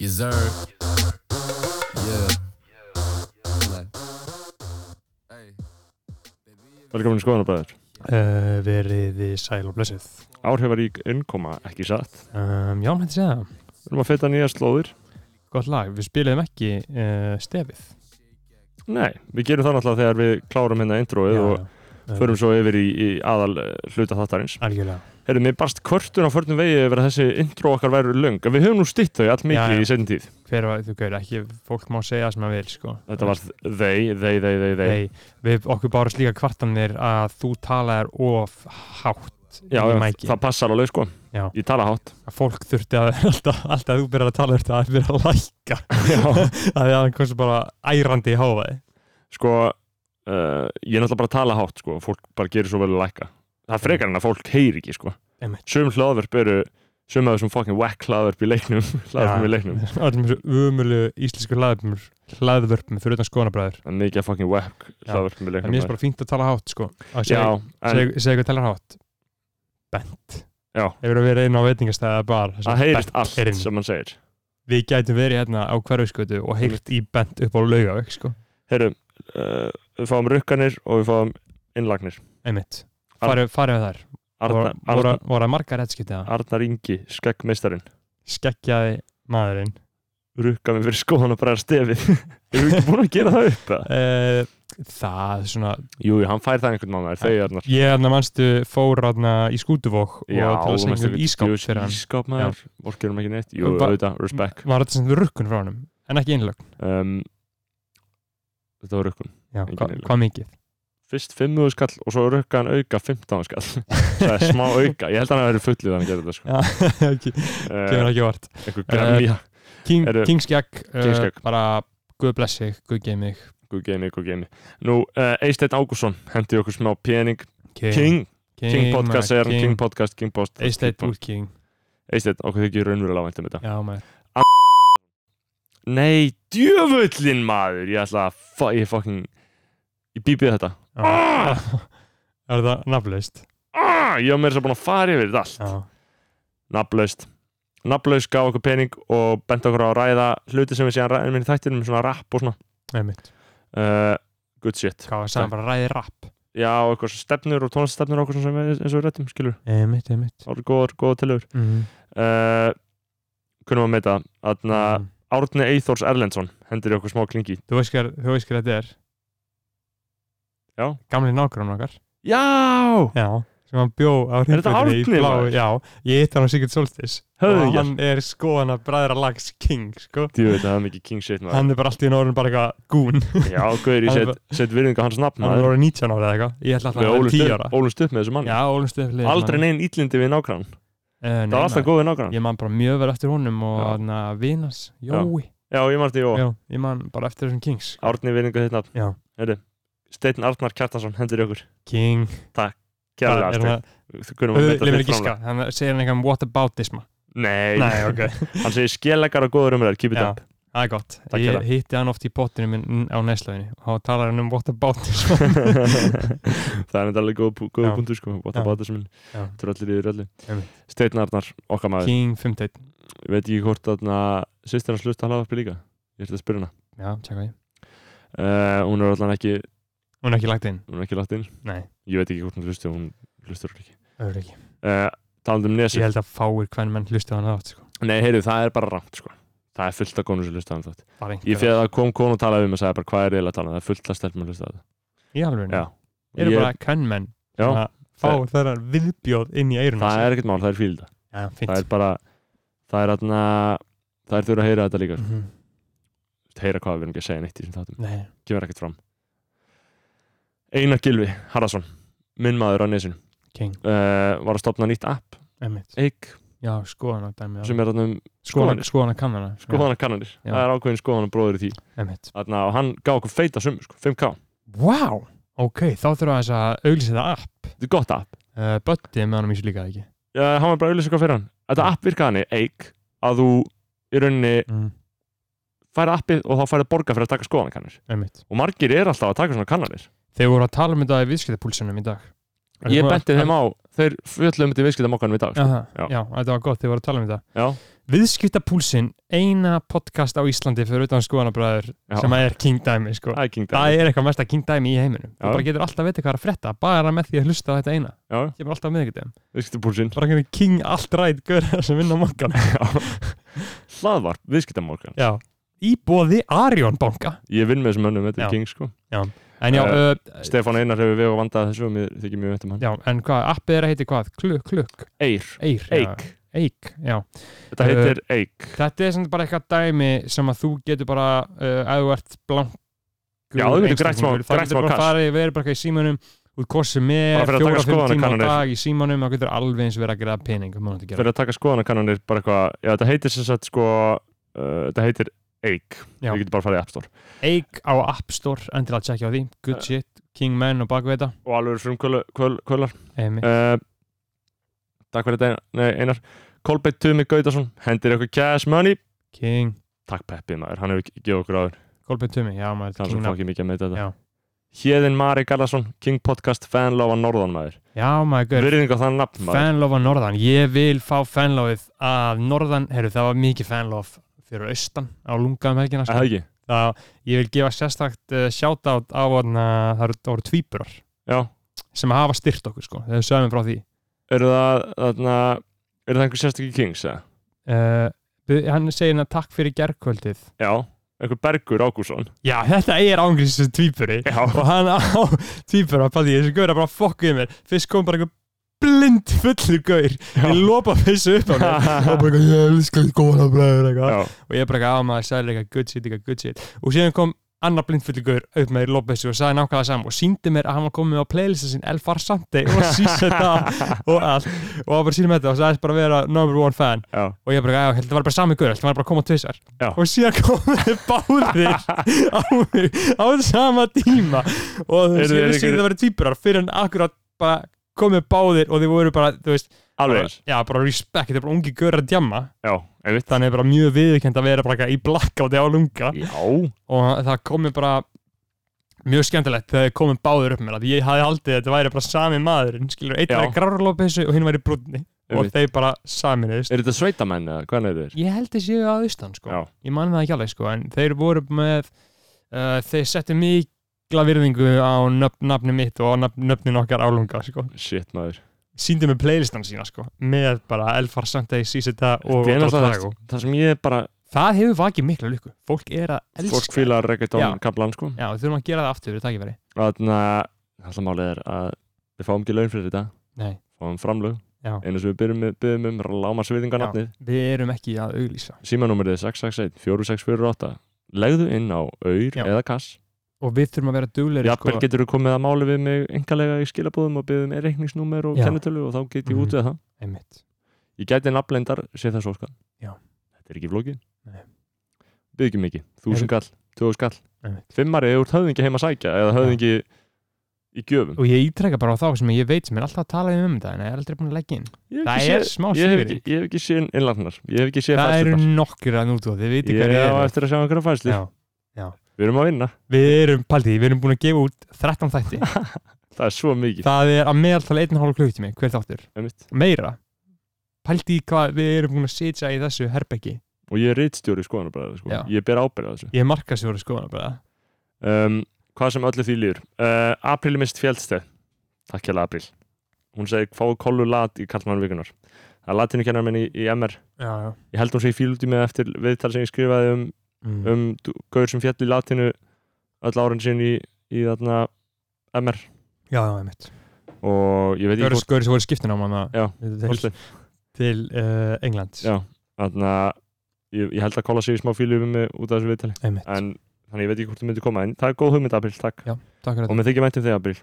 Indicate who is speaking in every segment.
Speaker 1: Yes sir Yeah Nei Hey
Speaker 2: Velkomin í skoðanabæður.
Speaker 3: uh, verið í sæl og blessið
Speaker 2: Áhrifarík innkoma, ekki satt.
Speaker 3: um, Já, hætti segja það,
Speaker 2: Við erum að feita nýja slóðir.
Speaker 3: gott lag við spilum ekki uh, stefið
Speaker 2: Nei, við gerum það náttúrulega þegar við klárum hérna introið og
Speaker 3: já. Eh,
Speaker 2: förum svo yfir í, í aðal eh, hluta þáttarins.
Speaker 3: Algjörlega,
Speaker 2: Heyrðu, mér barst kvörtun á förnum vegi yfir að þessi intro okkar væru löng. En Við höfum nú stýtt þau allt
Speaker 3: Já, já.
Speaker 2: mikið í setjum tíð.
Speaker 3: hver var, þú gauður, ekki fólk má segja það sem það vil, sko
Speaker 2: Þetta var þeir, þeir, þeir, þeir, þeir.
Speaker 3: Nei, við okkur bárast líka kvartanir að þú talaðir of hátt
Speaker 2: Já,
Speaker 3: í
Speaker 2: já,
Speaker 3: mæki
Speaker 2: það passar alveg sko.
Speaker 3: Já.
Speaker 2: Ég tala hátt.
Speaker 3: að fólk þurfti að alltaf, alltaf að þú byrjar að tala þurfti að byrja að lækka
Speaker 2: Já.
Speaker 3: að því að hann kom svo bara ærandi í hávaði
Speaker 2: sko, uh, ég er náttúrulega bara að tala hátt sko. Fólk bara gerir svo vel að lækka. Það er frekar en að fólk heyri ekki sko.
Speaker 3: Einmitt.
Speaker 2: Sum hlaðverp eru, sum af þessum fucking whack hlaðverp í leiknum. hlaðverp í leiknum.
Speaker 3: Allir mjög umölu íslensku hlaðvörpum hlaðvörpum fyrir utan skoðanabræður
Speaker 2: Það er mikið að fucking whack hlaðverp í
Speaker 3: en mér finnst
Speaker 2: leiknum.
Speaker 3: bara fínt að tala hátt sko
Speaker 2: Já,
Speaker 3: að segja,
Speaker 2: en
Speaker 3: segja, segja hvað talar hátt bent
Speaker 2: Já.
Speaker 3: hefur að vera inn á veitingastæða bar þar sem
Speaker 2: það heyrist
Speaker 3: Bent er
Speaker 2: allt
Speaker 3: inni.
Speaker 2: sem hann segir.
Speaker 3: við gætum verið hérna á hverfiskötu og heyrt í bent upp á laugaveg sko
Speaker 2: Heyrðu, uh, við fáum rukkanir og við fáum innlagnir.
Speaker 3: einmitt
Speaker 2: Ar-
Speaker 3: farið farið við þar
Speaker 2: Arnar,
Speaker 3: Voru- voru
Speaker 2: Arnar,
Speaker 3: voru það margar rettskiptiða
Speaker 2: Arnar Ingi, skeggmeistarinn,
Speaker 3: skekkjaði maðurinn
Speaker 2: rukka mig fyrir skóðan og bara stefið. Erum við ekki búin að gera það upp? eða?
Speaker 3: Eh, það svona
Speaker 2: Jú, jú, hann fær það einhvern mánar, þegar Arnar.
Speaker 3: ég hérna mannstu fór hérna í skútuvók og til að
Speaker 2: þú manstu
Speaker 3: segja um
Speaker 2: ekki-
Speaker 3: ískáp
Speaker 2: jú,
Speaker 3: fyrir hann
Speaker 2: Ískáp maður, vorkir hann ekki neitt Jú,
Speaker 3: Og ba-
Speaker 2: auðvitað, respect
Speaker 3: var þetta sem þú rukkun frá honum en ekki einlögn
Speaker 2: um, Þetta var rökkun
Speaker 3: já,
Speaker 2: Engin
Speaker 3: hva,
Speaker 2: einlögn.
Speaker 3: hvað mikið
Speaker 2: Fyrst 5 skall og svo rökka hann auka 15 skall Það er smá auka Ég held að hann að vera fullið hann að gera þetta sko.
Speaker 3: Já, ekki, kemur
Speaker 2: uh,
Speaker 3: ekki vart
Speaker 2: Einhver gremja,
Speaker 3: King,
Speaker 2: Eru-
Speaker 3: Kingskegg,
Speaker 2: King's
Speaker 3: uh,
Speaker 2: Gag.
Speaker 3: bara Guð blessi, Guð geið mig
Speaker 2: guð geimi, guð geimi Nú, uh, Eisteinn Ágússon hendi okkur smá pening
Speaker 3: King,
Speaker 2: King, King podcast segir hann King podcast, King post
Speaker 3: Eisteit úr King
Speaker 2: Eisteinn, okkur þykir raunverulega væntum þetta
Speaker 3: Já maður
Speaker 2: Nei, djöfullin maður Ég ætla að, fu- ég fucking Ég bíbið þetta
Speaker 3: Já. Er það nafnlaust?
Speaker 2: ah, ég var meira svo búin að fara yfir þetta allt
Speaker 3: Já,
Speaker 2: nafnlaust nafnlaust gaf okkur pening og bent okkur á að ræða hluti sem við séðan ræðum í þættinum með svona rap og svona
Speaker 3: með mitt
Speaker 2: uh, good shit
Speaker 3: Hvað var það, bara ræði rap
Speaker 2: já, og eitthvað svona stefnur og tónliststefnur okkur sem við, eins og við rættum, skilur
Speaker 3: Með mitt, með mitt
Speaker 2: það voru góðar, góðar tilögur
Speaker 3: Mhm.
Speaker 2: uh, kunum að meita aðna Árni Eithors Erlendsson hendur í okkur smá klingi
Speaker 3: Þú veist hver, þú veist hver þetta er
Speaker 2: Já.
Speaker 3: Gamli nágrunum okkar
Speaker 2: já,
Speaker 3: Já Sem hann bjó á
Speaker 2: Er þetta
Speaker 3: Hringbrautinni í
Speaker 2: Árni,
Speaker 3: bláu-
Speaker 2: maður?
Speaker 3: Já, ég hitt hann á Sigurd Solstis Og
Speaker 2: höfðingjar
Speaker 3: hann er sko hann að bræðra lags King, sko
Speaker 2: Þú veit að það er mikið king shit maður.
Speaker 3: Hann er bara allt í norðin bara eitthvað gún
Speaker 2: Já, Guður, ég
Speaker 3: Hann er
Speaker 2: set, set virðinga hans nafn
Speaker 3: Hann er
Speaker 2: maður.
Speaker 3: orðið 19 ára eða eitthvað Ég ætla alltaf
Speaker 2: Við
Speaker 3: að hann er 10 ára
Speaker 2: ólumst upp- ólumst upp með þessu manni
Speaker 3: Já, ólumst upp liðið
Speaker 2: Aldrei neginn íllindi við nákvæm Það var alltaf góðið nákvæm
Speaker 3: Eh, Ég man bara mjög vel eftir honum og
Speaker 2: Já.
Speaker 3: hann vinas Jói
Speaker 2: Já, ég marði, jó,
Speaker 3: Já, ég man bara eftir þessum Kings
Speaker 2: Árni Vinningu þitt nafn
Speaker 3: Já.
Speaker 2: Heyrðu, Steinn Arnar Kjartansson hendur í okkur
Speaker 3: King
Speaker 2: Kjærlega
Speaker 3: Hvað er hérna?
Speaker 2: Steinn Þú kunum að meta
Speaker 3: Leif mér
Speaker 2: þitt
Speaker 3: ekki
Speaker 2: framlega
Speaker 3: ská Hann segir hann eitthvað um whataboutisma
Speaker 2: Nei,
Speaker 3: Nei, ok
Speaker 2: hann segir skjellegar og góður umræður Keep it
Speaker 3: Já.
Speaker 2: up
Speaker 3: Það er gott
Speaker 2: Takk fyrir
Speaker 3: Ég
Speaker 2: það.
Speaker 3: hitti hann oft í botinu minn á neslauginni og þá talar hann um whataboutisma
Speaker 2: Það er enda alveg góð, pú- góð
Speaker 3: Já.
Speaker 2: punktur sko Bota
Speaker 3: Já.
Speaker 2: bata sem minn
Speaker 3: Já.
Speaker 2: Tröllir yfir öllu
Speaker 3: Einmitt.
Speaker 2: Steinn Arnar, okkar maður
Speaker 3: King 51
Speaker 2: Ég veit ekki hvort að sýstir hans hlusta hlaðvarpi líka Ég ætti að spyrja hana
Speaker 3: Já, tjekka ég
Speaker 2: uh, Hún er allan ekki,
Speaker 3: Hún er ekki lagt inn
Speaker 2: hún er ekki lagt inn
Speaker 3: Nei,
Speaker 2: Ég veit ekki hvort hún hlusti, hún hlustur ekki
Speaker 3: öður ekki
Speaker 2: uh, Talandi um
Speaker 3: Ég
Speaker 2: nesið
Speaker 3: held að fáir hvern menn hlustu hann átt sko.
Speaker 2: Nei, heyrðu, það er bara rangt sko Það er fullt af konur sem hlusta hann þátt
Speaker 3: Bara
Speaker 2: Ég
Speaker 3: einhver
Speaker 2: fyrir að það kom konu að tala við mig og sagði bara hvað er eiginlega að tala um? það er fullt að stelpum að hlusta á þetta
Speaker 3: Í alveg
Speaker 2: Já.
Speaker 3: Mm. Eru
Speaker 2: Ég-
Speaker 3: bara hvern menn
Speaker 2: Já.
Speaker 3: sem að Fá þeirra viðbjóð inn í eirun
Speaker 2: það er ekkert mál, það er fílda
Speaker 3: Já,
Speaker 2: það
Speaker 3: fint
Speaker 2: er bara, það er aðna það er þurfa að heyra þetta líka mm.
Speaker 3: Mhm.
Speaker 2: heyra hvað við erum ekki að segja neitt í þessum þáttum
Speaker 3: Nei,
Speaker 2: kemur ekkert fram Einar Gilvi Harðarsson, minn maður á nesinu
Speaker 3: King,
Speaker 2: uh, var að stopna nýtt app,
Speaker 3: emmitt
Speaker 2: Eik
Speaker 3: Já, skoðan að dæmi
Speaker 2: sem er aðna um
Speaker 3: Skoðan, skoðan að kannana
Speaker 2: skoðana kannanir
Speaker 3: Já.
Speaker 2: það er ákveðin skoðana bróður í því
Speaker 3: Emmitt
Speaker 2: aðna, og hann gaf okkur feita sum, sko, 5k
Speaker 3: Vá, ok, þá þurfa þess að auglýsa þetta app
Speaker 2: þetta er gott app
Speaker 3: uh, Bötti með hann mjög líka ekki
Speaker 2: Já, hann var bara að auðvitað eitthvað fyrir hann Þetta app virkaði hann eik að þú í rauninni
Speaker 3: mm.
Speaker 2: færi appið og þá færið borga fyrir að taka skoðanakannir
Speaker 3: Emmitt
Speaker 2: og margir er alltaf að taka svona kannanir
Speaker 3: Þeir voru að tala um þetta í viðskiptapúlsunum í dag
Speaker 2: Ég benti þeim á, þeir fjöllum þetta í viðskiptum okkanum í dag sko.
Speaker 3: Aha,
Speaker 2: Já.
Speaker 3: já. þetta var gott, þeir voru að tala um þetta
Speaker 2: Já,
Speaker 3: viðskiptapúlsin eina podcast á Íslandi fyrir utan skoðanabræður
Speaker 2: Já.
Speaker 3: sem að er King Dæmi sko.
Speaker 2: Það er King Dæmi
Speaker 3: það er eitthvað mesta King Dæmi í heiminum
Speaker 2: Já.
Speaker 3: þú bara getur alltaf að veta hvað er að frétta bara með því að hlusta á þetta eina
Speaker 2: Já,
Speaker 3: kemur alltaf á miðvikudaginn
Speaker 2: viðskiptabúlsinn
Speaker 3: bara einhvern King allt ræð görðar sem vinna á mokkan
Speaker 2: Hlaðvarp, viðskiptamorgan
Speaker 3: já í bóði Arjón banka
Speaker 2: Ég vinn með þessum mönnum, þetta
Speaker 3: Já.
Speaker 2: er King sko
Speaker 3: en já,
Speaker 2: Eh,
Speaker 3: uh,
Speaker 2: Stefán Einar hefur við og vandað þessu og mér þykir mjög vett um hann
Speaker 3: já en hvað, appið er að heiti hvað klukk, klukk,
Speaker 2: Eir,
Speaker 3: eir já.
Speaker 2: Eik,
Speaker 3: eik, já
Speaker 2: þetta
Speaker 3: Eh,
Speaker 2: heitir Eik
Speaker 3: Þetta er sem bara eitthvað dæmi sem að þú getur bara, uh, ef þú ert blankur
Speaker 2: Já, þú getur grætt smá-
Speaker 3: einstaklingur, þá
Speaker 2: grætt
Speaker 3: getur
Speaker 2: smá
Speaker 3: bara
Speaker 2: kast.
Speaker 3: farið, verið bara eitthvað í símanum út kosið með
Speaker 2: Bara fyrir að taka
Speaker 3: fjóra-fimm tíma á
Speaker 2: skoðanakannanir.
Speaker 3: dag í símanum, þá getur alveg eins verið að gera pening um að gera.
Speaker 2: Fyrir að taka skoðanakannanir bara eitthvað Já, þetta heitir sem sagt sko uh, Þetta heitir Eik
Speaker 3: Já.
Speaker 2: Við getum bara farið í App Store
Speaker 3: Eik á App Store, endilega að tjekkja á því good
Speaker 2: Eh.
Speaker 3: shit, king men og bakveita
Speaker 2: Og alveg frumkvölar
Speaker 3: Emi,
Speaker 2: uh, Takk fyrir þetta Nei, Einar Kolbeitt Tumi Gautason Hendir eitthvað cash money
Speaker 3: king,
Speaker 2: Takk Peppi maður, hann hefur gefið okkur áður
Speaker 3: Kolbjörn Tumi já maður,
Speaker 2: Það er
Speaker 3: king
Speaker 2: svo
Speaker 3: nafn
Speaker 2: fokkið mikið að meita
Speaker 3: Já.
Speaker 2: þetta Hjeðin Mari Garðarsson, King Podcast, fanlofa norðan maður
Speaker 3: já maður, gaur,
Speaker 2: Virðing á þann nafn maður
Speaker 3: fanlof á norðan ég vil fá fanlofið að norðan herru, það var mikið fanlof fyrir austan á lungaðum helgina sko.
Speaker 2: Er Það ekki?
Speaker 3: það, ég vil gefa sérstakt uh, shoutout á hana, það eru, það eru tvíburar
Speaker 2: Já
Speaker 3: sem hafa styrt okkur sko, þegar við sögum frá því
Speaker 2: Eru það, þarna Eru það einhver sérstakki Kings, eða?
Speaker 3: uh, bu- hann segir hérna takk fyrir gerkvöldið
Speaker 2: Já Einhver Bergur Ágússon
Speaker 3: já, þetta er ángriðs þessi tvíburi
Speaker 2: Já
Speaker 3: og hann á tvíbura, pæði ég þessi gaur er bara fokkuð mér, fyrst kom bara einhver blind fullur gaur, ég lopa þessu upp á mér og bara eitthvað, ég elskar góðan að bræður eitthvað
Speaker 2: Já
Speaker 3: og ég bara eitthvað á maður sagði eitthvað good shit, eitthvað good shit og síðan kom annar blindfylgur upp með Lopez og sagði nákvæmlega saman og síndi mér að hann var komið á playlista sín El Farsante og Síseta og allt og hann bara sínum þetta og sagðist bara vera number one fan
Speaker 2: Já
Speaker 3: og ég bara, já, held að það var bara sami guður, held að það var bara að koma tvisar
Speaker 2: Já.
Speaker 3: og síðan komuðu báðir á mig á sama tíma og
Speaker 2: Eru
Speaker 3: þú veist,
Speaker 2: þeir
Speaker 3: ég vissi
Speaker 2: ekki-
Speaker 3: ekki að það verið týpurar fyrir hann akkurat bara komið báðir og þið voru bara, þú veist
Speaker 2: Alveg
Speaker 3: bara,
Speaker 2: eins
Speaker 3: já, bara respect, þetta er bara ungi guður að djamma
Speaker 2: Já Einmitt
Speaker 3: þannig er bara mjög viðurkend að vera bara eitthvað í blackouti á lunga
Speaker 2: Já
Speaker 3: og það komi bara mjög skemmtilegt þegar þeir komi báður upp með það ég hafði haldið að þetta væri bara sami maðurinn skilur, einn
Speaker 2: Já.
Speaker 3: væri grárlópeysu og hinn væri brúnni og
Speaker 2: Einmitt.
Speaker 3: þeir bara saminuðist
Speaker 2: Er þetta sveitamenn eða? Hvernig er þetta?
Speaker 3: ég held þeir séu að austan sko
Speaker 2: Já.
Speaker 3: ég man það ekki alveg sko en þeir voru með uh, þeir settu mikla virðingu á nöfn, nafni mitt og á nafn, nöfnin okkar álunga sko
Speaker 2: Shit maður
Speaker 3: síndi með playlistan sína sko með bara Elfar Sandey, Sísita og
Speaker 2: Þetta er
Speaker 3: Dr.
Speaker 2: náttúrulega
Speaker 3: Drago.
Speaker 2: Það sem ég bara
Speaker 3: það hefur vakið mikla lukku fólk er að elska
Speaker 2: Fólk fílar reggaetón
Speaker 3: Já.
Speaker 2: kaplan sko
Speaker 3: Já, við þurfum að gera það aftur fyrir takkifæri.
Speaker 2: Þannig að alltaf málið er að við fáum ekki laun fyrir þetta
Speaker 3: Nei.
Speaker 2: fáum framlög
Speaker 3: Já.
Speaker 2: einu sem við byrjum, byrjum um lámarsviðingarnafnið
Speaker 3: Við erum ekki að auglýsa.
Speaker 2: símanúmerið er 661-4648 legðu inn á auður
Speaker 3: Já.
Speaker 2: eða kass
Speaker 3: Og við þurfum að vera sko, dugleiri,
Speaker 2: jafnvel getur þú komið að máli við mig engalega í skilabúðum og byrjum með reikningsnúmer og
Speaker 3: Já.
Speaker 2: kennitölu og þá get ég
Speaker 3: Mhm.
Speaker 2: út við það
Speaker 3: Einmitt.
Speaker 2: ég gæti nafnlendar, sé það svo skall
Speaker 3: Já.
Speaker 2: þetta er ekki flókið
Speaker 3: Nei.
Speaker 2: byrjum ekki mikið, þúsund skall, tvöðu skall
Speaker 3: Einmitt.
Speaker 2: fimmari eða úr höfðingi heima að sækja eða höfðingi í gjöfum
Speaker 3: Og ég ítrekka bara á þá sem ég veit sem er alltaf að tala um þetta, en ég er aldrei búin að leggja inn.
Speaker 2: Ég hef
Speaker 3: Það
Speaker 2: ekki
Speaker 3: er
Speaker 2: séð-
Speaker 3: smá
Speaker 2: ég hef
Speaker 3: sigri.
Speaker 2: ekki- ég hef ekki séð innlandnar ég hef ekki séð
Speaker 3: Það eru
Speaker 2: fæslurnar.
Speaker 3: nokkur að nútu og þið viti
Speaker 2: ég
Speaker 3: hvað
Speaker 2: á
Speaker 3: ég er.
Speaker 2: eftir að sjá einhverja fæsli
Speaker 3: Já.
Speaker 2: við erum að vinna,
Speaker 3: Við erum, paldið, við erum búin að gefa út 13 þætti.
Speaker 2: það er svo mikið
Speaker 3: það er að meðaltala 1,5 klukktími, hver þáttur.
Speaker 2: Einmitt.
Speaker 3: Meira. Paldið hvað við erum búin að sitja í þessu herbeggi.
Speaker 2: og ég er reitstjóri skoðanabræði sko.
Speaker 3: Já.
Speaker 2: ég ber ábyrða þessu
Speaker 3: Ég marka sér voru skoðan bara.
Speaker 2: um, hvað sem öllu því líður uh, April mist fjeldsteg takk hjá April hún segi fáu kollu lat í kallmann vikunar það er latinu kennar minn í, í MR
Speaker 3: Já, já.
Speaker 2: ég held hún segi fíl út í mig eftir viðtal sem ég skrifaði um,
Speaker 3: Mm.
Speaker 2: um dú- gaur sem fjall í latinu öll árin sín í, í þarna MR
Speaker 3: Já, já, einmitt.
Speaker 2: og ég veit
Speaker 3: Gauri
Speaker 2: ekki
Speaker 3: sem voru skiptin á manna
Speaker 2: Já,
Speaker 3: til,
Speaker 2: hvort
Speaker 3: til uh, England.
Speaker 2: Já. þannig að ég, ég held að kolla sig í smá fílu um mig út af þessu viðtali
Speaker 3: Einmitt.
Speaker 2: en þannig ég veit ekki hvort þú myndir koma en það er góð hugmynd April, takk
Speaker 3: Takk fyrir
Speaker 2: og
Speaker 3: þetta,
Speaker 2: mér þykir mæntum þig April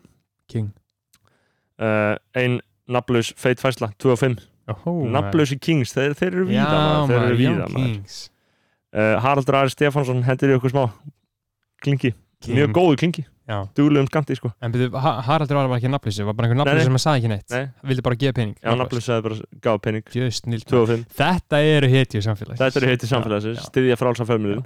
Speaker 3: King.
Speaker 2: uh, ein nafnlaus feit fæsla 2 og 5,
Speaker 3: Jóhó,
Speaker 2: nafnlausi Kings þeir, þeir eru víða maður, þeir eru víða maður
Speaker 3: Kings.
Speaker 2: uh, Haraldur Ari Stefánsson hendir í okkur smá klingi, mjög góðu klingi
Speaker 3: Já.
Speaker 2: duglegum skamti sko,
Speaker 3: En byrju, Ha- Haraldur var bara ekki nafnlýsi, var bara einhver
Speaker 2: Nei,
Speaker 3: nafnlýsi
Speaker 2: nei.
Speaker 3: sem að sagði ekki neitt.
Speaker 2: Nei.
Speaker 3: Vildi bara gefa pening.
Speaker 2: já nafnlaus að bara gáðu pening,
Speaker 3: Just nilt.
Speaker 2: 2 og 5
Speaker 3: Þetta eru hetjur samfélags.
Speaker 2: þetta eru heiti
Speaker 3: Já,
Speaker 2: samfélagsins,
Speaker 3: já.
Speaker 2: styðja frálsa fömulun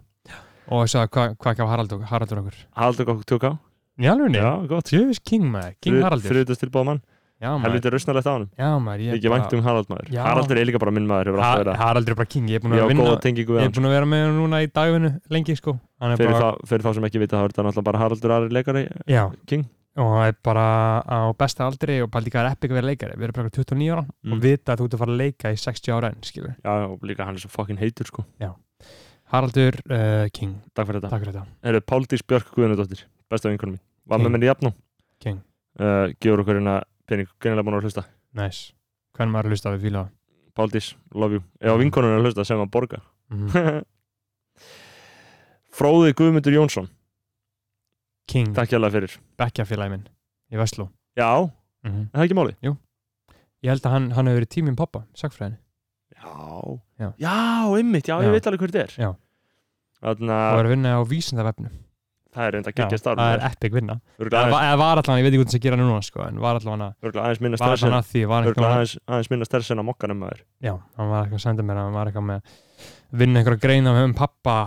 Speaker 3: Og svo, hvað hva gaf Haraldur, Haraldur okkur?
Speaker 2: Haraldur okkur 2K,
Speaker 3: Í alveg
Speaker 2: já gott
Speaker 3: Just King maður, King Haraldur.
Speaker 2: friðutast tilbáð mann
Speaker 3: já maður,
Speaker 2: helviti rausnarlegt á hann
Speaker 3: já maður ég
Speaker 2: ekki vænt um Harald maður
Speaker 3: Já.
Speaker 2: Haraldur er líka bara minn maður hefur alltaf
Speaker 3: Ha-
Speaker 2: verið að
Speaker 3: Haraldur er bara king, ég er búin
Speaker 2: ég
Speaker 3: að
Speaker 2: á
Speaker 3: vinna
Speaker 2: góða tengingu við
Speaker 3: ég er
Speaker 2: hann
Speaker 3: búin að vera með hann núna í dagvinnu lengi sko hann er
Speaker 2: fyrir,
Speaker 3: bara,
Speaker 2: þá, fyrir þá sem ekki vita þá er þetta náttúrulega bara Haraldur Ari leikari eh,
Speaker 3: já,
Speaker 2: King.
Speaker 3: og hann er bara á besta aldri og paldi hvað er epic að vera leikari við erum bara 29 ára
Speaker 2: Mm.
Speaker 3: og vita að þú ert að fara að leika í 60 ára enn skilur,
Speaker 2: já og líka hann er svo fucking heitur sko
Speaker 3: Haraldur uh, king,
Speaker 2: takk fyrir þetta
Speaker 3: takk fyrir þetta
Speaker 2: Heru, Páldís Björk Guðnudóttir besta vinkunum mín var
Speaker 3: King.
Speaker 2: með mér í jafnum
Speaker 3: King.
Speaker 2: uh, gefur okkur hérna pening gennilega búin að hlusta
Speaker 3: nice, hvernig maður hlusta við fíla það?
Speaker 2: Páldís love you ef
Speaker 3: Mm.
Speaker 2: vinkunum er að hlusta sem að borga
Speaker 3: Mhm.
Speaker 2: Fróði Guðmundur Jónsson
Speaker 3: king,
Speaker 2: takk hérlega fyrir
Speaker 3: bekkjafélagi minn í Vestló
Speaker 2: já er
Speaker 3: mm
Speaker 2: það ekki máli
Speaker 3: ég held að hann, hann hefur verið tíminn pappa, sagfræðin
Speaker 2: já
Speaker 3: Já.
Speaker 2: já einmitt já,
Speaker 3: Já.
Speaker 2: ég veit alveg hver þetta
Speaker 3: Já.
Speaker 2: er þannig
Speaker 3: og
Speaker 2: að
Speaker 3: er að vinna á vísindavefnu
Speaker 2: það er reynda að
Speaker 3: Já,
Speaker 2: gegja starf
Speaker 3: það er epic vinna
Speaker 2: Örugglega
Speaker 3: eða
Speaker 2: aðeins-
Speaker 3: var- eða var allan, ég veit ekki hvernig það gera núna sko, en var allan að,
Speaker 2: örugglega aðeins minna
Speaker 3: var
Speaker 2: stress
Speaker 3: allan að því var einhvern
Speaker 2: Örgla
Speaker 3: veginn-
Speaker 2: aðeins, aðeins minna stærsen á mokkanum maður
Speaker 3: já, hann var eitthvað að senda mér að hann var eitthvað með vinna einhverja greina um um pappa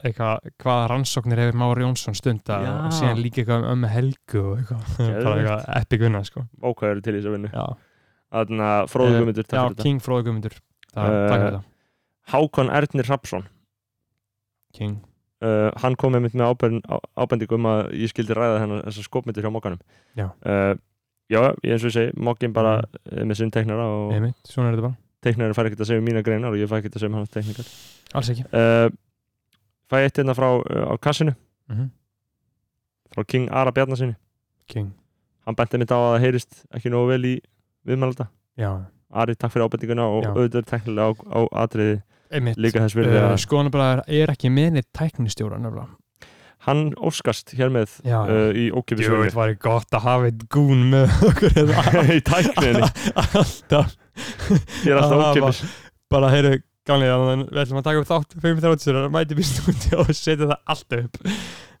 Speaker 3: eitthvað, hvaða rannsóknir hefur Már Jónsson stunda
Speaker 2: Já.
Speaker 3: og síðan líka eitthvað um ömmu helgu og eitthvað, bara
Speaker 2: Geðveikt.
Speaker 3: eitthvað epic vinna sko.
Speaker 2: Ókvæður til þess að vinna
Speaker 3: já,
Speaker 2: Þannig að fróðu
Speaker 3: Eh,
Speaker 2: guðmyndur
Speaker 3: já
Speaker 2: uh,
Speaker 3: King Fróði Guðmundur það,
Speaker 2: Eh,
Speaker 3: takk fyrir það,
Speaker 2: Hákon Ernir Rapsson
Speaker 3: King
Speaker 2: uh, Hann kom einmitt með ábend, á, ábendingu um að ég skildi ræða hennar þessar skopmyndir hjá mokkanum
Speaker 3: Já.
Speaker 2: uh, Já, ég- eins og ég segi, mokkin bara mm. með sinn teknara og
Speaker 3: einmitt, svona er þetta bara,
Speaker 2: teknari fær ekkert að segja mína greinar og ég fær ekkert að segja um hann teknikar
Speaker 3: alls ekki
Speaker 2: uh, Fæ eitt hérna frá uh, á kassinu
Speaker 3: mm
Speaker 2: frá King Ara Bjarnasinni
Speaker 3: King,
Speaker 2: Hann benti mitt á að það heyrist ekki nógu vel í viðmælda
Speaker 3: já,
Speaker 2: Ari, takk fyrir ábendinguna og
Speaker 3: Já.
Speaker 2: auðvitað teknilega á, á atriði
Speaker 3: einmitt
Speaker 2: líka þess virði
Speaker 3: uh,
Speaker 2: að
Speaker 3: skoðanablaður er ekki meðnir tæknistjóra nefnilega Eh.
Speaker 2: hann óskast hér með
Speaker 3: já,
Speaker 2: uh, í ókipis
Speaker 3: Jú, þetta var gott að hafa eitt gún með okkur hérna.
Speaker 2: í tækninni,
Speaker 3: Alltaf
Speaker 2: ég er alltaf
Speaker 3: Ah,
Speaker 2: ókipis
Speaker 3: bara, heyrðu, gamlega, þannig að við ætlum að taka upp þátt 5.30 og mæti býst út og setja það allt upp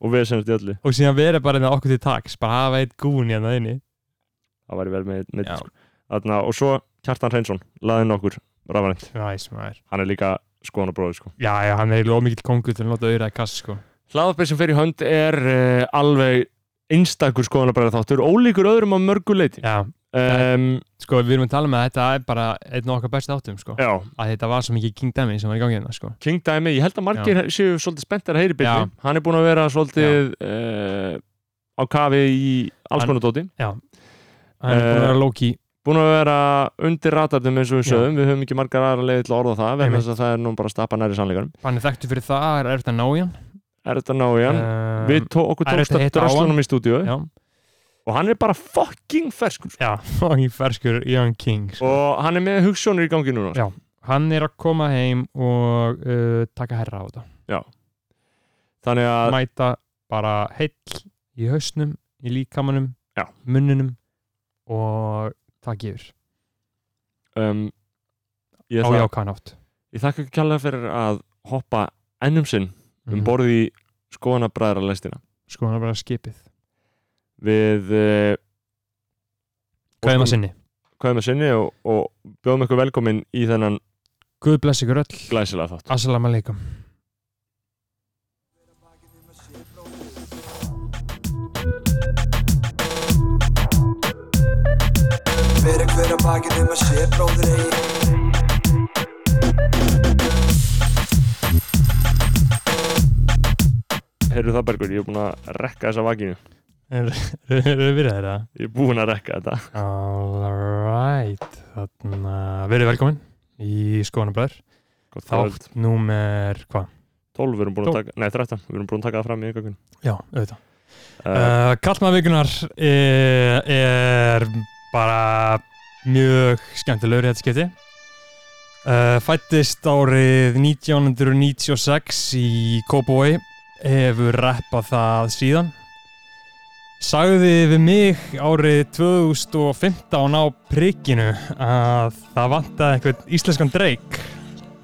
Speaker 2: og við semst í öllu,
Speaker 3: og síðan verið bara einhver okkur til taks bara hafa eitt gún hérna inni
Speaker 2: það væri vel með, með
Speaker 3: Já.
Speaker 2: sko. Þarna, og svo Kjartan Hreinsson laðin okkur rafrænt,
Speaker 3: Næs maður
Speaker 2: hann er líka skoðanabróður sko.
Speaker 3: Já, já, hann er eiginlega ómikill kongur til að nota auðvitað kass sko
Speaker 2: hlaðarpið sem fer í hönd er uh, alveg einstakur skoðanabræðar þáttur ólíkur öðrum á mörgu leiti
Speaker 3: Já,
Speaker 2: um,
Speaker 3: sko við erum að tala með að þetta er bara einn af okkar besti þáttum sko
Speaker 2: já,
Speaker 3: að þetta var svo mikið King Demi sem var í gangi hérna sko
Speaker 2: King Dæmi, ég held að margir séu svolítið spenntar að heyri byrni, hann er búin að vera svolítið uh, á kafi í alls
Speaker 3: Hann-
Speaker 2: konar dóti
Speaker 3: Hann er búin að
Speaker 2: Eh,
Speaker 3: vera Loki
Speaker 2: búin að vera undir ratarnum eins og við
Speaker 3: Já.
Speaker 2: sögum, við höfum ekki margar aðra leiði til að orða það vegna
Speaker 3: Einmitt.
Speaker 2: þess að það er nú bara að stapa næri sannleikanum
Speaker 3: Hann er þekktu fyrir það, er erfitt að ná í hann
Speaker 2: er þetta ná í hann,
Speaker 3: Um,
Speaker 2: við tó okkur
Speaker 3: er
Speaker 2: tókst
Speaker 3: þetta
Speaker 2: að
Speaker 3: hitt á
Speaker 2: dröslunum í stúdíu
Speaker 3: Já,
Speaker 2: og hann er bara fucking ferskur sko.
Speaker 3: já, fucking ferskur Young King sko.
Speaker 2: og hann er með hugssjónir í gangi núna sko.
Speaker 3: Já. Hann er að koma heim og uh, taka herra á þetta
Speaker 2: þannig að
Speaker 3: Mæta bara heill í hausnum, í líkamanum
Speaker 2: Já.
Speaker 3: munninum og það gefur
Speaker 2: um, ég,
Speaker 3: á
Speaker 2: ætla,
Speaker 3: jákanátt
Speaker 2: ég þakka ekki kjallega fyrir að hoppa ennum sinn um
Speaker 3: Mhm.
Speaker 2: borði í skoðanabræðralestina
Speaker 3: Sko hann er bara skipið
Speaker 2: við uh,
Speaker 3: Hvað er maður sinni?
Speaker 2: kveðum að sinni og, og bjóðum ykkur velkomin í þennan
Speaker 3: Guð bless ykkur öll
Speaker 2: glæsilega þátt
Speaker 3: Assalamu alaikum
Speaker 4: Hver er hver að bakið um að sé bróðir eigi
Speaker 2: Heyrðu það Bergur, ég er búin að rekka þessa vakinu
Speaker 3: Erum við virðið þeirra?
Speaker 2: Ég er búin að rekka þetta
Speaker 3: Alright Þannig að verið velkomin í skoðanabræður
Speaker 2: Gott kvöld.
Speaker 3: Þátt númer hvað?
Speaker 2: 12 við erum búin að
Speaker 3: Tól-
Speaker 2: taka, nei 13 við erum búin að taka það fram í ykkur
Speaker 3: Já, auðvitað
Speaker 2: uh,
Speaker 3: Uh, Kallmaðvíkunar er, er bara mjög skemmtilegur í þetta skipti. Uh, fættist árið 1996 í Kópói, hefur rappað það síðan. Sagði við mig árið 2015 á prikinu að það vantaði einhvern íslenskan dreik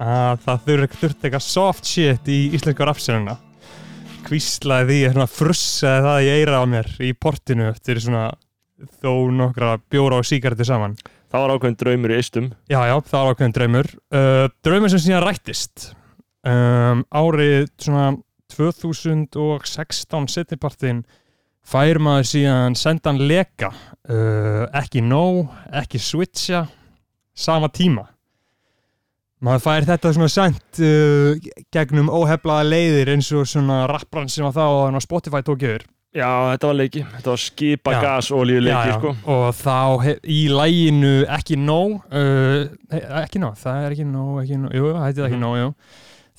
Speaker 3: að það þurfti þurft eitthvað soft shit í íslenska rafsiruna kvíslaði því, svona frussaði það í eira á mér í portinu eftir svona þó nokkra bjóra og síkartu saman.
Speaker 2: Það var ákveðin draumur í eistum
Speaker 3: Já, já, það var ákveðin draumur. Uh, draumur sem síðan rættist. Um, árið svona 2016 setnipartin fær maður síðan sendan leka uh, ekki nóg, ekki switcha sama tíma maður fær þetta svona sent uh, gegnum óheflaða leiðir eins og svona rappran sem var þá á Spotify tók yfir
Speaker 2: Já, þetta var leiki, þetta var skipa
Speaker 3: Já.
Speaker 2: gasolíu leiki,
Speaker 3: Já, já.
Speaker 2: sko
Speaker 3: og þá hef- í læginu ekki nóg uh, ekki nóg, það er ekki nóg, ekki nóg jú, það heitir það ekki
Speaker 2: Mhm.
Speaker 3: nóg, jú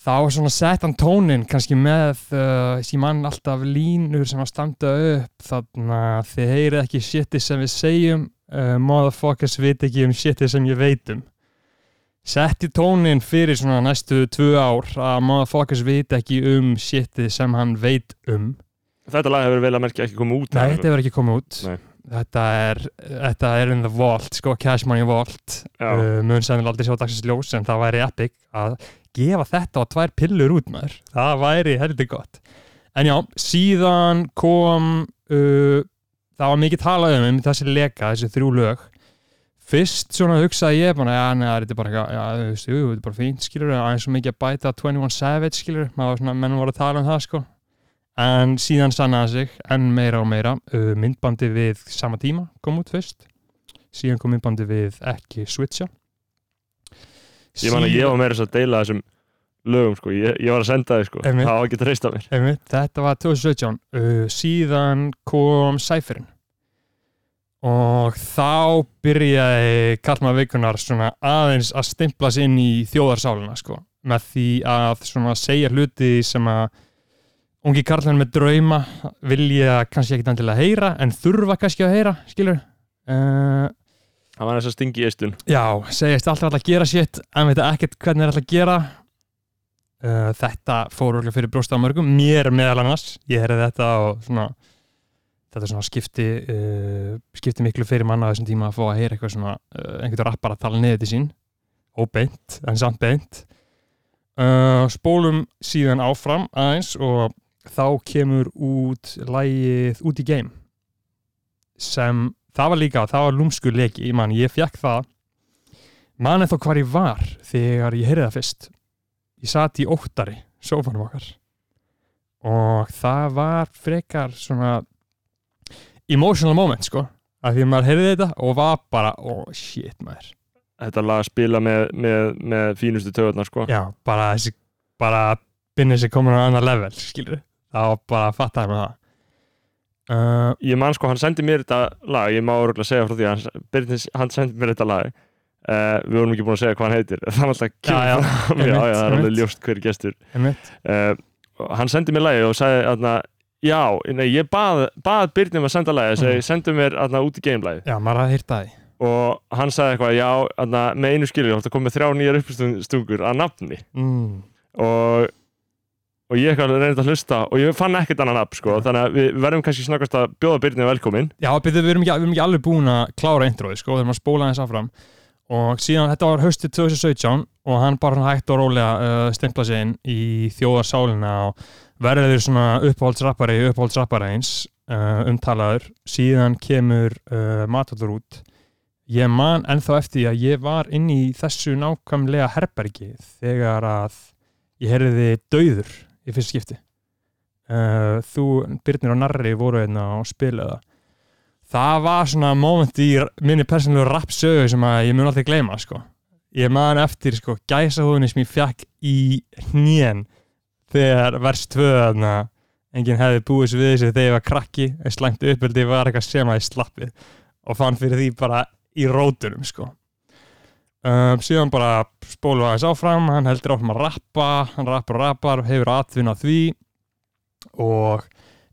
Speaker 3: þá er svona sett hann tónin kannski með uh, sem mann alltaf línur sem að standa upp þannig að þið heyrið ekki shitið sem við segjum uh, motherfuckers vit ekki um shitið sem ég veit um setti tónin fyrir svona næstu tvö ár að motherfuckers vit ekki um shitið sem hann veit um
Speaker 2: Þetta lag hefur vel að merkja ekki komið út
Speaker 3: Nei, þetta hefur ekki komið út
Speaker 2: Nei.
Speaker 3: Þetta er, þetta er in the vault, sko, cash money vault
Speaker 2: Já,
Speaker 3: uh, mun sennilega aldrei sjá dagsins ljós en það væri epic að gefa þetta og tvær pillur út maður það væri heldur gott en já, síðan kom uh, það var mikið talað um, um þessi leka, þessi þrjú lög fyrst svona hugsaði ég bara, já, neða, þetta er bara eitthvað, já, þú veist, jú, jú, þetta er bara fínt, skilur aðeins svo mikið að bæta 21 Savage, skilur maður var svona, menn voru að tala um það, sko en síðan sannaði sig enn meira og meira, uh, myndbandi við sama tíma kom út fyrst síðan kom myndbandi við ekki switcha
Speaker 2: ég man að ég var meira þess að deila þessum lögum, sko, ég, ég var að senda þið, sko
Speaker 3: Einmitt.
Speaker 2: Það var ekki að treysta mér
Speaker 3: Einmitt, þetta var 2017 uh, síðan kom Cypherin og þá byrjaði Kallmar Vikunar svona aðeins að stimpla sig inn í þjóðarsálina sko, með því að svona segja hluti sem að ungi karlmenn með drauma vilja kannski ekkit endilega heyra en þurfa kannski að heyra, skilur uh,
Speaker 2: Það var þess að stingi í eistun
Speaker 3: Já, segjast alltaf alltaf að gera shit en veit ekkert hvernig er alltaf að gera uh, Þetta fór örugglega fyrir brjósta á mörgum, mér meðal annars ég heyrði þetta og svona þetta svona skipti uh, skipti miklu fyrir manna á þessum tíma að fá að heyra eitthvað svona, uh, einhvern rappar að tala niður til sín óbeint, en samt beint uh, Spólum síðan áfram aðeins og þá kemur út lægið út í game sem það var líka, það var lúmskur leiki ég man, ég fekk það man eða þó hvar ég var þegar ég heyrði það fyrst ég sat í óttari, sófanum okkar og það var frekar svona emotional moment sko af því að maður heyrði þetta og var bara oh shit maður
Speaker 2: Þetta lag spila með, með, með fínustu töðunar, sko
Speaker 3: já, bara þessi bara binni sér komin á annar level skilur, þá bara fattaði maður það uh,
Speaker 2: ég man sko, hann sendi mér þetta lag ég má örgulega segja frá því að hann, Birnir, hann sendi mér þetta lag uh, við vorum ekki búin að segja hvað hann heitir það er alltaf kemur
Speaker 3: Já, já,
Speaker 2: fram já, já,
Speaker 3: einmitt,
Speaker 2: það er alveg
Speaker 3: einmitt.
Speaker 2: ljóst hver gestur
Speaker 3: einmitt,
Speaker 2: uh, hann sendi mér lagi og sagði aðna, já, nei, ég bað, bað Birnir um að senda lagi, segi,
Speaker 3: Mhm.
Speaker 2: mm. sendu mér aðna, út í gamelægi
Speaker 3: já, maður hafði heyrt það í
Speaker 2: og hann sagði eitthvað, já, aðna, með einu skilur þú komið þrjá nýjar uppstungur að nafni
Speaker 3: mm.
Speaker 2: og og ég eitthvað reyndi að hlusta og ég fann ekkert annan app sko, þannig að við verðum kannski snakast að bjóða Birnir velkomin
Speaker 3: Já, byrju, við erum, ekki, við erum ekki alveg búin að klára introið, sko, við erum að spóla þess áfram og síðan þetta var haustið 2017 og hann bara svona hægt og rólega uh, stempla sig inn í þjóðarsálina og verður svona uppáhaldsrappari, uppáhaldsrappari eins uh, umtalaður, síðan kemur uh, matatur út ég man ennþá eftir því að ég var inn í þessu nákvæmlega herbergi þegar að ég heyrði dauður í fyrst skipti uh, þú, Byrnir og Narri voru einna og spilaða það var svona moment í minni persónulegu rapsögu sem að ég mun aldrei gleyma sko. ég man eftir sko, gæsahúðinni sem ég fjakk í hnén þegar vers 2 þarna enginn hefði búið svo við þessu þegar ég var krakki en slæmt uppöldi var eitthvað sem að ég slappið og fann fyrir því bara í rótunum sko. um, síðan bara spólu aðeins áfram hann heldur áfram að rappa hann rappar og rappar, hefur atvinna því og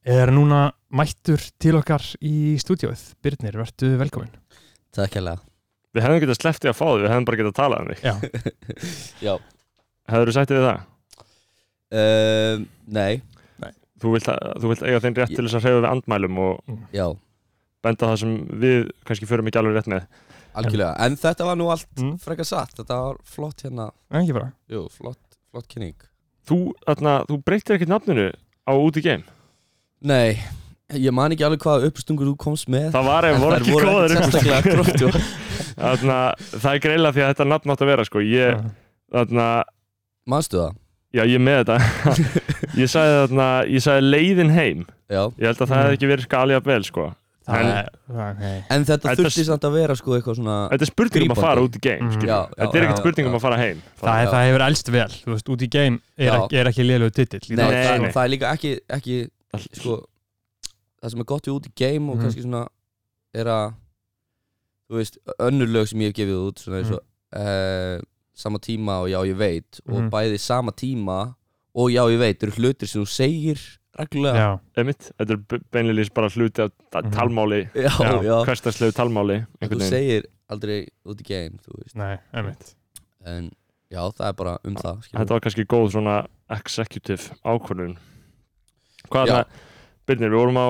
Speaker 3: er núna mættur til okkar í stúdíóið. Birnir, verðu velkomin.
Speaker 1: Takk hérlega
Speaker 2: við hefðum getað sleftið að fá þig, við hefðum bara getað talað um þig
Speaker 3: Já,
Speaker 1: Já
Speaker 2: Hefur þú sagt við það?
Speaker 1: um, Nei,
Speaker 2: Þú vilt, að- þú vilt eiga þeim rétt til þess að hreyfa við andmælum og
Speaker 1: já,
Speaker 2: benda það sem við kannski förum ekki alveg rétt með.
Speaker 1: algjörlega En þetta var nú allt
Speaker 3: Mm.
Speaker 1: frekar satt Þetta var flott hérna
Speaker 3: ekki bara.
Speaker 1: Jú, flott, flott kynning
Speaker 2: Þú, þarna, þú breytir ekkert nafninu á út í geim.
Speaker 1: Nei, ég man ekki alveg hvaða uppstungur þú komst með
Speaker 2: Það var eða
Speaker 1: En þær
Speaker 2: voru ekki góður
Speaker 1: ekkert
Speaker 2: upp.
Speaker 1: sérstaklega gróft, jú.
Speaker 2: Þarna, það er greila því að þetta nafn átt að vera sko. Ég,
Speaker 3: Já.
Speaker 2: þarna,
Speaker 1: Manstu það?
Speaker 2: Já, ég er með þetta Ég sagði þarna, ég sagði leiðin heim
Speaker 1: Já,
Speaker 2: Ég held að það
Speaker 1: Mm.
Speaker 2: hefði ekki verið skalja vel sko
Speaker 3: Það
Speaker 2: En-
Speaker 3: er, það er,
Speaker 1: en þetta
Speaker 2: Þetta
Speaker 1: þurfti
Speaker 2: s-
Speaker 1: samt að vera sko eitthvað svona
Speaker 2: Þetta er spurning um að
Speaker 1: Grípandi.
Speaker 2: fara út í game
Speaker 3: Mhm.
Speaker 2: mm.
Speaker 1: Já, já,
Speaker 2: Þetta er
Speaker 1: já,
Speaker 2: ekkert spurning
Speaker 1: já.
Speaker 2: um að fara heim
Speaker 3: það,
Speaker 1: já.
Speaker 3: er, það hefur elst vel, þú veist, út í geim er,
Speaker 1: Já.
Speaker 3: ekki, er ekki liðlegu titill í
Speaker 1: Nei,
Speaker 3: dag.
Speaker 2: Nei,
Speaker 1: það,
Speaker 2: nei.
Speaker 1: það er líka ekki, ekki
Speaker 2: Það-
Speaker 1: sko, það sem er gott við út í game og
Speaker 3: Mhm.
Speaker 1: kannski svona er að þú veist, önnur lög sem ég hef gefið út svona eins og uh, sama tíma og já ég veit
Speaker 3: Mhm.
Speaker 1: og bæði sama tíma og já ég veit eru hlutir sem þú segir reglulega
Speaker 3: Já,
Speaker 2: Einmitt, Þetta er beinleilís bara hluti af ta-
Speaker 3: Mhm.
Speaker 2: talmáli
Speaker 1: já,
Speaker 3: Já,
Speaker 1: já,
Speaker 2: Hverstarslegu talmáli
Speaker 1: En þú
Speaker 2: einhvern veginn.
Speaker 1: segir aldrei út í game þú veist,
Speaker 3: nei, einmitt
Speaker 1: en já það er bara um það skilur.
Speaker 2: Þetta var kannski góð svona executive ákvörðun Hvað
Speaker 1: Já.
Speaker 2: er það? Byrnir, við vorum á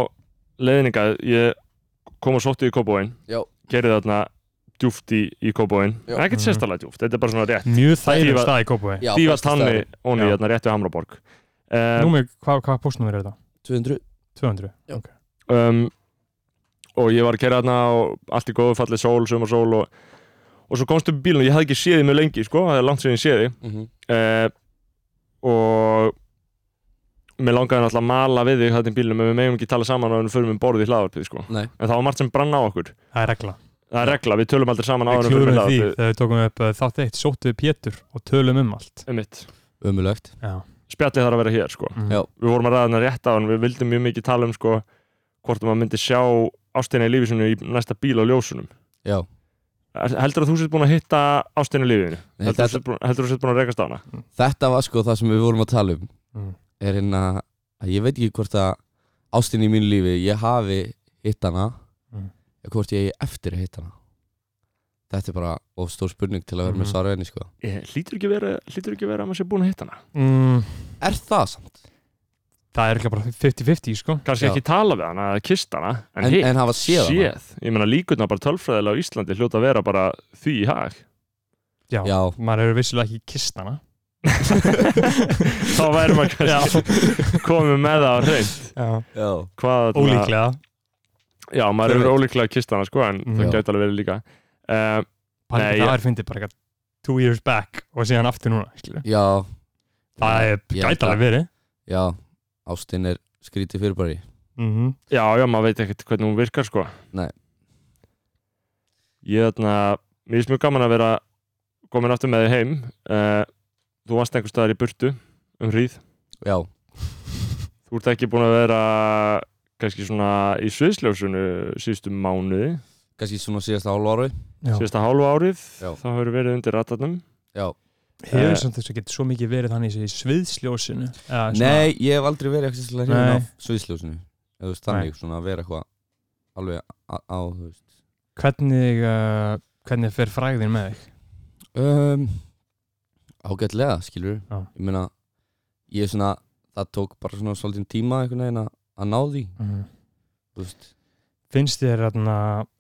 Speaker 2: leiðninga Ég kom og sótti í kópóin
Speaker 1: Já.
Speaker 2: Gerði þarna djúft í, í kópóin
Speaker 1: Já.
Speaker 2: Ekkert
Speaker 3: Mhm.
Speaker 2: sérstaklega djúft, þetta er bara svona rétt
Speaker 3: Mjög þægileg
Speaker 2: Dýfa-
Speaker 3: stað í Kópavæ
Speaker 1: Já,
Speaker 2: Dífast
Speaker 1: besti
Speaker 2: hanni
Speaker 1: staðurinn.
Speaker 2: onni
Speaker 3: Já.
Speaker 2: hérna rétt við Hamraborg um,
Speaker 3: Númi, hvað hva postnumir er þetta?
Speaker 1: 200
Speaker 3: 200
Speaker 2: um, og ég var að kera þarna og allt í góðu fallið sól, sumarsól og, og svo komstu upp í bílun og ég hafði ekki séð þið mjög lengi sko, það er langt sem ég séð þið
Speaker 1: mm
Speaker 2: uh, og mér langaði náttúrulega að mala við þig þetta í bílunum en við megum ekki tala saman og við förum um borðið í hlaðvarpið sko.
Speaker 1: Nei.
Speaker 2: en það var margt sem brann á okkur
Speaker 3: Það er regla
Speaker 2: það er regla, við tölum aldrei saman
Speaker 3: Við
Speaker 2: áður en við förum í
Speaker 3: klúrum því
Speaker 2: hlaðvarpið
Speaker 3: þegar við tókum upp uh, þátt eitt Sóttu við Pétur og tölum um allt
Speaker 2: Einmitt.
Speaker 1: umulögt
Speaker 3: Já,
Speaker 2: spjallið þarf að vera hér sko.
Speaker 3: mm.
Speaker 1: Já.
Speaker 2: við vorum að ræða hana rétt á hann við vildum mjög mikið tala um sko, hvort maður myndi sjá ástina í lífi sinu í næsta bíl á ljósunum
Speaker 1: já,
Speaker 2: heldur að þú sétt búin að hitta ástina í lífinu
Speaker 1: Nei, þetta-
Speaker 2: heldur að þú sért búin- heldur að þú sétt búin að rekast á hana
Speaker 1: þetta var sko það sem við vorum að tala um
Speaker 3: Mm.
Speaker 1: er hérna að ég veit ekki hvort að ástin í mínu lífi ég hafi hitt hana
Speaker 3: Mm.
Speaker 1: eða hvort ég eigi eftir að hitt hana þetta er bara of stór spurning til að vera með
Speaker 3: Mhm.
Speaker 1: svarveginni sko
Speaker 2: Ég- hlýtur ekki að vera, hlýtur ekki að, vera að maður sé búin að hitta hana
Speaker 3: Mm,
Speaker 1: er það samt?
Speaker 3: Það er ekki bara 50-50 sko
Speaker 2: kannski
Speaker 1: Já.
Speaker 2: ekki tala við hana eða kista hana en,
Speaker 1: En,
Speaker 2: hitt,
Speaker 1: en hafa séð hana?
Speaker 2: ég meina líkurnar bara tölfræðilega á Íslandi hljóta að vera bara því í hag
Speaker 3: Já,
Speaker 1: Já,
Speaker 3: maður hefur vissulega ekki kist hana
Speaker 2: þá væri maður kannski komið með það á hreint
Speaker 3: Já,
Speaker 1: já,
Speaker 2: Hvað, þarna-
Speaker 3: ólíklega
Speaker 2: já, maður
Speaker 1: Hver
Speaker 2: er
Speaker 1: veit?
Speaker 2: ólíklega að kista hana sko, en
Speaker 3: Já.
Speaker 1: Mm.
Speaker 2: það gæti alveg verið líka um,
Speaker 3: Bara
Speaker 2: Nei,
Speaker 3: ekki
Speaker 2: já.
Speaker 3: það er fyndið bara eitthvað Two years back og síðan aftur núna skilurðu.
Speaker 1: já
Speaker 3: Það er
Speaker 1: Ég held
Speaker 3: gæti alveg
Speaker 1: að-
Speaker 3: verið
Speaker 1: Já, ástin er skrítið fyrirbæri
Speaker 3: Mhm.
Speaker 2: Já, já, maður veit ekkert hvernig hún virkar sko
Speaker 1: Nei.
Speaker 2: Ég þarna, mér finnst mjög gaman að vera komin aftur með þig heim uh, Þú varst einhvers staðar í burtu um hríð
Speaker 1: Já,
Speaker 2: Þú ert ekki búin að vera kannski svona í sviðsljósunu síðustu mánuði,
Speaker 1: kannski svona síðast álu ári
Speaker 3: Já.
Speaker 2: síðasta hálfu árið
Speaker 1: Já.
Speaker 2: þá hefur verið undir ratarnum
Speaker 1: Já,
Speaker 3: Hefur
Speaker 2: Eh,
Speaker 3: samt þess að geta svo mikið verið þannig í sviðsljósinu eða svona-
Speaker 1: nei, ég hef aldrei verið ekki sérlega hrifin
Speaker 3: Nei.
Speaker 1: af sviðsljósinu Ef þú veist þannig, svona að vera eitthvað alveg á, á þú veist
Speaker 3: Hvernig, uh, hvernig fer fræðin með þig?
Speaker 1: Um, ágætlega, skilur
Speaker 3: Já.
Speaker 1: Ég meina, ég er svona Það tók bara svona svolítið tíma einhvern veginn að, að ná því Þú veist
Speaker 3: Mhm. Finnst þér atna,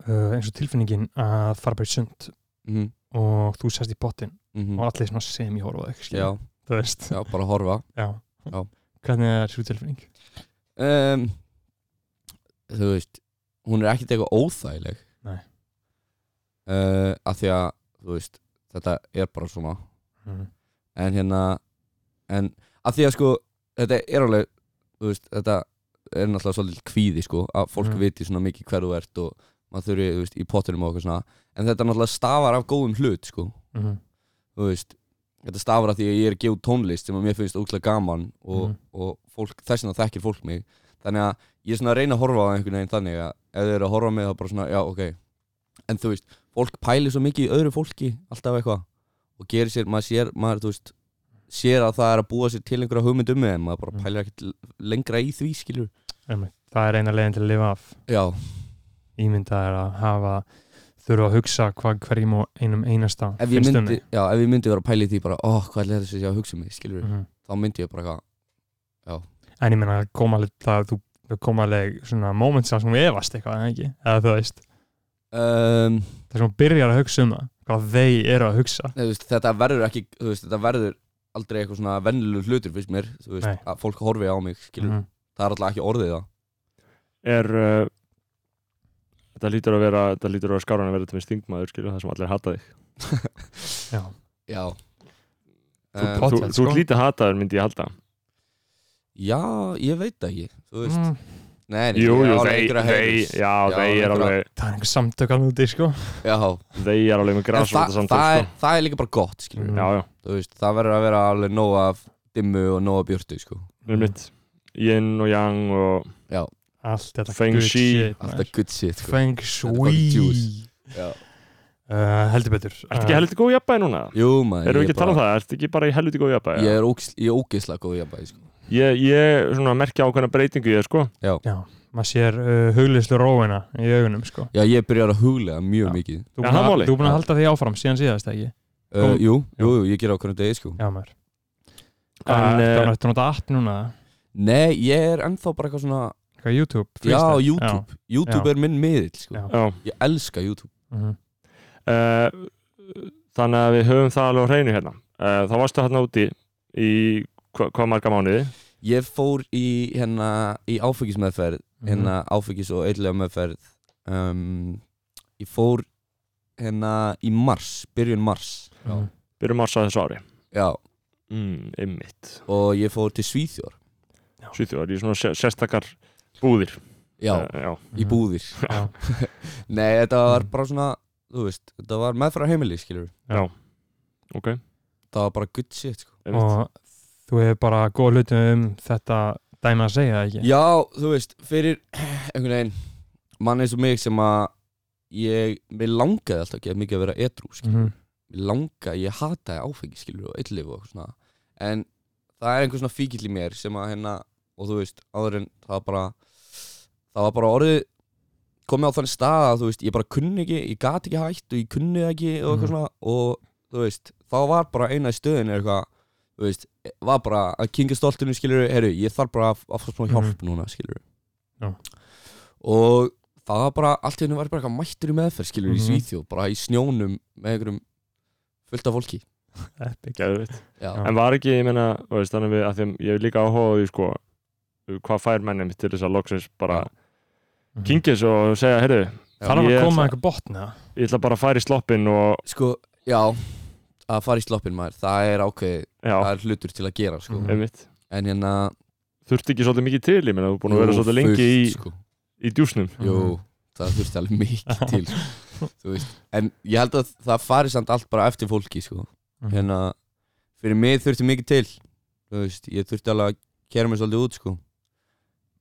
Speaker 3: uh, eins og tilfinningin að fara bara í sund
Speaker 1: mm
Speaker 3: og þú sest í bottin
Speaker 1: -hmm.
Speaker 3: og allir svona sem ég horfa á þig skilur?
Speaker 1: Já,
Speaker 3: Þú veist
Speaker 1: já, bara horfa
Speaker 3: Já.
Speaker 1: Já.
Speaker 3: Hvernig er svo tilfinning?
Speaker 1: um, Þú veist Hún er ekkert eitthvað óþægileg
Speaker 3: Nei.
Speaker 1: uh, Af því að, þú veist Þetta er bara svona
Speaker 3: Mm.
Speaker 1: En hérna En af því að sko, þetta er alveg Þú veist, þetta er náttúrulega svolítið kvíði sko, að fólk
Speaker 3: Mm.
Speaker 1: viti svona mikið hver þú ert og maður þurfi, þú veist, í pottinum og okkur svona en þetta náttúrulega stafar af góðum hlut sko,
Speaker 3: Mm.
Speaker 1: þú veist þetta stafar af því að ég er að gefa út tónlist sem að mér finnst ógæslega gaman og,
Speaker 3: Mhm.
Speaker 1: og fólk, þess vegna þekkir fólk mig þannig að ég er svona að reyna að horfa á einhvern veginn þannig að ef þau eru að horfa á mig þá bara svona, já ok en þú veist, fólk pælir svo mikið í öðru fólki alltaf eitthvað og gerir sér, maður sér, maður, þú veist sér að það er að búa sér til einhverja hugmynd um mig en maður
Speaker 3: Mhm.
Speaker 1: bara pælir ekkert lengra í því skilur
Speaker 3: Einmitt. Það er eina leiðin til að lifa af
Speaker 1: já,
Speaker 3: ímyndað er að hafa þurfa að hugsa hvað hverjum og einum einasta
Speaker 1: ef ég
Speaker 3: finnst um
Speaker 1: myndi,
Speaker 3: mig.
Speaker 1: já, ef ég myndi vera að pæla í því bara, ó, hvað er þetta sem ég að hugsa um mig, skilur
Speaker 3: Mhm.
Speaker 1: þá myndi ég bara eitthvað,
Speaker 3: En ég meina það kom alveg það þú það kom alveg svona moments að svona efast eitthvað en ekki, eða þú veist
Speaker 1: um,
Speaker 3: það sem hún byrjar að hugsa um það hvað þeir eru að hugsa
Speaker 1: Nei, þú veist, þetta verður ekki, þú veist, þetta verður aldrei eitthvað svona vennilegur hlutur fyrst mér, þú veist,
Speaker 3: Nei.
Speaker 1: að fólk horfi á mig, skilur,
Speaker 3: mm.
Speaker 1: það er alltaf ekki orðið það.
Speaker 2: Er uh, þetta lítur að vera þetta lítur að vera skáran að vera til minn stingmaður skilur það sem allir hata þig
Speaker 3: Já,
Speaker 1: Já. um,
Speaker 3: pot-
Speaker 2: Þú,
Speaker 3: Pottþétt,
Speaker 2: þú ert
Speaker 3: sko.
Speaker 2: lítið hataður myndi ég halda
Speaker 1: Já, ég veit það ekki Þú veist,
Speaker 3: Mm,
Speaker 1: nei, nei,
Speaker 2: Jú,
Speaker 1: ég er
Speaker 2: jú,
Speaker 1: alveg
Speaker 2: þeir,
Speaker 1: einhverja
Speaker 2: þeir,
Speaker 1: haters.
Speaker 2: já, þeir er
Speaker 1: einhverja-
Speaker 2: alveg
Speaker 3: það er einhver samtökan úti sko
Speaker 1: Já,
Speaker 2: þeir er alveg með
Speaker 1: en það,
Speaker 2: græsvölda
Speaker 1: það, er,
Speaker 2: samtöl
Speaker 1: það er líka bara gott skilur
Speaker 3: Mm.
Speaker 1: mm.
Speaker 2: Já, já,
Speaker 1: veist, Það verður að vera alveg nóg af dimmu og nóg af björtu sko.
Speaker 2: með mitt Yin og Yang og
Speaker 3: allt þetta
Speaker 2: Feng
Speaker 3: good
Speaker 2: Shui,
Speaker 3: shit, maður.
Speaker 1: Alltaf good shit sko.
Speaker 3: Feng
Speaker 1: Þetta er fucking
Speaker 3: Shui
Speaker 1: juice. Já.
Speaker 3: uh, heldur betur
Speaker 2: Ertu ekki helviti góð jafnbæði núna?
Speaker 1: Jú maður
Speaker 2: Erum við
Speaker 1: ég
Speaker 2: ekki að tala um það? Ertu ekki bara í helviti góð jafnbæði?
Speaker 1: Ég er, ógis, ég er ógislega góð í jafnvægi sko.
Speaker 2: Ég, ég svona merkja ákveðna breytingu ég, sko
Speaker 3: já, maður sér uh, huglislu róina í augunum sko
Speaker 1: Já, ég byrjar að huglega mjög
Speaker 3: Já.
Speaker 1: mikið
Speaker 2: Já,
Speaker 3: þú búin
Speaker 2: það er
Speaker 3: að,
Speaker 2: málið.
Speaker 3: þú búin að halda því áfram síðan síðast ekki
Speaker 1: uh,
Speaker 3: Kom-
Speaker 1: jú, jú, jú, ég ger á hvernig degi sko.
Speaker 3: já maður
Speaker 2: En,
Speaker 3: en
Speaker 2: eh,
Speaker 3: það er þetta nota app núna
Speaker 1: Nei, ég er ennþá bara eitthvað svona
Speaker 3: hvað YouTube
Speaker 1: Já,
Speaker 3: freestyle?
Speaker 1: YouTube, YouTube
Speaker 3: Já.
Speaker 1: er minn miðill sko.
Speaker 3: Já.
Speaker 2: Já
Speaker 1: Ég elska YouTube
Speaker 3: Mhm.
Speaker 2: Eh, Þannig að við höfum það alveg á hreinu hérna Eh, Þá varstu hérna úti í hva- hvað marga mánuði?
Speaker 1: Ég fór í, hérna, í áfengismeðferð
Speaker 3: Mhm.
Speaker 1: hérna áfengis og eitthvað meðferð um, ég fór hérna í mars, byrjun mars
Speaker 3: Mhm. Mhm.
Speaker 2: Byrjum mars á þessu ári
Speaker 1: já,
Speaker 2: mm, Einmitt
Speaker 1: og ég fór til Svíþjór
Speaker 2: Svíþjóðar í svona sé- sérstakar búðir
Speaker 1: já,
Speaker 2: Eh, já.
Speaker 1: í búðir
Speaker 3: Mhm. Já.
Speaker 1: nei, þetta var
Speaker 3: Mhm.
Speaker 1: bara svona, þú veist þetta var meðferð á heimili, skilur
Speaker 2: ok
Speaker 1: það var bara good shit, sko
Speaker 2: einmitt.
Speaker 3: og þú hefur bara góð hlutum um þetta dæmi að segja ekki
Speaker 1: já, þú veist, fyrir einhvern veginn, mann eins og mig sem að ég, mér langaði alltaf ekki að mikið að vera edrú, skilur
Speaker 3: Mhm.
Speaker 1: Mér langa, ég hataði áfengi skilur og eitthlif og eitthvað svona en það er einhver svona fíkil í mér sem að hérna og þú veist áður en það var bara það var bara orðið komið á þannig stað að þú veist ég bara kunni ekki, ég gat ekki hætt og ég kunni það ekki og
Speaker 3: Mhm.
Speaker 1: eitthvað svona og þú veist þá var bara eina í stöðin eitthvað þú veist, var bara að kinga stoltinu skilur, herru, ég þarf bara að, að fá smá hjálp núna skilur
Speaker 3: Mhm. Já.
Speaker 1: og það var bara, allt í henni var ég bara eitthvað mættur í meðferð skilur
Speaker 3: Mhm.
Speaker 1: í Svíþjóð, bara í snjónum með einhverjum fullt af fólki
Speaker 3: epic
Speaker 2: Geðveikt.
Speaker 1: Já,
Speaker 3: Já.
Speaker 2: En var ekki, ég meina, þú veist, þannig við, að þeim, ég hef líka áhuga á því, sko, hvað fær mennum til þess að loksins bara
Speaker 3: Mhm.
Speaker 2: kynkis og segja, heyrðu,
Speaker 3: þarf að
Speaker 2: Ég
Speaker 3: koma
Speaker 2: ætla-
Speaker 3: eitthvað botna
Speaker 2: ég ætla bara að fara í sloppin og,
Speaker 1: Sko, já að fara í sloppin maður, það er ákveð það
Speaker 2: já,
Speaker 1: er hlutur til að gera sko.
Speaker 3: Mhm.
Speaker 2: einmitt.
Speaker 1: en hérna
Speaker 2: Þurfti ekki svolítið mikið til, ég meina, þú er búin að
Speaker 1: jú,
Speaker 2: vera svolítið lengi í,
Speaker 1: fullt,
Speaker 2: Mhm.
Speaker 1: sko.
Speaker 2: í djúsnum.
Speaker 1: Jú, það þurfti alveg mikið til sko. Þú veist, en ég held að það fari samt allt bara eftir fólki sko.
Speaker 3: Mhm.
Speaker 1: hérna, fyrir mig þurfti mikið til þú veist, ég þurfti alveg að kæra mig svolítið út sko.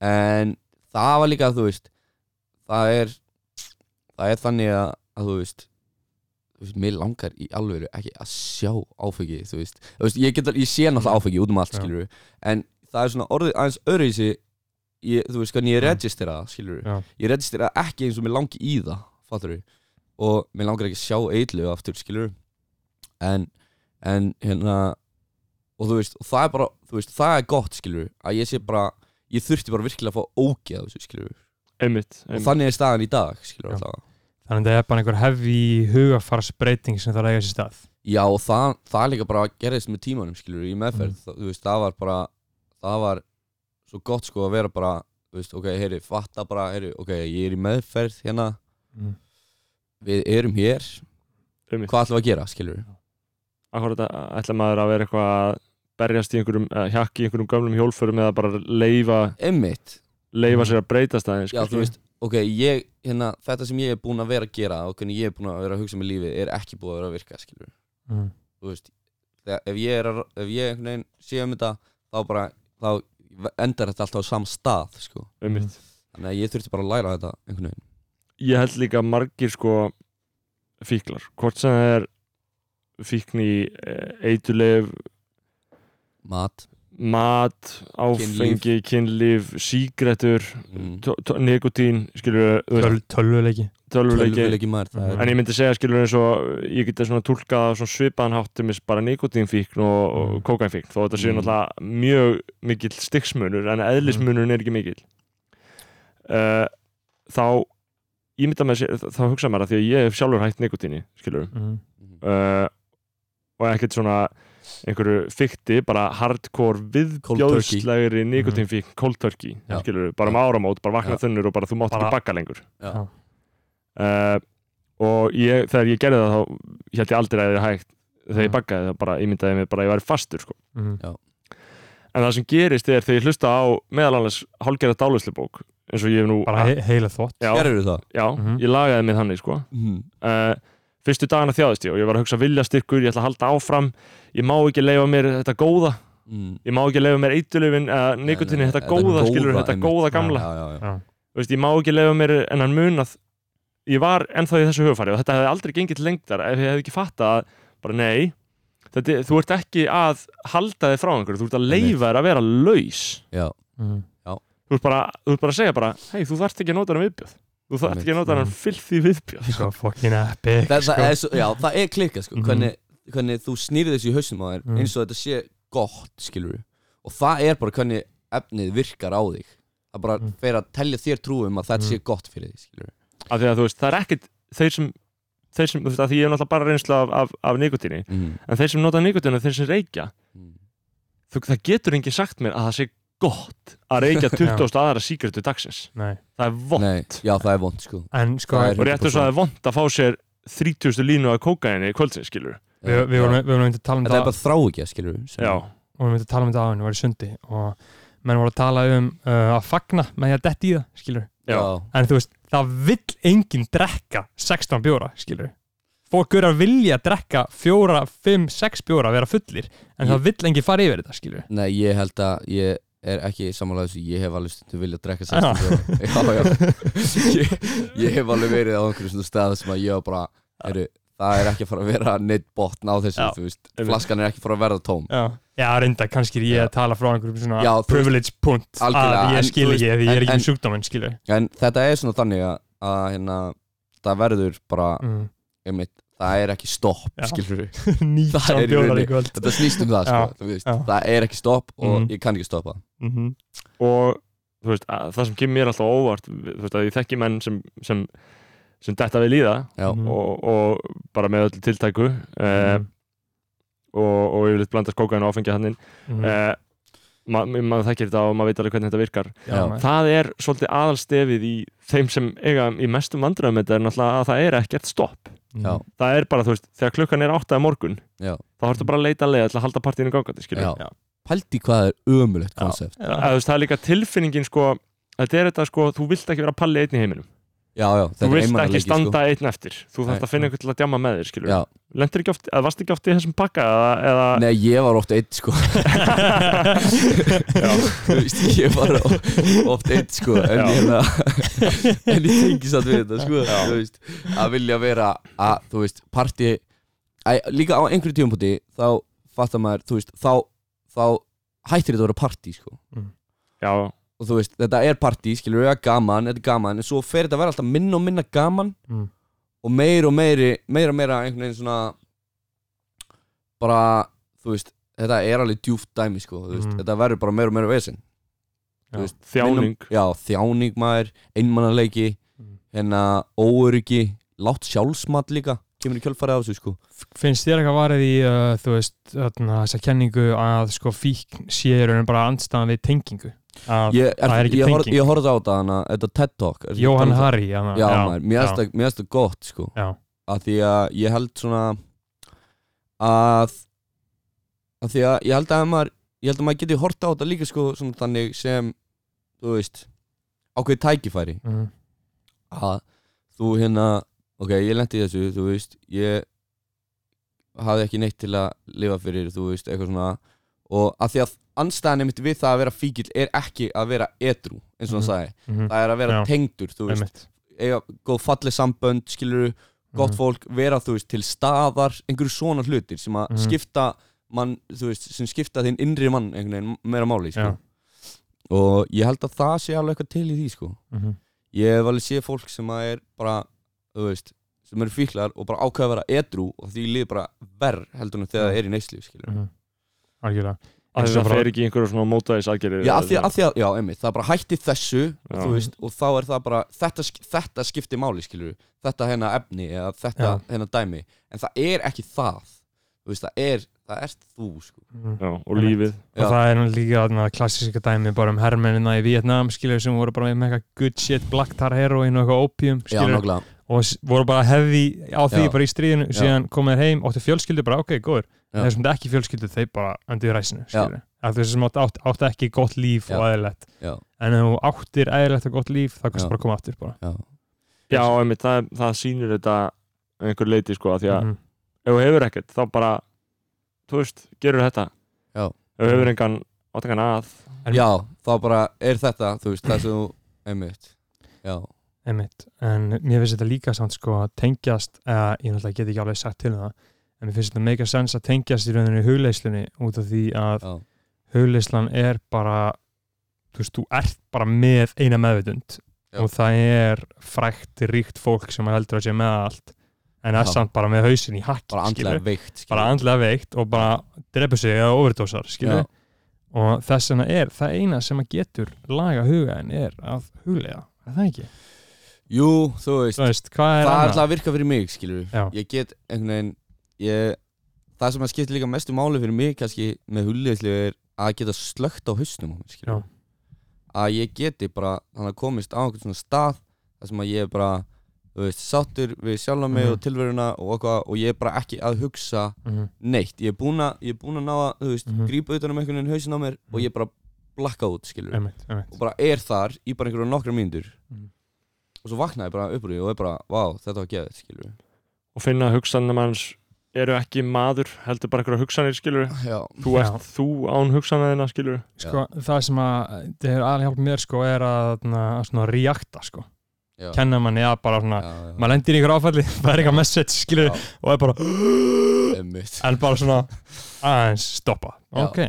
Speaker 1: en það var líka þú veist, það er það er þannig að, að þú veist þú veist, mér langar í alvöru ekki að sjá áfengi þú veist, þú veist ég, get, ég sé náttúrulega áfengi út um allt
Speaker 3: Já.
Speaker 1: skilur en það er svona orðið aðeins öðruvísi ég, þú veist hvernig ég
Speaker 3: Já.
Speaker 1: registera það skilur
Speaker 3: Já.
Speaker 1: ég registera það ekki eins og mér langi í það fattur og mér langar ekki að sjá eitlu aftur skilur en, en hérna og þú veist, og það er bara þú veist, það er gott skilur að ég sé bara ég þurfti bara virkilega að fá ógeð af þessu skilur
Speaker 2: Einmitt,
Speaker 1: og
Speaker 2: einmitt.
Speaker 1: þannig er staðan í dag skilur
Speaker 3: Já.
Speaker 1: alltaf
Speaker 3: þannig að það er bara einhver hefði hugafarsbreyting sem þarf að eiga sér stað
Speaker 1: Já og það, það líka bara gerðist með tímanum skilur í meðferð það, þú veist, það var bara það var svo gott sko að vera bara þú veist, ok, heyri, fatta bara heyri, ok, ég er í meðferð hérna
Speaker 3: Mm.
Speaker 1: við erum hér,
Speaker 2: einmitt.
Speaker 1: hvað ætlum við að gera skilur
Speaker 2: Akkurat ætla maður að vera eitthvað að berjast í einhverjum, eh, hjakka í einhverjum gömlum hjólförum eða bara leifa,
Speaker 1: einmitt,
Speaker 2: leifa
Speaker 3: Mhm.
Speaker 2: sér að breytast aðeins.
Speaker 1: já
Speaker 2: sko.
Speaker 1: þú veist ok, ég, hérna, þetta sem ég er búin að vera að gera og hvernig ég er búin að vera að hugsa með lífið er ekki búin að vera að virka skilur
Speaker 3: Mm.
Speaker 1: þú veist, þegar, ef ég er að, ef ég einhvern veginn sé um þetta þá bara, þá endar þetta alltaf á sam stað sko,
Speaker 2: Einmitt.
Speaker 1: þannig að ég þurfti bara að læra þetta einhvern veginn
Speaker 2: ég held líka að margir sko fíklar, hvort sem það er fíkn í eh, eituleif,
Speaker 1: mat
Speaker 2: mat áfengi, kynlíf, sígrætur
Speaker 1: Mm.
Speaker 2: nikotín, skilur
Speaker 3: Töl, tölvuleiki
Speaker 2: tölvuleiki,
Speaker 1: Tölvuleiki maður það
Speaker 3: Mhm.
Speaker 1: er,
Speaker 2: en ég myndi segja skilur eins og ég geta svona tólkað svona svipaðan háttumis bara nikotínfíkn og, og
Speaker 3: Mm.
Speaker 2: kókainfíkn þó þetta séu
Speaker 1: Mm.
Speaker 2: náttúrulega mjög mikill stiksmunur en eðlismunurinn er ekki mikill uh, þá ég mynda með sér, þá hugsa maður að því að ég hef sjálfur hægt nikotíni, skilur
Speaker 3: mm.
Speaker 1: Mhm.
Speaker 2: uh, og ekkert svona einhverju fykti, bara hardcore
Speaker 1: Cold turkey. Mhm.
Speaker 2: viðbjóðslegri nikotínfík cold turkey,
Speaker 1: Já.
Speaker 2: skilur bara um áramót, bara vakna
Speaker 1: Já.
Speaker 2: þunnur og bara þú mátt
Speaker 3: Bara-
Speaker 2: ekki bakka lengur Eh,
Speaker 1: Já.
Speaker 2: uh, og ég, þegar ég gerði það þá held ég aldrei að það er hægt þegar ég
Speaker 1: Mhm.
Speaker 3: Já.
Speaker 2: baggaði það bara, ímyndaði mig bara að ég væri fastur sko.
Speaker 3: Mhm.
Speaker 2: en það sem gerist er þegar ég hlusta á meðalanlega hálfgerða dálislebók eins og ég hef nú
Speaker 3: bara he heila þvott
Speaker 2: já,
Speaker 1: Gerður það?
Speaker 2: já,
Speaker 3: Mhm.
Speaker 2: ég lagaði mig þannig sko.
Speaker 1: Mm.
Speaker 2: uh, fyrstu dagana þjáðist ég og ég var að hugsa vilja styrkur, ég ætla að halda áfram ég má ekki leifa mér þetta góða
Speaker 1: Mm.
Speaker 2: ég má ekki leifa mér eitulöfin eða nikotinni,
Speaker 1: Nei, nei,
Speaker 2: þetta góða skilur, þetta
Speaker 1: einmitt.
Speaker 2: góða gamla
Speaker 1: Já, já, já.
Speaker 2: Þú veist, ég má ekki leifa mér ennan mun að ég var ennþá í þessu hugfæri og þetta hefði aldrei gengið til lengdar ef ég hefði ekki fattað að bara nei, þetta, er- þú ert ekki að halda þig frá einhverju, þú ert að
Speaker 1: Einmitt.
Speaker 2: leifa þér að vera laus
Speaker 1: Já,
Speaker 2: þú ert bara, þú ert bara að segja bara hei, þú þarft ekki að nota hann viðbjöð þú þarft ekki að nota hann
Speaker 1: Mm.
Speaker 3: Einmitt.
Speaker 2: fyllt því viðbjöð
Speaker 3: svo Sko, fucking epic
Speaker 1: það, það,
Speaker 3: sko.
Speaker 1: er, svo- já, það er klikkað sko,
Speaker 3: Mhm.
Speaker 1: hvernig, hvernig þú snýrið þessu í hausnum á þér
Speaker 3: Mhm.
Speaker 1: eins og þetta sé gott skilur og það er bara hvernig efnið virkar á þig það bara
Speaker 3: Mhm.
Speaker 1: fer að telja þér trúum að þetta
Speaker 3: Mhm.
Speaker 1: sé gott fyrir þig skilur
Speaker 2: af því að þú veist, það er ekkit þeir sem, þeir sem, þú veist, af því ég hef náttúrulega bara reynslu af, af, af nikotinni,
Speaker 1: mm.
Speaker 2: en þeir sem nota nikotinu, þeir sem reykja, þú, það getur enginn sagt mér að það sé gott að reykja 20 aðra síkretu dagsins
Speaker 3: Nei.
Speaker 2: það er vond,
Speaker 1: Nei, já það er vond sko
Speaker 3: en sko
Speaker 1: Það er-
Speaker 2: og rétt og
Speaker 1: 100%.
Speaker 2: svo það er vond að fá sér 3000 línu af kókaini kvöldsins, skilur
Speaker 3: við, við vorum við vorum myndið að tala um
Speaker 1: Þetta er
Speaker 3: það
Speaker 1: bara þrá ekki að skilur
Speaker 2: já,
Speaker 3: við vorum myndið að tala um það á henni, var í sundi og menn voru að tala um uh, að fagna með því að detti í það skilur
Speaker 2: já,
Speaker 3: en þú veist það vill enginn drekka 16 bjóra skilur fólk eru að vilja drekka 4, 5, 6 bjóra vera fullir en það vill enginn fara yfir þetta skilur
Speaker 1: Nei, ég held að ég er ekki samanlega þessu Ég hef alveg stundu viljað drekka
Speaker 3: Já.
Speaker 1: 16 bjóra Já, já ég, ég hef alveg verið á einhverjum svona stað sem að ég var bara heru, Það er ekki að fara að vera neitt botn á þessu
Speaker 3: Já.
Speaker 1: Þú veist,
Speaker 2: Einmitt.
Speaker 1: flaskan er ekki að fara að verða tóm
Speaker 3: já, já reynda kannski er ég að tala frá einhverjum svona
Speaker 1: Já, þú veist-
Speaker 3: privilege punkt
Speaker 1: Algjörlega,
Speaker 3: að
Speaker 1: en
Speaker 3: ég skil
Speaker 1: þú
Speaker 3: ekki
Speaker 1: veist-
Speaker 3: því ég er
Speaker 1: en-
Speaker 3: ekki
Speaker 1: en-
Speaker 3: með sjúkdóminn skilur
Speaker 1: En þetta er svona þannig að, að hérna, það verður bara
Speaker 3: mm.
Speaker 1: einmitt, Það er ekki stopp,
Speaker 3: Já.
Speaker 1: skilur við
Speaker 3: 19
Speaker 1: í
Speaker 3: bjórar
Speaker 1: rauninni-
Speaker 3: í kvöld
Speaker 1: Þetta snýst um það, sko,
Speaker 3: Já.
Speaker 1: þú veist
Speaker 3: Já.
Speaker 1: Það er ekki stopp og
Speaker 3: Mhm.
Speaker 1: ég kann ekki stoppa
Speaker 3: mm
Speaker 2: og þú veist, að, það sem kemur mér alltaf á óvart þú veist, að ég þekki menn sem sem, sem detta við líða
Speaker 1: Já,
Speaker 3: Mhm.
Speaker 2: og, og bara með öllu tiltæku eh, og, og yfirleitt blandast kókain og áfengi hann inn
Speaker 3: Mhm.
Speaker 2: mm. eh, ma- ma- maður þekkir þetta og maður veit alveg hvernig þetta virkar
Speaker 1: já.
Speaker 2: það er svolítið aðalstefið í þeim sem eiga í mestum vandræðum þetta er náttúrulega að það er ekkert stopp
Speaker 1: já,
Speaker 2: það er bara, þú veist, þegar klukkan er 8 að morgun
Speaker 1: já,
Speaker 2: þá hortu bara að leita leiða til að halda partíinu gangandi skilur.
Speaker 1: Mm. já
Speaker 3: Já.
Speaker 1: Pældi hvað er ömulegt
Speaker 2: Já.
Speaker 1: konsept
Speaker 2: Að, þú veist, það er líka tilfinningin sko, þetta er þetta sko, þú vilt ekki vera palli einn í heiminum
Speaker 1: Já, já,
Speaker 2: þú
Speaker 1: þetta er
Speaker 2: vilt
Speaker 1: einmannalegi
Speaker 2: ekki
Speaker 1: sko.
Speaker 2: standa einn eftir þú
Speaker 1: Nei.
Speaker 2: þarft að finna einhvern til að djama með þér skilur.
Speaker 1: Já,
Speaker 2: lendir ekki oft, eða varst ekki oft í þessum pakka eða, eða...
Speaker 1: nei, ég var oft eitt sko Þú veist, ég var o- oft eitt sko En,
Speaker 2: Já.
Speaker 1: hérna, en ég tengi satt við þetta sko Þú veist, að vilja vera að, þú veist, partí Æ, Líka á einhverju tíumpúti þá fattar maður, þú veist, þá þá hættir þetta að vera partí sko
Speaker 2: já,
Speaker 1: og þú veist, þetta er partí, skilur við að gaman, þetta er gaman en svo fer þetta að vera alltaf minna og minna gaman
Speaker 3: Mm.
Speaker 1: og meir og meiri meira og meira einhvern veginn svona bara, þú veist þetta er alveg djúft dæmi, sko þú veist,
Speaker 3: Mm.
Speaker 1: þetta verður bara meira og meira vesinn
Speaker 3: Já.
Speaker 2: þjáning
Speaker 1: já, þjáning maður, einmannaleiki
Speaker 3: Mm.
Speaker 1: hérna, óöryggi látt sjálfsmat líka, kemur í kjölfarið á þessu, sko
Speaker 3: finnst þér eitthvað varðið í uh, þú veist, þarna, þessa kenningu að sko fíkn sé raunin bara andstæðan við tengingu að
Speaker 1: ég,
Speaker 3: það er ekki
Speaker 1: ég, horf,
Speaker 3: tenging.
Speaker 1: ég horfði á þetta, hana, þetta TED Talk er-
Speaker 3: Jóhann
Speaker 1: Já,
Speaker 3: Harry hana,
Speaker 1: já, maður, mér finnst það- mér finnst það gott, sko
Speaker 3: já,
Speaker 1: að því að ég held svona að að því að ég held að ef maður ég held að maður geti horta á þetta líka sko svona þannig sem, þú veist ákveðið tækifæri
Speaker 3: mm,
Speaker 1: að þú hérna ok, ég lendi í þessu, þú veist ég hafði ekki neitt til að lifa fyrir, þú veist, eitthvað svona og að því að anstæðan einmitt við það að vera fíkil er ekki að vera edru eins og hann
Speaker 3: Mhm.
Speaker 1: sagði,
Speaker 3: mm,
Speaker 1: það er að vera
Speaker 3: Já.
Speaker 1: tengdur, þú veist
Speaker 3: einmitt.
Speaker 1: eiga góð fallið sambönd, skilur gott
Speaker 3: Mhm.
Speaker 1: fólk, vera þú veist til staðar einhverju svona hlutir sem að
Speaker 3: Mhm.
Speaker 1: skipta mann, þú veist, sem skipta þinn innri mann einhvern veginn meira máli, sko
Speaker 3: Já.
Speaker 1: og ég held að það sé alveg eitthvað til í því, sko
Speaker 3: Mhm,
Speaker 1: ég hef alveg séð fólk sem að er bara þú veist, sem eru fíklar og bara ákveða að vera edru og því líður bara verð heldur en þegar það er í neyslíf, skilur
Speaker 3: mhm. algjörlega
Speaker 2: að
Speaker 3: Eins
Speaker 2: það
Speaker 3: og bara-
Speaker 2: fer ekki í einhverjum svona mótaðis aðgerðir
Speaker 1: Já, af því, af því að, já, einmitt, það er bara hætti þessu
Speaker 2: Já.
Speaker 1: þú veist, og þá er það bara þetta, sk- þetta skipti máli, skilur þetta hérna efni eða þetta hérna dæmi en það er ekki það þú veist, það er, það ert þú, sko
Speaker 3: mm.
Speaker 2: já, og lífið
Speaker 1: Já.
Speaker 3: og það er nú líka þarna, klassíska dæmi bara um hermennina í Vietnam skilur sem voru bara með með eitthvað good shit black tar heroin og eitthvað opium
Speaker 1: Já,
Speaker 3: skilur
Speaker 1: nákvæmlega
Speaker 3: og s- voru bara hefði á því
Speaker 1: Já.
Speaker 3: bara í stríðinu
Speaker 1: Já.
Speaker 3: síðan komu þeir heim, áttu fjölskyldu bara ok, góður,
Speaker 1: Já.
Speaker 3: en þeir sem áttu ekki fjölskyldu þeir bara öndu í ræsinu, skilur að þeir sem áttu, áttu, áttu ekki gott líf
Speaker 1: Já.
Speaker 3: og eðlilegt
Speaker 1: Já.
Speaker 3: en ef þú áttir eðlilegt og gott líf þá
Speaker 1: Já.
Speaker 3: kannski bara koma aftur bara.
Speaker 1: já,
Speaker 2: Já, einmitt, það, það sýnir þetta að einhver leiti sko, af því að
Speaker 3: Mhm.
Speaker 2: ef þú hefur ekkert þá bara, þú veist, gerur þetta
Speaker 1: Já.
Speaker 2: ef þú hefur engan átakan að
Speaker 3: En-
Speaker 1: já, þá bara er þetta þú veist, það sem þú, einmitt já,
Speaker 3: Einmitt. en mér finnst þetta líka samt sko að tengjast, uh, ég náttúrulega get ekki alveg sagt til um það, en mér finnst þetta make a sense að tengjast í rauninu hugleyslunni út af því að
Speaker 1: já,
Speaker 3: hugleyslan er bara þú veist, þú ert bara með eina meðvitund
Speaker 1: Já.
Speaker 3: og það er frækt, ríkt fólk sem heldur að sé með allt en er
Speaker 1: Já.
Speaker 3: samt bara með hausin í hakki
Speaker 1: bara andlega
Speaker 3: skilurðu.
Speaker 1: veikt skilur.
Speaker 3: bara andlega veikt og bara drepa sig eða overdosar skilur
Speaker 1: já,
Speaker 3: og þess vegna er það eina sem að getur laga hugaðin er að huglega er það ekki?
Speaker 1: jú, þú veist
Speaker 3: Þú veist, hvað er
Speaker 1: það er
Speaker 3: annað?
Speaker 1: alltaf að virka fyrir mig, skilur
Speaker 3: Já.
Speaker 1: ég get einhvern veginn ég, það sem að skipta líka mestu máli fyrir mig kannski með hulliðslu er að geta slögt á hausnum á mér, skilur
Speaker 3: Já.
Speaker 1: að ég geti bara þannig að komist á einhvern svona stað þar sem að ég er bara þú veist, sáttur við sjálfa mig
Speaker 3: Mhm.
Speaker 1: og tilveruna og, eitthvað, og ég er bara ekki að hugsa
Speaker 3: Mhm,
Speaker 1: neitt, ég er búinn að, ég er búinn að ná að þú veist,
Speaker 3: Mhm.
Speaker 1: grípa utan um einhvern veginn hausin á mér og ég bara blakka út, skilur
Speaker 3: einmitt, einmitt.
Speaker 1: og bara er þar í bara einhverjum nokkra mínútur
Speaker 3: Mhm.
Speaker 1: og svo vaknaði bara upp úr því og er bara, vá, þetta var geðið, skilur
Speaker 2: og finna að hugsanum hans eru ekki maður, heldur bara einhverja hugsanir skilur
Speaker 1: Já,
Speaker 2: þú
Speaker 3: Já.
Speaker 2: ert þú án hugsanaðina skilur
Speaker 3: Sko, það sem að það er aðlega hjálp mér sko er að, na, að svona reakta sko,
Speaker 1: já,
Speaker 3: kenna manni að bara svona,
Speaker 1: já, já.
Speaker 3: maður lendir í ykkur áfalli það er eitthvað message skilur
Speaker 1: Já.
Speaker 3: og er bara
Speaker 1: Einmitt.
Speaker 3: en bara svona aðeins stoppa
Speaker 1: Já.
Speaker 3: ok,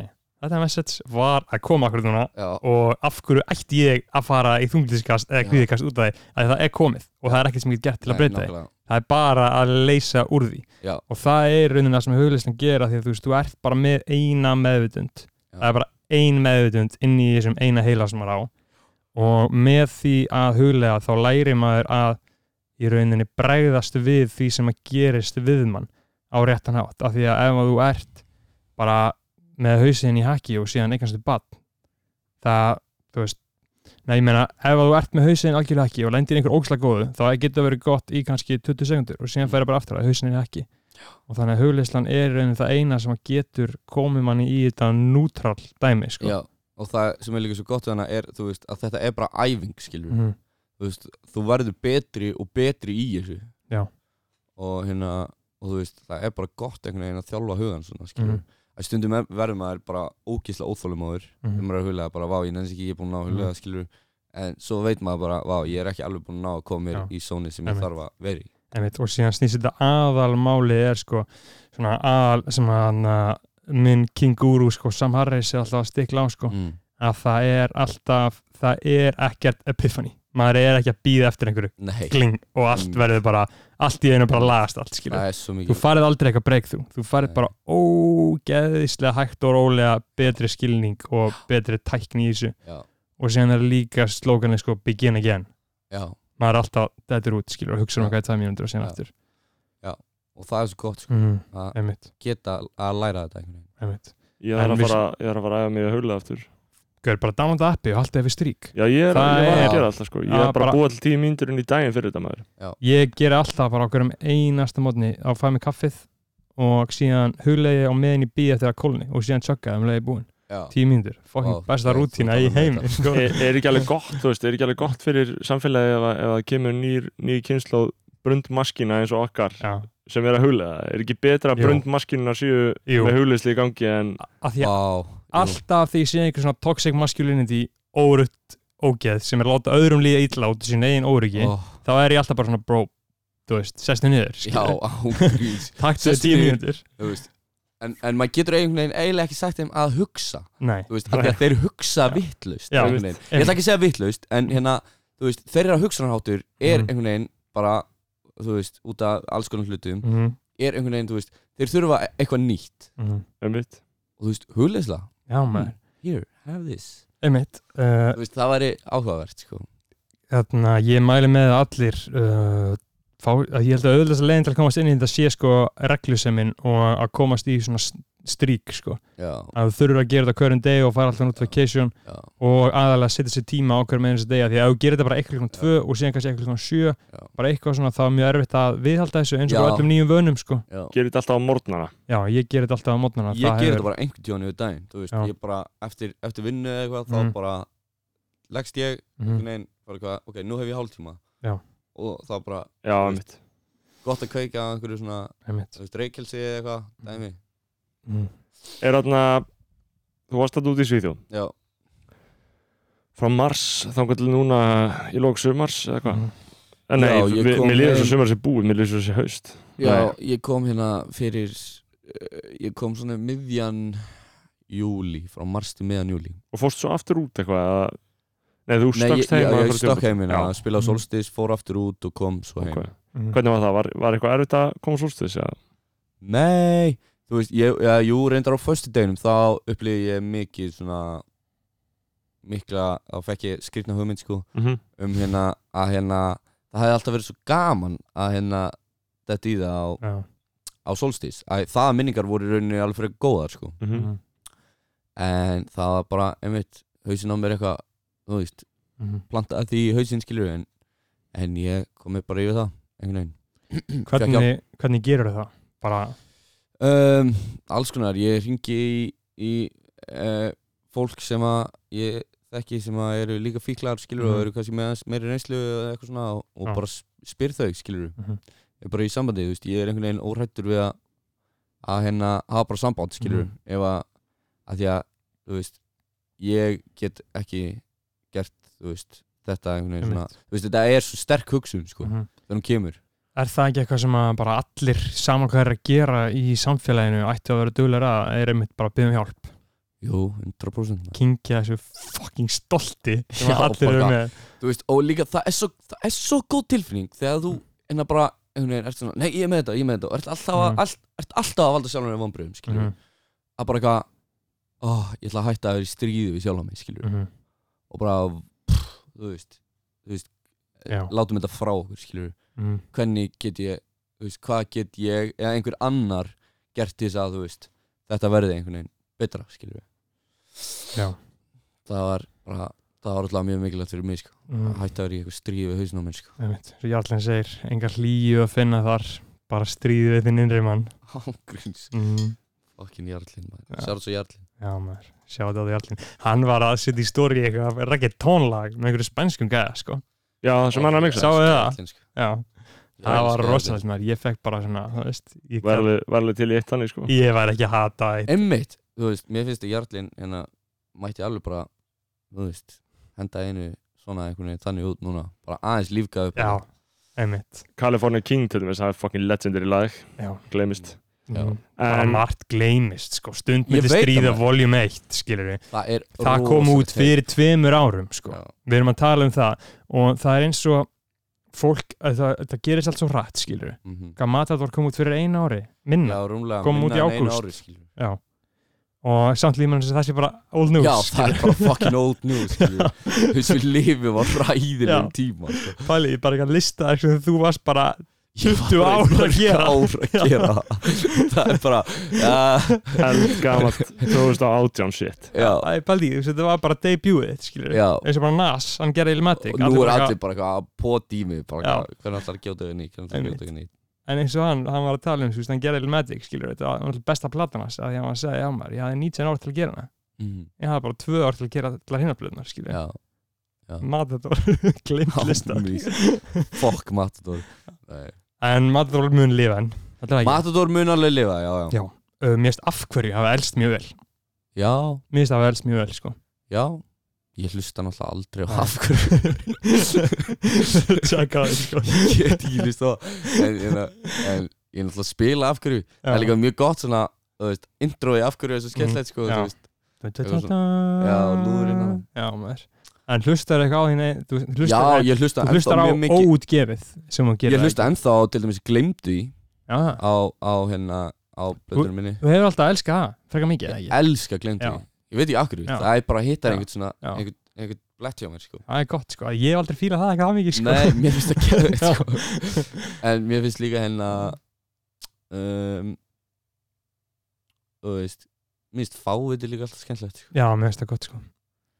Speaker 3: þetta message var að koma akkur núna
Speaker 1: Já,
Speaker 3: og af hverju ætti ég að fara í þunglíðiskast eða
Speaker 1: Já.
Speaker 3: kvíðikast út af því að það er komið og það er ekkert sem ég get gert til að
Speaker 1: nei,
Speaker 3: breyta því
Speaker 1: nákvæmlega.
Speaker 3: það er bara að leysa úr því
Speaker 1: Já.
Speaker 3: og það er raunin það sem huglistin gera því að þú veist, þú ert bara með eina meðvitund
Speaker 1: Já.
Speaker 3: það er bara ein meðvitund inn í þessum eina heila sem maður á og með því að huglega þá læri maður að í rauninni bregðast við því sem að gerist við mann á réttan hátt af því að ef að þú ert bara með hausinn í haki og síðan eignast þið bann það, þú veist Nei, ég meina, ef að þú ert með hausinn algjörlega ekki og lendir í einhver ógslag góðu, þá getur það verið gott í kannski 20 sekundur og síðan færa bara aftur að hausinn er ekki. Og þannig að hugleyslan er raunin það eina sem að getur komið manni í þetta nútrall dæmi, sko.
Speaker 1: Já, og það sem er líka svo gott við hana er, þú veist, að þetta er bara æfing, skilur
Speaker 3: Mhm.
Speaker 1: Þú veist, þú verður betri og betri í þessu
Speaker 3: Já.
Speaker 1: Og hérna, og þú veist, það er bara gott einhvern veginn að þjálfa hugan svona, skilur
Speaker 3: Mhm.
Speaker 1: mm. Að stundum er- verður maður bara ókísla óþólumáður Þegar
Speaker 3: Mhm.
Speaker 1: maður er að hulega bara, vá, ég nefnst ekki, ég er búin að ná að hulega, skilur En svo veit maður bara, vá, ég er ekki alveg búin að ná að koma mér
Speaker 3: Já.
Speaker 1: í sóni sem ég
Speaker 3: Einmitt.
Speaker 1: þarf að vera í
Speaker 3: Einmitt, og síðan snýst þetta aðalmáli er, sko, svona aðal sem að hann að minn kingúru, sko, Sam Harris er alltaf að stikla á, sko,
Speaker 1: mm.
Speaker 3: að það er alltaf, það er ekkert epiphany. Maður er ekki að býða eftir einhverju
Speaker 1: Nei,
Speaker 3: kling og allt
Speaker 1: Mm.
Speaker 3: verður bara, allt í einu bara lagast allt, skilur.
Speaker 1: það er svo
Speaker 3: þú
Speaker 1: mikið
Speaker 3: farið aldrei eitthvað breakthrough þú farið
Speaker 1: Nei.
Speaker 3: bara ógeðislega hægt og rólega betri skilning og betri tækni í þessu
Speaker 1: Já,
Speaker 3: og síðan er líka slókanið sko begin again
Speaker 1: já
Speaker 3: maður er alltaf, þetta er út skilur og hugsa um
Speaker 1: Já.
Speaker 3: hvað það mínútur og síðan
Speaker 1: Já.
Speaker 3: aftur
Speaker 1: og það er svo gott sko,
Speaker 3: mm,
Speaker 1: að
Speaker 3: einmitt,
Speaker 1: geta að læra þetta einhvern veginn
Speaker 3: einmitt
Speaker 2: ég þarf
Speaker 3: En
Speaker 2: að
Speaker 3: mér-
Speaker 2: fara ég þarf að fara að æfa mig að hugla aftur
Speaker 3: Gauður bara downloada appi og halda yfir strík
Speaker 2: já, ég er, ég var að
Speaker 3: Það
Speaker 1: er-
Speaker 2: gera alltaf sko ég
Speaker 3: Já,
Speaker 2: er bara
Speaker 3: bara-
Speaker 2: að búa til tíu mínútur inn í daginn fyrir þetta maður
Speaker 3: ég ger alltaf bara okkur um einasta mótni á fæmi kaffið og síðan huglegi á meðin í bíð eftir að kólni og síðan tjökkaði um leiði búin
Speaker 1: Já,
Speaker 3: tíu mínútur,
Speaker 1: Ó,
Speaker 3: fokkin besta
Speaker 1: ok, þú
Speaker 3: rútína
Speaker 1: talar
Speaker 3: í
Speaker 1: um
Speaker 3: heimi
Speaker 1: þetta.
Speaker 3: sko.
Speaker 2: er, er ekki alveg gott, þú veist, er ekki alveg gott fyrir samfélagi ef, að- ef það kemur nýr, nýr kynslu brundmaskina eins og okkar
Speaker 3: Já.
Speaker 2: sem er að hugla er ekki betra að
Speaker 3: Jú.
Speaker 2: brundmaskina séu
Speaker 3: Jú.
Speaker 2: með huglisli í gangi en
Speaker 3: að því að
Speaker 1: Vá, jú,
Speaker 3: alltaf því ég sé einhver svona toxic masculinity órutt ógeð sem er að láta öðrum líða illa út í sín eigin óryggi
Speaker 1: ó,
Speaker 3: þá er ég alltaf bara svona bro þú veist, sestu niður
Speaker 1: Já, ángríns
Speaker 3: takk til
Speaker 1: sestu
Speaker 3: tíu
Speaker 1: niður.
Speaker 3: mínútur
Speaker 1: Þú veist En, en maður getur einhvern veginn eiginlega ekki sagt þeim að hugsa
Speaker 3: nei,
Speaker 1: Þú veist, af því að þeir hugsa
Speaker 3: Já.
Speaker 1: vitlaust
Speaker 3: Já,
Speaker 1: einhvern veginn. Ég ætla ekki að segja vitlaust En hérna, þú veist, þeirra hugsanarháttur er
Speaker 3: Mhm.
Speaker 1: einhvern veginn bara Þú veist, út af alls konar hlutum
Speaker 3: mm
Speaker 1: Er einhvern veginn, þú veist, þeir þurfa e- eitthvað nýtt
Speaker 3: -hmm.
Speaker 2: einmitt.
Speaker 1: Og þú veist, hugleisla
Speaker 3: já
Speaker 1: Mm.
Speaker 3: maður,
Speaker 1: Here, have this
Speaker 3: einmitt uh,
Speaker 1: Þú veist, það væri áhugavert, sko
Speaker 3: þarna, Hérna, ég mæli með að allir uh, fá, að ég held að auðvitað leiðin til að komast inn í þetta sé sko regluseminn og að komast í svona s- strík sko.
Speaker 1: já,
Speaker 3: að þú þurfur að gera þetta á hverjum degi og fara alltaf út vacation
Speaker 1: já,
Speaker 3: og aðalega setja sér tíma á hverjum einhverjum degi af því að ef þú gerir þetta bara eitthvað klokkan tvö og síðan kannski eitthvað klokkan sjö
Speaker 1: Já.
Speaker 3: bara eitthvað svona þá er mjög erfitt að viðhalda þessu eins og
Speaker 1: Já.
Speaker 3: bara öllum nýjum vönum sko.
Speaker 1: já.
Speaker 2: gerir þetta alltaf á morgnana
Speaker 3: já, ég gerir þetta alltaf á mótnana
Speaker 1: ég gerir þetta bara einhvern tíðan yfir daginn þú veist,
Speaker 3: Já.
Speaker 1: ég bara eftir, eftir vinnu eða eitthvað
Speaker 3: Mhm.
Speaker 1: þá bara leggst ég
Speaker 3: mm
Speaker 1: einhvern veginn bara eitthvað, ok, nú hef ég hálftíma
Speaker 3: Já.
Speaker 1: og þá bara
Speaker 2: já, mitt
Speaker 1: gott að kveika á einhverju svona,
Speaker 3: -hmm.
Speaker 1: þú veist, reykjelsi eða eitthvað, dæmi
Speaker 3: mm.
Speaker 2: er þarna þú varst þetta út í Svíþjó
Speaker 1: já,
Speaker 2: frá mars þangar til núna í lók sumars eða hvað
Speaker 3: Mhm.
Speaker 2: en nei,
Speaker 1: Já, ég
Speaker 2: vi-
Speaker 1: kom
Speaker 2: mér líður svo
Speaker 1: heim-
Speaker 2: sumar sem búið mér líður svo sem haust
Speaker 1: já
Speaker 2: Nei.
Speaker 1: ég kom hérna fyrir uh, ég kom svona miðjan júli, frá mars til miðjan júli
Speaker 2: og fórst svo aftur út eitthvað eða- nei, þú
Speaker 1: Nei, ég,
Speaker 2: stökkst heim
Speaker 1: já,
Speaker 2: að
Speaker 1: ég
Speaker 2: fara á
Speaker 1: stökk
Speaker 2: tímabil.
Speaker 1: heiminn
Speaker 2: Já.
Speaker 1: að spila á
Speaker 3: Mm.
Speaker 1: solstis, fór aftur út og kom svo heim
Speaker 2: Ok.
Speaker 3: mhm.
Speaker 2: hvernig var það, var, var eitthvað erfitt að koma svolstis já,
Speaker 1: Nei, þú veist, ég, ja, jú, reyndar á föstudeginum þá upplýði ég mikið svona mikla, þá fekk ég skrifna hugmynd sko
Speaker 3: Mhm,
Speaker 1: um hérna að hérna það hefði alltaf verið svo gaman að hérna þetta í það á,
Speaker 3: já,
Speaker 1: á solstís að það minningar voru í rauninni alveg fyrir góðar sko
Speaker 2: Mhm.
Speaker 3: Mhm.
Speaker 1: en það var bara, einmitt, hausinn á mér eitthvað þú veist,
Speaker 3: Mhm.
Speaker 1: plantaði því í hausinn skilur en, en ég komið bara yfir það einhvern veginn Fékk
Speaker 3: hvernig, hvernig gerur það? bara,
Speaker 1: Um, alls konar, ég ringi í, í uh, fólk sem að ég þekki sem að eru líka fíklar skilur
Speaker 3: Mhm.
Speaker 1: og eru kannski með aðeins meiri reynslu eða eitthvað svona og, og
Speaker 3: Já.
Speaker 1: bara s- spyr þau skilur
Speaker 3: Mhm.
Speaker 1: ég er bara í sambandi, þú veist, ég er einhvern veginn óhrættur við að, að hérna hafa bara samband skilur
Speaker 3: Mhm.
Speaker 1: ef að, að því að, þú veist ég get ekki gert, þú veist, þetta einhvern veginn svona, þú veist, þetta er svo sterk hugsun sko,
Speaker 3: Mhm.
Speaker 1: þegar hún kemur
Speaker 3: er það ekki eitthvað sem að bara allir saman hvað er að gera í samfélaginu ættu að vera duglega að er einmitt bara að byggja um hjálp
Speaker 1: Jú, 100% maður.
Speaker 3: kingja þessu fucking stolti sem
Speaker 1: Já,
Speaker 3: að allir eru
Speaker 1: bara-
Speaker 3: með
Speaker 1: þú veist, og líka það er svo, það er svo góð tilfinning þegar þú hérna bara, einhvern veginn, ert svona, nei ég er með þetta, ég er með þetta og ert alltaf að,
Speaker 3: Mhm.
Speaker 1: all, ert alltaf að valda sjálfum þér vonbröðum, skiljum
Speaker 3: Mhm,
Speaker 1: að bara eitthvað, ó, ég ætla að hætta að vera í stríði við sjálfum mig, skiljum
Speaker 3: mhm.
Speaker 1: og bara, pff, þú veist þú veist,
Speaker 3: Já.
Speaker 1: látum þetta frá okkur, skiljum
Speaker 3: Mhm,
Speaker 1: hvernig get ég, þú veist, hvað get ég eða einhver annar gert til þess að, þú veist þetta verði einhvern veginn betra, skiljum
Speaker 3: Já.
Speaker 1: það var bara, það var alltaf mjög mikilvægt fyrir mig, sko,
Speaker 3: mhm.
Speaker 1: að hætta að vera í eitthvað stríði við hausnáminn, sko
Speaker 3: Einmitt, svo Jarlinn segir, engar hlýju að finna þar bara stríðið við þinn innri mann
Speaker 1: Hangríns
Speaker 3: mm.
Speaker 1: Fokkin Jarlín
Speaker 3: Já.
Speaker 1: maður Sjálfs og Jarlín
Speaker 3: Já maður, sjá þetta á því Jarlinn Hann var að setja í stóri eitthvað rakið tónlag með einhverju spænskum gæða sko
Speaker 2: já sem hann er að miksa
Speaker 3: Sáuð þið það?
Speaker 1: Jarlín, sko.
Speaker 3: Já, það var rosalegt maður, ég fekk bara svona, þú veist ég,
Speaker 2: var
Speaker 3: kann,
Speaker 2: alveg- var alveg til í eitt þannig sko
Speaker 3: ég var ekki að hata eitt
Speaker 1: Einmitt Þú veist, mér finnst að Jarlín hérna mætti alveg bara Þú veist, henda einu svona einhvern veginn þannig út núna Bara aðeins lífga upp
Speaker 3: Já, einmitt
Speaker 2: California King til dæmis, það er fucking legendary lag
Speaker 3: Já,
Speaker 2: gleymist
Speaker 1: Já.
Speaker 3: mhm. bara
Speaker 2: en,
Speaker 3: margt gleymist sko, stund
Speaker 1: Ég
Speaker 3: myndi
Speaker 1: veit það,
Speaker 3: stríða
Speaker 1: maður.
Speaker 3: voljum 1 skilur við,
Speaker 1: Það er
Speaker 3: það kom út fyrir tveimur árum sko
Speaker 1: Já,
Speaker 3: við erum að tala um það og það er eins og fólk, að það, það gerist allt svo hratt skilur
Speaker 1: mm -hmm.
Speaker 3: hvað Matador kom út fyrir einu ári
Speaker 1: Já,
Speaker 3: minna,
Speaker 1: rúmlega
Speaker 3: Kom út í
Speaker 1: minna en einu
Speaker 3: ágúst.
Speaker 1: ári, skilur.
Speaker 3: og samt líður mann sem það sé bara old news
Speaker 1: Já, það
Speaker 3: skilurðu.
Speaker 1: er bara fucking old news skilur. Þú veist, við lifum á ræðilegum tíma sko.
Speaker 3: Pæli, ég bara ekki að lista þar sem þú varst bara
Speaker 1: Ég
Speaker 3: 20
Speaker 1: var
Speaker 3: ár að
Speaker 1: bara í mörg
Speaker 3: gera.
Speaker 1: ár að gera Það er bara uh,
Speaker 2: en gamalt 2018 shit
Speaker 1: Já,
Speaker 3: Æ, Pæli, þú veist, þetta var bara debutið þitt, skilur
Speaker 1: já
Speaker 3: eins og bara Nas, hann gerði Ilmatic
Speaker 1: og nú er allir bara eitthvað að poti í mig bara
Speaker 3: Já.
Speaker 1: eitthvað, hvernig allar gjóta við nýtt hvernig allar
Speaker 3: Einmitt.
Speaker 1: gjóta við nýtt
Speaker 3: en eins og hann, hann var að tala um, þú veist, hann gerði Ilmatic skilur, þetta var náttúrulega besta platan hans að því hann var að segja, já maður, ég hafði 19 ár til að gera hana ég hafði bara 2 ár til að gera allar hinnablöðnar, skilur,
Speaker 1: Mm, já,
Speaker 3: Matador glimt lista
Speaker 1: Ámís. fokk Matador Nei.
Speaker 3: en Matador mun lifa enn Þetta er það ekki.
Speaker 1: Matador mun alveg lifa, já, já
Speaker 3: Já. Uh, Mér finnst af hverju hafa elst mjög vel
Speaker 1: já,
Speaker 3: Mér finnst hafa elst mjög vel sko
Speaker 1: já ég hlusta náttúrulega aldrei á
Speaker 3: Nei.
Speaker 1: af hverju
Speaker 3: Tjekka það sko
Speaker 1: ég get ekki hlusta á það. en, en, en ég náttúrulega spila af hverju það er líka mjög gott svona þú veist, introið af hverju er svo skemmtilegt sko,
Speaker 3: Mhm. Já.
Speaker 1: þú veist. eitthvað
Speaker 3: Já,
Speaker 1: Já, lúðurinn á.
Speaker 3: Já, maður En hlustar eitthvað á þín ein- Þú
Speaker 1: já,
Speaker 3: hlustar,
Speaker 1: ég hlusta
Speaker 3: þú hlustar
Speaker 1: ennþá
Speaker 3: á
Speaker 1: mjög mikið
Speaker 3: óútgefið sem þú gerir
Speaker 1: ég hlusta ennþá á, til dæmis glemdu í
Speaker 3: Já,
Speaker 1: á, á hérna á blöðunum minni
Speaker 3: þú hefur alltaf elskað það Frekar mikið, eða
Speaker 1: ég
Speaker 3: ekki?
Speaker 1: elska glemd
Speaker 3: Já.
Speaker 1: því ég veit ég akkur
Speaker 3: Já.
Speaker 1: það er bara að hitta
Speaker 3: Já.
Speaker 1: einhvern svona
Speaker 3: Já.
Speaker 1: einhvern, einhvern blett hjá mér sko.
Speaker 3: Það er gott sko Ég hef aldrei fílað það eitthvað mikið sko
Speaker 1: nei, mér finnst það geðveikt,
Speaker 3: Já.
Speaker 1: sko. en mér finnst líka hérna um, þú veist, minnst fáviti líka alltaf skemmtilegt sko.
Speaker 3: já, mér finnst það gott sko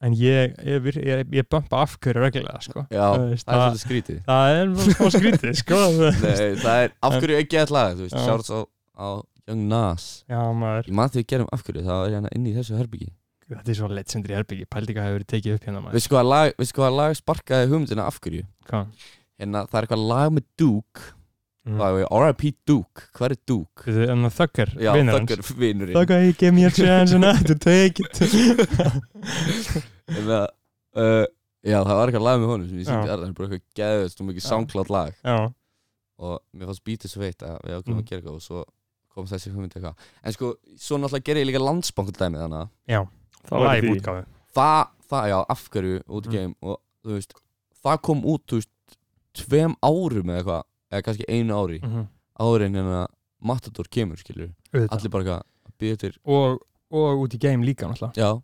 Speaker 3: en ég, ég, vir- ég, ég bömpa afhverju reglulega sko
Speaker 1: Já,
Speaker 3: Þú veist,
Speaker 1: það er svolítið
Speaker 3: það-
Speaker 1: skrítið
Speaker 3: það er bara smá skrítið sko
Speaker 1: Nei, það er, af hverju ekki að laga, þú veist,
Speaker 3: Já.
Speaker 1: sjárts á, á Young Nas
Speaker 3: já, maður,
Speaker 1: Ég maður því við gerum af hverju, það er hérna inn í þessu herbyggi
Speaker 3: þetta er svo legendary herbyggi pældika hefur verið tekið upp hérna maður
Speaker 1: Veistu hvað lag, veistu hvað lag sparkaði hugmyndina af hverju?
Speaker 3: hvað?
Speaker 1: Hérna, það er eitthvað lag með Duke
Speaker 3: Mm.
Speaker 1: Það er R.I.P. Duke, hvað er Duke?
Speaker 3: Þetta er enn að þöggar,
Speaker 1: Já,
Speaker 3: vinnur hans
Speaker 1: þöggur vinurinn
Speaker 3: Þöggar, ég gef mér chance and I have to take it
Speaker 1: Þannig að, uh, já það var eitthvað lag með honum sem ég sýndi
Speaker 3: Já.
Speaker 1: Arðan, bara eitthvað geðust og mikið
Speaker 3: Já.
Speaker 1: soundcloud lag
Speaker 3: Já,
Speaker 1: og mér fannst bítið svo veit að við ákveðum
Speaker 3: Mhm.
Speaker 1: að gera eitthvað og svo kom þessi hugmynd eitthvað. En sko, svo náttúrulega gerði ég líka landsbankaldæmi þannig að
Speaker 3: já,
Speaker 2: það var
Speaker 3: live
Speaker 2: því
Speaker 3: útgáfu
Speaker 1: það, það, já, af hverju út í
Speaker 3: Mm.
Speaker 1: geim og þú veist, það kom út, þú veist, tveim árum eða eitthvað, eða kannski einu ári,
Speaker 3: Mhm.
Speaker 1: ári en að Matador kemur, skilur,
Speaker 3: Auðvitað.
Speaker 1: allir bara eitthvað að býða til,
Speaker 3: og, og út í game líka náttúrulega
Speaker 1: já,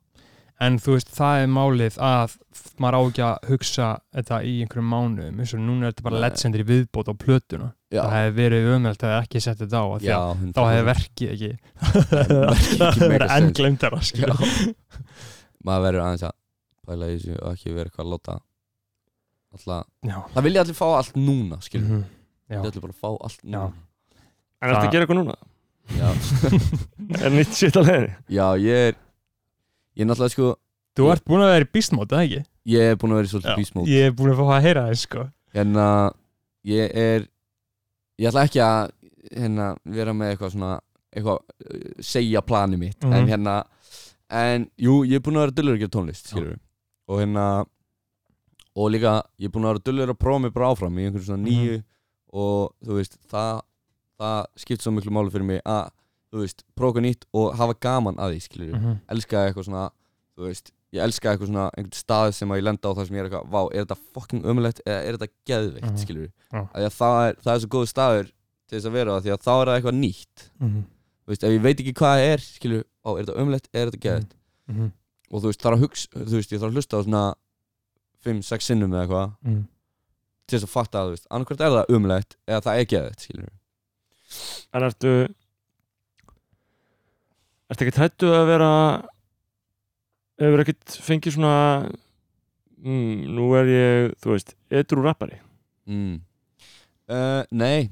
Speaker 3: en þú veist, það er málið að maður á ekki að hugsa þetta í einhverjum mánuðum eins og núna er þetta bara
Speaker 1: Nei.
Speaker 3: legendir í viðbót á plötuna
Speaker 1: já,
Speaker 3: það hefði verið umhelt að ekki setja þetta á af því
Speaker 1: já,
Speaker 3: að
Speaker 1: hundrað
Speaker 3: þá hefði
Speaker 1: prósent.
Speaker 3: verkið ekki
Speaker 1: verkið ekki
Speaker 3: það hefði
Speaker 1: meira
Speaker 3: verið enn
Speaker 1: sens.
Speaker 3: glemdara
Speaker 1: Já. maður verður aðeins að pæla í þessu og ekki vera eitthvað að láta alltaf,
Speaker 3: já,
Speaker 1: það vilja allir fá allt núna skilur,
Speaker 3: Mhm. já.
Speaker 1: mm. allir bara fá allt
Speaker 3: já.
Speaker 1: núna
Speaker 2: En þetta
Speaker 3: Það-
Speaker 2: gera eitthvað núna
Speaker 1: já.
Speaker 2: Er nýtt shit að leiðinni
Speaker 1: já, ég er ég er náttúrulega sko,
Speaker 3: þú ert búin að vera í beastmót, eða ekki?
Speaker 1: ég er búin að vera í svolítið bísmót
Speaker 3: ég er búin að fá að heyra það sko.
Speaker 1: hérna, ég er ég ætla ekki að hérna, vera með eitthvað svona eitthvað, uh, segja planið mitt
Speaker 3: Mhm.
Speaker 1: en hérna, en jú, ég er búin að vera dullur að gera tónlist, skilur og hérna og líka, ég er búin að vera dullur að prófa mig bara áfram í einhverjum svona
Speaker 3: Mhm.
Speaker 1: nýju og þú veist, það það skipt svo miklu máli fyrir mig að þú veist, prófa eitthvað nýtt og hafa gaman að því, skilur
Speaker 3: Mhm.
Speaker 1: elskaði eitthvað svona þú veist, ég elskaði eitthvað svona einhvern stað sem að ég lenda á þar sem ég er eitthvað, vá, er þetta fucking ömulegt eða er þetta geðveikt,
Speaker 3: Mhm.
Speaker 1: skilur
Speaker 3: Já.
Speaker 1: að að það, er, það er svo góð staður til þess að vera á því að þá er það eitthvað nýtt
Speaker 3: Mhm.
Speaker 1: þú veist, ef ég veit ekki hvað það er, skilur á, er þetta ömulegt eða er þetta geðveikt
Speaker 3: Mhm.
Speaker 1: og þú veist, þarf að hugsa, þú veist, ég þarf að hlusta á svona 5-6 sinnum eða eitthvað
Speaker 3: Mhm.
Speaker 1: til þess að fatta að, þú veist, annarkvært er það ömulegt eða það er geðveikt, skilur
Speaker 2: En ertu Ertu ekkert hættu að vera Hefur ekkert fengið svona mm, Nú er ég, þú veist, edru rappari
Speaker 1: mm. uh, Nei,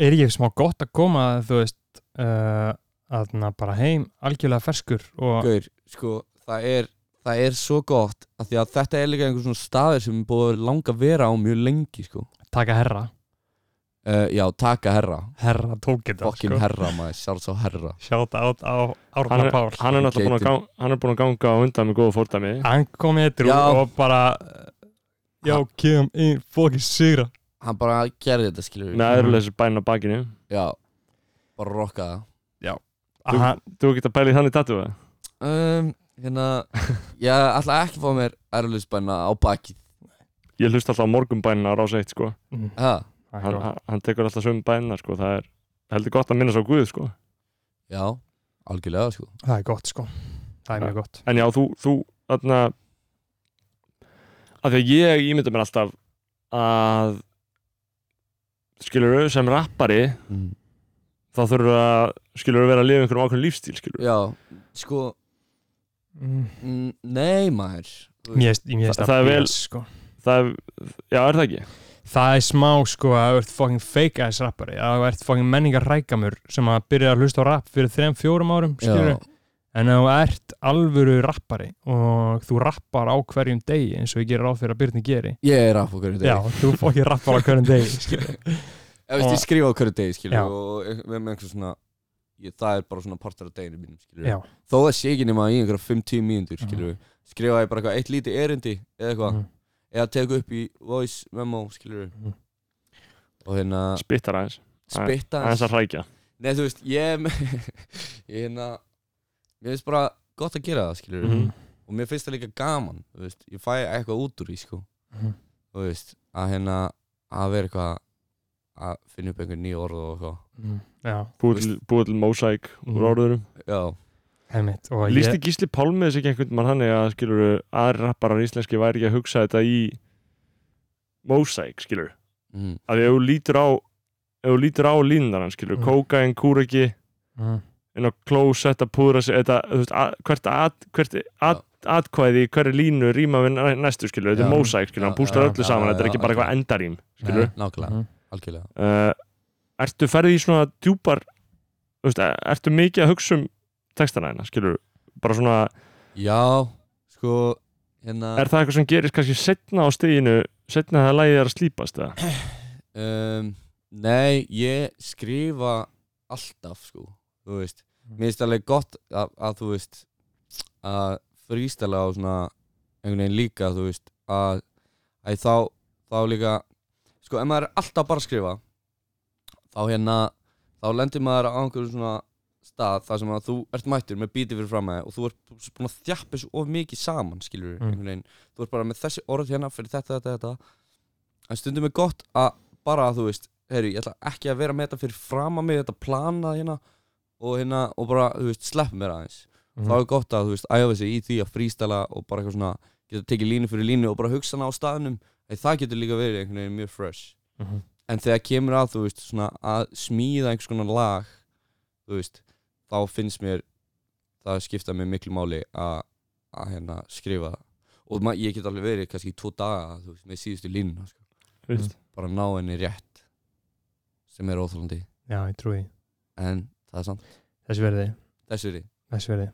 Speaker 3: er ekki smá gott að koma þú veist uh, aðna bara heim algjörlega ferskur og
Speaker 1: Gaur, sko, það er það er svo gott að því að þetta er líka einhver svona staður sem er búið að langa að vera á mjög lengi, sko
Speaker 3: taka herra
Speaker 1: uh, Já, taka herra,
Speaker 3: herra tók þetta
Speaker 1: fokkin herra maður, sjálfs á herra
Speaker 3: sjátt át á
Speaker 2: Hann
Speaker 3: Árna
Speaker 2: er,
Speaker 3: Pál
Speaker 2: hann er náttúrulega búin að, gang, hann er búin að ganga á undan með góða fórdæmi
Speaker 3: hann kom eitru
Speaker 1: Já.
Speaker 3: og bara uh, já,
Speaker 1: Ha-
Speaker 3: kem inn, fokkin sigra
Speaker 1: Hann bara gerði þetta, skilur
Speaker 2: með aðurlega bæn á bakinu
Speaker 1: Já, bara rokka
Speaker 2: Þú-
Speaker 3: Aha,
Speaker 2: Þú getur að pæla í þannig tattu það
Speaker 1: það um, Hérna, ég ætla ekki að fá mér erlusbæna á bakið
Speaker 2: Ég hlust alltaf á morgumbænin á rása eitt sko
Speaker 3: mm,
Speaker 1: ha,
Speaker 3: það er
Speaker 2: hann,
Speaker 3: gott.
Speaker 2: hann- hann tekur alltaf sömu bænina sko Það er heldur gott að minna svo Guð sko
Speaker 1: Já, algjörlega, sko
Speaker 3: það er gott sko það er mjög gott
Speaker 2: En já, þú, þú, þarna að því að ég ímynda mér alltaf að skilur sem rappari
Speaker 1: mm.
Speaker 2: þá þurfur að skilur vera að lifa einhverjum ákveðin lífstíl skilur
Speaker 1: Já, sko,
Speaker 3: Mm,
Speaker 1: mm, nei maður Þú veist,
Speaker 3: mér finnst- mér finnst
Speaker 2: Það- það er
Speaker 3: blés,
Speaker 2: vel-
Speaker 3: sko.
Speaker 2: það er, já er það ekki
Speaker 3: það er smá sko að þú ert fucking fake ass rappari að þú ert fucking menningar rækamur sem að byrja að hlusta á rapp fyrir 3-4 árum skilur
Speaker 1: Já,
Speaker 3: En ef þú ert alvöru rappari og þú rappar á hverjum degi eins og ég gerir ráð fyrir að Byrni geri
Speaker 1: ég er af okkur í dag
Speaker 3: Já, þú fokkir rappar á hverjum degi skilur.
Speaker 1: Ef veist, ég
Speaker 3: Og-
Speaker 1: skrifa á hverju degi, skilur
Speaker 3: Já.
Speaker 1: og e- með með einhver svona ég, það er bara svona partur af deginu mínum, skilur
Speaker 3: Já. Mhm.
Speaker 1: þó að sé ekki nema í einhverja 5-10 mínútur, skilur skrifa ég bara eitthvað eitt lítið erindi eða eitthvað,
Speaker 3: Mm.
Speaker 1: eða teka upp í voice memo, skilur
Speaker 3: Mhm.
Speaker 1: og hérna
Speaker 2: spittar aðeins,
Speaker 1: spitta
Speaker 2: aðeins að hrækja
Speaker 1: Nei, þú veist, ég er með- ég hérna mér finnst bara gott að gera það, skilur
Speaker 2: Mhm.
Speaker 3: Mm.
Speaker 1: og mér finnst það líka gaman, þú veist ég fæ eitthvað út úr því, sko
Speaker 3: Mhm.
Speaker 1: þú veist, að hérna að vera eitthvað að finna upp einhver ný orð og eitthvað
Speaker 3: Mm. Já,
Speaker 2: búið til, búið til mósæk úr
Speaker 3: Mhm.
Speaker 2: orðurum
Speaker 1: Já,
Speaker 3: heimitt og
Speaker 2: Lýsti
Speaker 3: ég,
Speaker 2: Gísli Pálmið þess ekki einhvern mann hann að skilur aðri rapparar íslenski væri ekki að hugsa þetta í mósæk skilur
Speaker 1: mm.
Speaker 2: að ef þú lítur á ef þú lítur á línunar hann skilur,
Speaker 3: Mm.
Speaker 2: mm. kókain, kúreki
Speaker 3: mm.
Speaker 2: inn á klósett að púðra sig þetta, þú veist, að, hvert, at, hvert at, atkvæði, hverju línu rýma við næ- næstu skilur, þetta
Speaker 1: Já.
Speaker 2: er mósæk skilur, hann
Speaker 1: Já,
Speaker 2: bústar
Speaker 1: já,
Speaker 2: öllu
Speaker 1: já,
Speaker 2: saman,
Speaker 1: já,
Speaker 2: þetta er
Speaker 1: já,
Speaker 2: ekki bara eitthvað
Speaker 1: algjörlega.
Speaker 2: endarím skilur,
Speaker 1: Nei,
Speaker 3: Mm.
Speaker 1: nákvæmlega, algjörlega
Speaker 2: uh, ertu ferðið í svona djúpar þú veist, eh, ertu mikið að hugsa um textana hérna, skilur, bara svona
Speaker 1: Já, sko hérna,
Speaker 2: er það eitthvað sem gerist kannski setna á steginu setna þegar lagið er að slípast
Speaker 1: Mm.
Speaker 2: eða?
Speaker 1: um, Nei, ég skrifa alltaf sko, þú veist Mér finnst alveg gott að, að þú veist að frístala á svona einhvern veginn líka, þú veist að, að þá, þá líka sko, ef maður er alltaf bara að skrifa þá hérna þá lendir maður á einhverjum svona stað þar sem að þú ert mættur með bítið fyrir fram að þig og þú ert búin að þjappa þessu of mikið saman, skilur
Speaker 3: Mm.
Speaker 1: einhvern veginn, þú ert bara með þessi orð hérna fyrir þetta, þetta, þetta en stundum er gott að bara, þú veist, heyri, ég ætla ekki að vera með þetta fyrir fram að mig, þetta planað hérna og hérna, og bara, þú veist, slepp mér aðeins
Speaker 3: Mhm.
Speaker 1: þá er gott að, þú veist, æfa sig í því að frístala og bara eitthvað svona, geta tekið línu fyrir línu og bara hugsa hana á staðnum Eð það getur líka verið einhvern veginn mjög fresh
Speaker 3: Mhm.
Speaker 1: en þegar kemur að, þú veist, svona að smíða einhvers konar lag þú veist, þá finnst mér það skipta mér miklu máli að, að hérna, skrifa það. og ma- ég get alveg verið kannski í tvo daga, þú veist, með síðustu línu sko.
Speaker 2: Þú veist,
Speaker 1: bara ná henni rétt sem er óþólandi
Speaker 3: Mm. Já, ég trúi því.
Speaker 1: en það er samt
Speaker 3: Þess verði,
Speaker 1: þessu er í
Speaker 3: þess verði.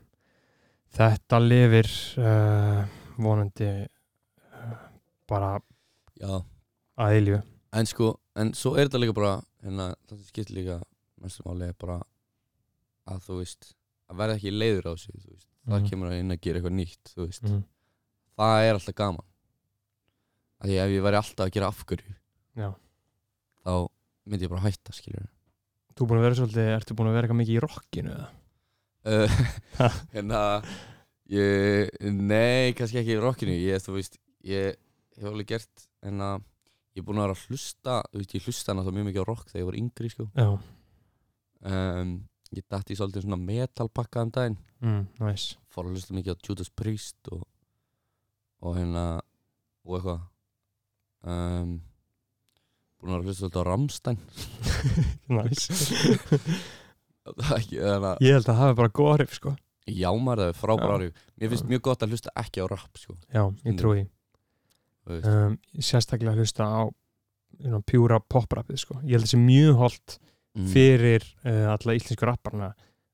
Speaker 3: Þetta lifir uh, vonandi uh, bara
Speaker 1: já
Speaker 3: að eilju.
Speaker 1: en sko, en svo er þetta líka bara hérna, það sem skiptir líka mestu máli er bara að þú veist að verða ekki leiður á sig þú veist, þar
Speaker 3: Mhm.
Speaker 1: kemur að inn að gera eitthvað nýtt þú veist,
Speaker 3: Mm.
Speaker 1: það er alltaf gaman af því ef ég væri alltaf að gera afgöru
Speaker 3: Já.
Speaker 1: þá myndi ég bara hætta skilur
Speaker 3: Þú búin að vera svolítið, ertu búin að vera eitthvað mikið í rockinu eða?
Speaker 1: uh, hérna ég, nei, kannski ekki í rockinu ég, þú veist, ég hef alveg gert en að ég er búin að vera að hlusta þú veist, ég hlusta náttúrulega mjög mikið á rock þegar ég var yngri sko
Speaker 3: Já.
Speaker 1: um, ég dætti í svolítið svona metalpakka um daginn
Speaker 3: Mm, nice.
Speaker 1: fór að hlusta mikið á Judas Priest og, og hérna og eitthvað um, búin að hlusta svolítið á Rammstein
Speaker 3: nice.
Speaker 1: Það er ekki, þannig að
Speaker 3: ég held að það hafi bara góð áhrif, sko.
Speaker 1: jámar það er
Speaker 3: Já.
Speaker 1: frábæra áhrif mér finnst
Speaker 3: Já.
Speaker 1: mjög gott að hlusta ekki á rap sko,
Speaker 3: Já, ég trúi því.
Speaker 1: þú veist.
Speaker 3: um, sérstaklega að hlusta á you know, pjúra poprapið sko. ég held að það sé mjög holdt
Speaker 1: Mm.
Speaker 3: Eh, fyrir uh, alla íslensku rapparna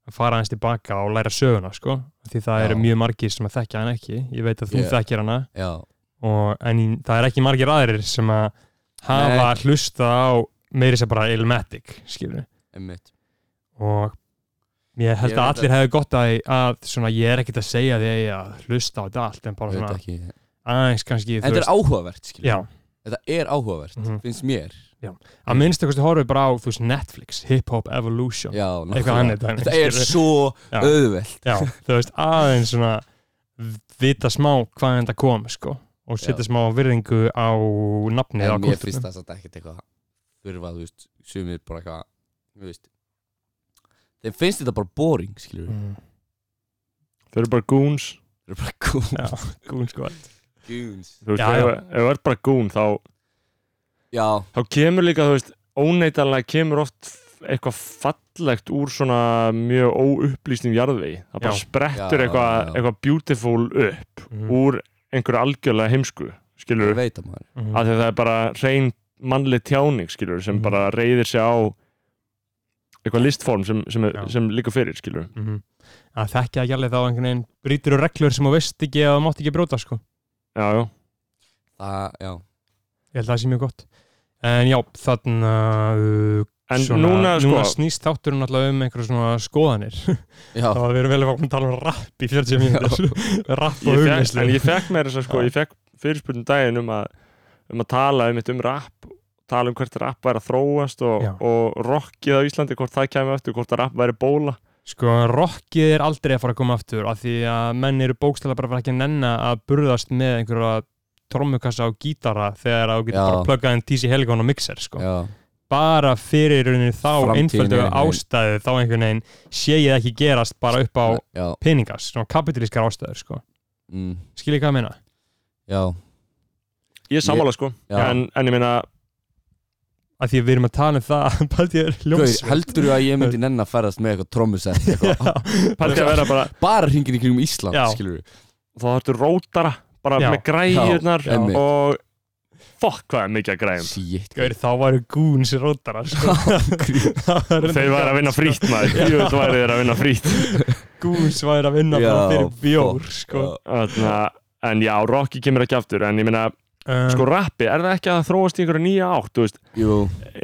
Speaker 3: að fara aðeins tilbaka og læra söguna sko. því það
Speaker 1: Já.
Speaker 3: eru mjög margir sem að þekkja hana ekki ég veit að þú
Speaker 1: Ég-
Speaker 3: þekkir hana
Speaker 1: já,
Speaker 3: og, en í- það er ekki margir aðrir sem að hafa
Speaker 1: Nei.
Speaker 3: hlusta á meiri sem bara ilmatic skilur
Speaker 1: einmitt
Speaker 3: og ég held
Speaker 1: Ég
Speaker 3: að
Speaker 1: veit
Speaker 3: allir hefur gott að, að svona, ég er ekkert að segja því að hlusta á þetta allt en bara
Speaker 1: Veit
Speaker 3: svona
Speaker 1: ekki.
Speaker 3: aðeins kannski
Speaker 1: en þetta er áhugavert skilur.
Speaker 3: já,
Speaker 1: þetta er áhugavert,
Speaker 3: Mhm.
Speaker 1: finnst mér
Speaker 3: að minnst eitthvað horfið bara á þú veist Netflix, Hip Hop Evolution
Speaker 1: já,
Speaker 3: eitthvað
Speaker 1: nákvæmlega.
Speaker 3: annað dæmi,
Speaker 1: þetta er
Speaker 3: skilur.
Speaker 1: svo
Speaker 3: Já.
Speaker 1: auðvelt
Speaker 3: já, þú veist aðeins svona vita smá hvaðan þetta kom sko og setja
Speaker 1: Já.
Speaker 3: smá virðingu á nafnið á
Speaker 1: en mér
Speaker 3: kúltúrnum.
Speaker 1: finnst það satt ekkert eitthvað þurfa, þú veist, sumir bara eitthvað þú veist þeim finnst þetta bara boring, skilur við
Speaker 3: mm,
Speaker 2: þau eru bara goons
Speaker 1: þeir eru bara goons,
Speaker 3: já, gún sko
Speaker 1: goons.
Speaker 2: þú veist,
Speaker 3: Já,
Speaker 2: ef
Speaker 3: já.
Speaker 2: ef þú ert bara goon þá,
Speaker 1: já,
Speaker 2: þá kemur líka, þú veist, óneitanlega kemur oft eitthvað fallegt úr svona mjög óupplýstum jarðvegi, það bara
Speaker 3: Já.
Speaker 2: sprettur
Speaker 1: Já,
Speaker 2: eitthvað,
Speaker 1: já.
Speaker 2: eitthvað beautiful upp
Speaker 1: Mm-hmm.
Speaker 3: mm,
Speaker 2: úr einhverju algjörlega heimsku skilur,
Speaker 1: ég veit að maður
Speaker 3: mm,
Speaker 2: af því að það er bara reyn mannli tjáning skilur, sem
Speaker 3: Mhm.
Speaker 2: bara reyðir sig á eitthvað listform sem, sem, er,
Speaker 3: Já.
Speaker 2: sem líka fyrir skilur
Speaker 3: mm, að þekkja ekki alveg þá einhvern veginn brýtur og reglur sem þú veist ekki að þú mátt ekki bróta sko
Speaker 2: já, já,
Speaker 1: það, já,
Speaker 3: ég held að það sé mjög gott en já, þannig að
Speaker 2: en núna, sko
Speaker 3: snýst þátturinn alltaf um einhverja svona skoðanir
Speaker 1: já,
Speaker 3: Það var verið vel að tala um rapp í 40 mínútur Rapp og
Speaker 2: ég fekk,
Speaker 3: hugleyslu
Speaker 2: en ég fekk mér þess að sko,
Speaker 3: Já.
Speaker 2: ég fekk fyrirspurnum daginn um að, um að tala um, um rap, tala um hvert rap væri að þróast og,
Speaker 3: Já.
Speaker 2: og rockið á Íslandi, hvort það kemur eftir, hvort að rap væri bóla.
Speaker 3: Sko, rockið er aldrei að fara að koma aftur af því að menn eru bókstæla bara að fara ekki að nenna að burðast með einhverja trommukassa og gítara þegar að þú getur
Speaker 1: Já.
Speaker 3: bara að plugga en TC Helikon og mixer sko.
Speaker 1: já
Speaker 3: bara fyrir rauninni þá
Speaker 1: Framtíðin
Speaker 3: einföldu
Speaker 1: er einhvern
Speaker 3: ástæðu þá einhvern veginn sé ég það ekki gerast bara upp á
Speaker 1: já,
Speaker 3: peningas, svona kapitalískar ástæður sko.
Speaker 1: mm,
Speaker 3: Skiljið hvað að meina?
Speaker 1: já,
Speaker 2: Ég er sammála sko,
Speaker 1: já.
Speaker 2: en, en ég meina
Speaker 3: að því að við erum að tala um það Paldi er
Speaker 1: Gauð,
Speaker 3: hljómsveit
Speaker 1: heldur þú að ég myndi nenn að ferðast með eitthvað trommusett eitthvað,
Speaker 2: Paldi að vera bara,
Speaker 1: bara hringin í kringum Ísland
Speaker 3: Já.
Speaker 1: skilur við
Speaker 2: þá þarftu rótara bara
Speaker 3: Já.
Speaker 2: með græjurnar
Speaker 1: Já, einmitt.
Speaker 2: og fokk hvað er mikið að græjum
Speaker 1: Shit
Speaker 3: Gaur, þá varu gúns rótara sko.
Speaker 2: þeir væri að vinna frýtt maður ég veit væri þeir að vinna frýtt
Speaker 1: Sko,
Speaker 3: Gúns væri að vinna bara
Speaker 1: Já,
Speaker 3: fyrir bjór sko.
Speaker 2: en já, Rocky kemur ekki aftur en ég meina,
Speaker 3: Um,
Speaker 2: sko rappi, er það ekki að þróast í einhverju nýja átt, þú veist
Speaker 1: Jú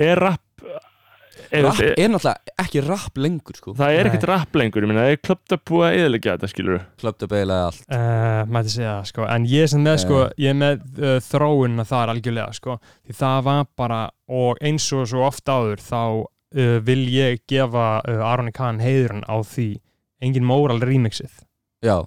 Speaker 2: er rapp er,
Speaker 1: Rapp er náttúrulega ekki rapp lengur sko
Speaker 2: það er ekkert
Speaker 3: Nei.
Speaker 2: rapp lengur, ég meina, það er klöpt að búa að eðilegja þetta, skilur
Speaker 1: Klöpt upp eiginlega allt
Speaker 3: Uh, mætti segja það sko en ég er sem með
Speaker 1: Já.
Speaker 3: sko ég er með uh, þróunina þar algjörlega sko því það var bara og eins og svo oft áður þá uh, vil ég gefa uh, Aroni Kahn heiðurinn á því engin móral remixið
Speaker 1: Já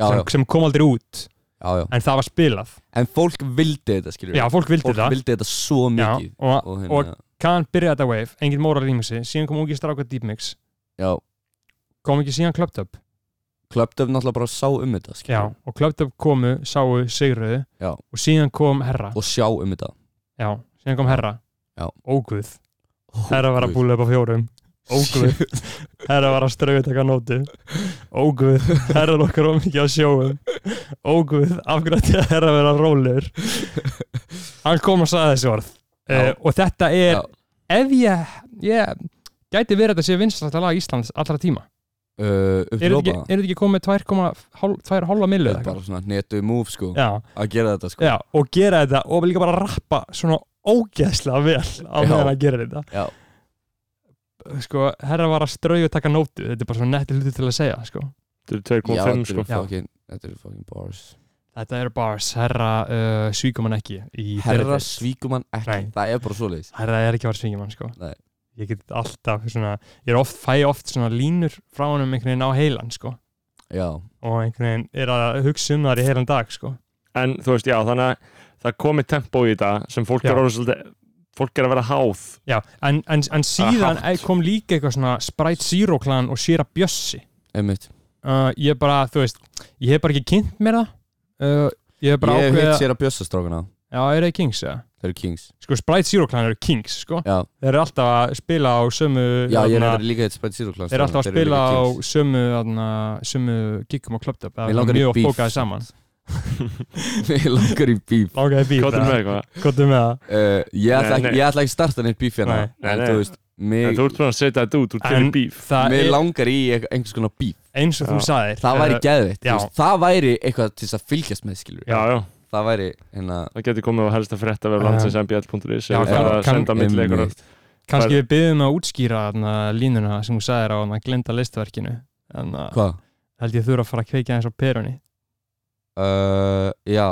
Speaker 1: Já,
Speaker 3: sem,
Speaker 1: já,
Speaker 3: sem kom aldrei út
Speaker 1: já, já.
Speaker 3: en það var spilað
Speaker 1: En fólk vildi þetta skilur við
Speaker 3: já fólk vildi
Speaker 1: Fólk
Speaker 3: það
Speaker 1: vildi þetta svo mikið
Speaker 3: já, og,
Speaker 1: Og,
Speaker 3: og
Speaker 1: hérna,
Speaker 3: Kahn byrjaði þetta wave engin móral remixið síðan kom ungi stráka deepmix
Speaker 1: já,
Speaker 3: kom ekki síðan Clubbed Up
Speaker 1: klöpt upp náttúrulega bara sá um þetta skilur
Speaker 3: já,
Speaker 1: við.
Speaker 3: og Clubbed Up komu sáu sigruðu
Speaker 1: Já.
Speaker 3: og síðan kom herra
Speaker 1: Og sjá um þetta
Speaker 3: já, síðan kom herra
Speaker 1: Já.
Speaker 3: óguð Herra var að búla upp á fjórum Óguð Herra var að strauði taka nóti Óguð Herra nokkar of mikið á sjóum Óguð Af hverju ætti að herra vera rólur Hann kom og sagði þessi orð uh,
Speaker 1: Já.
Speaker 3: Og þetta er
Speaker 1: Já.
Speaker 3: Ef ég, ég Gæti verið að þetta sé vinstasta lag Íslands allra tíma
Speaker 1: uh, Upp til
Speaker 3: Er þetta ekki,
Speaker 1: lópa
Speaker 3: er þetta ekki komið 2,5 millu
Speaker 1: Bara svona netu move sko
Speaker 3: Já,
Speaker 1: Að gera þetta sko
Speaker 3: já, og gera þetta og líka bara rappa svona ógeðslega vel á
Speaker 1: Já.
Speaker 3: meðan að gera þetta
Speaker 1: Já.
Speaker 3: sko, herra var að strauði og taka nótu þetta er bara svona netti hluti til að segja sko.
Speaker 2: þetta er 2.5
Speaker 1: þetta
Speaker 2: sko
Speaker 1: eru fucking, þetta eru fucking bars
Speaker 3: þetta eru bars, herra uh, svíkum hann ekki í þeirri
Speaker 1: Herra
Speaker 3: deild.
Speaker 1: svíkum hann ekki
Speaker 3: Nei.
Speaker 1: Það er bara svoleiðis
Speaker 3: herra er ekki að vera svíkum hann sko.
Speaker 1: Nei.
Speaker 3: ég get alltaf svona, ég er oft, fæ oft svona línur frá hann um einhvern veginn á heilan sko.
Speaker 1: Já,
Speaker 3: og einhvern veginn er að hugsa um það í heilan dag sko.
Speaker 2: en þú veist, já, þannig að það komi tempo í þetta sem fólk
Speaker 3: Já.
Speaker 2: er orðið svolítið fólk er að vera háð
Speaker 3: Já, en, en, en síðan
Speaker 2: hátt.
Speaker 3: kom líka eitthvað svona Sprite Zero klan og Sýra Bjössi
Speaker 1: einmitt
Speaker 3: uh, ég bara, þú veist, ég hef bara ekki kynnt mér það uh, ég hef bara
Speaker 1: Ég hef
Speaker 3: ákveða
Speaker 1: hitt sér að bjössa strákana
Speaker 3: já, er það kings, ja?
Speaker 1: Þeir eru kings
Speaker 3: sko Sprite Zero Clan eru kings, sko
Speaker 1: Já,
Speaker 3: þeir eru alltaf að spila á sömu
Speaker 1: já ég er
Speaker 3: þarna-
Speaker 1: reyndar líka hitt Sprite Zero Clans
Speaker 3: þeir eru alltaf að
Speaker 1: strákana, þeir eru
Speaker 3: spila á
Speaker 1: líka kings.
Speaker 3: sömu þarna, sömu gigum og klöptöp
Speaker 1: Mig langar í
Speaker 3: mjög
Speaker 1: beef.
Speaker 3: fókaði saman
Speaker 1: Mig langar í bíf
Speaker 3: langaði bíf,
Speaker 2: hvað er með eitthvað
Speaker 3: kottum með það
Speaker 1: uh, ég, ætla
Speaker 2: Nei,
Speaker 1: ekki,
Speaker 2: nei.
Speaker 1: ég ætla ekki starta neitt bíf hérna
Speaker 3: Nei,
Speaker 2: nei,
Speaker 1: En
Speaker 2: nei.
Speaker 1: þú veist
Speaker 2: en
Speaker 1: Mig,
Speaker 2: þú ert búin að setja þetta út, þú ert fyrir
Speaker 3: En-
Speaker 2: bíf
Speaker 3: það
Speaker 1: mig
Speaker 3: er
Speaker 1: langar í eit- einhvers konar bíf
Speaker 3: eins og þú
Speaker 2: Já.
Speaker 3: sagðir
Speaker 1: Það væri
Speaker 3: eh,
Speaker 1: geðveitt
Speaker 3: já.
Speaker 1: þú veist, Það væri eitthvað til þess að fylgjast með skilur
Speaker 2: já, já,
Speaker 1: Það væri hérna
Speaker 2: það getur komið á helsta frétta
Speaker 3: Um,
Speaker 2: verið landsins mbl.is
Speaker 3: já,
Speaker 2: eða það
Speaker 1: já,
Speaker 2: er að
Speaker 3: kann-
Speaker 2: senda milli einhverjar
Speaker 1: einmitt.
Speaker 3: kannski við byggjum að útskýra þarna, línuna sem þú sagðir á þarna, glinda listverkinu þannig að
Speaker 1: Hvað?
Speaker 3: held ég þurfa að fara að kveikja eins á perunni
Speaker 1: Uh, já,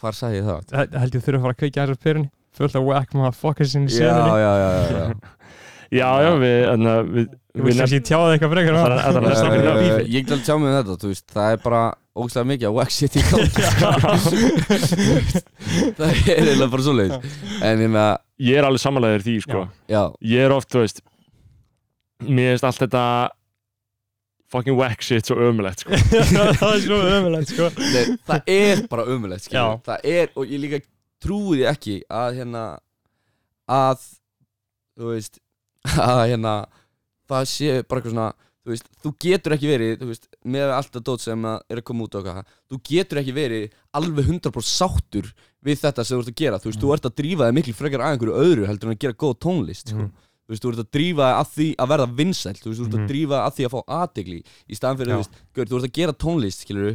Speaker 1: hvar sagði ég það?
Speaker 3: held held ég þurfa að fara að kveikja eins á perunni fullt af whack motherfuckers sinni
Speaker 1: Já, já,
Speaker 3: senunni
Speaker 1: já, já, já.
Speaker 2: já, já, við, þarna, við,
Speaker 3: Ég vil
Speaker 2: við
Speaker 3: kannski tjáði eitthvað frekar um
Speaker 2: Það er- það er-
Speaker 3: það
Speaker 2: það
Speaker 3: er
Speaker 2: er-
Speaker 1: Eh,
Speaker 3: bífi
Speaker 1: Ég glöði tjá mig um þetta, þú veist, það er bara ógæslega mikið að wax shit í gangi sko. Það er eiginlega bara svoleiðis En hérna,
Speaker 2: ég er alveg samanlegaður því, sko
Speaker 3: Já.
Speaker 1: já,
Speaker 2: ég er oft, þú veist mér finnst allt þetta fucking whack shit svo ömulegt, sko
Speaker 3: það er svo ömulegt sko
Speaker 1: nei, það er bara ömulegt,
Speaker 3: Já.
Speaker 1: skiljum Það er, og ég líka trúi því ekki að hérna að, þú veist að hérna það sé bara eitthvað svona þú veist, þú getur ekki verið, þú veist með alltaf dót sem að er að koma út og eitthvað þú getur ekki verið alveg 100% sáttur við þetta sem þú ert að gera þú veist, þú ert að drífa þig miklu frekar að einhverju öðru heldur en að gera góð tónlist, sko
Speaker 3: Mm.
Speaker 1: þú veist, þú ert að drífa þig að því að verða vinsælt, þú veist, þú ert
Speaker 3: Mhm.
Speaker 1: að drífa þig að því að fá aðdegli í staðan fyrir,
Speaker 3: Já.
Speaker 1: þú veist, gaur, þú ert að gera tónlist, skilur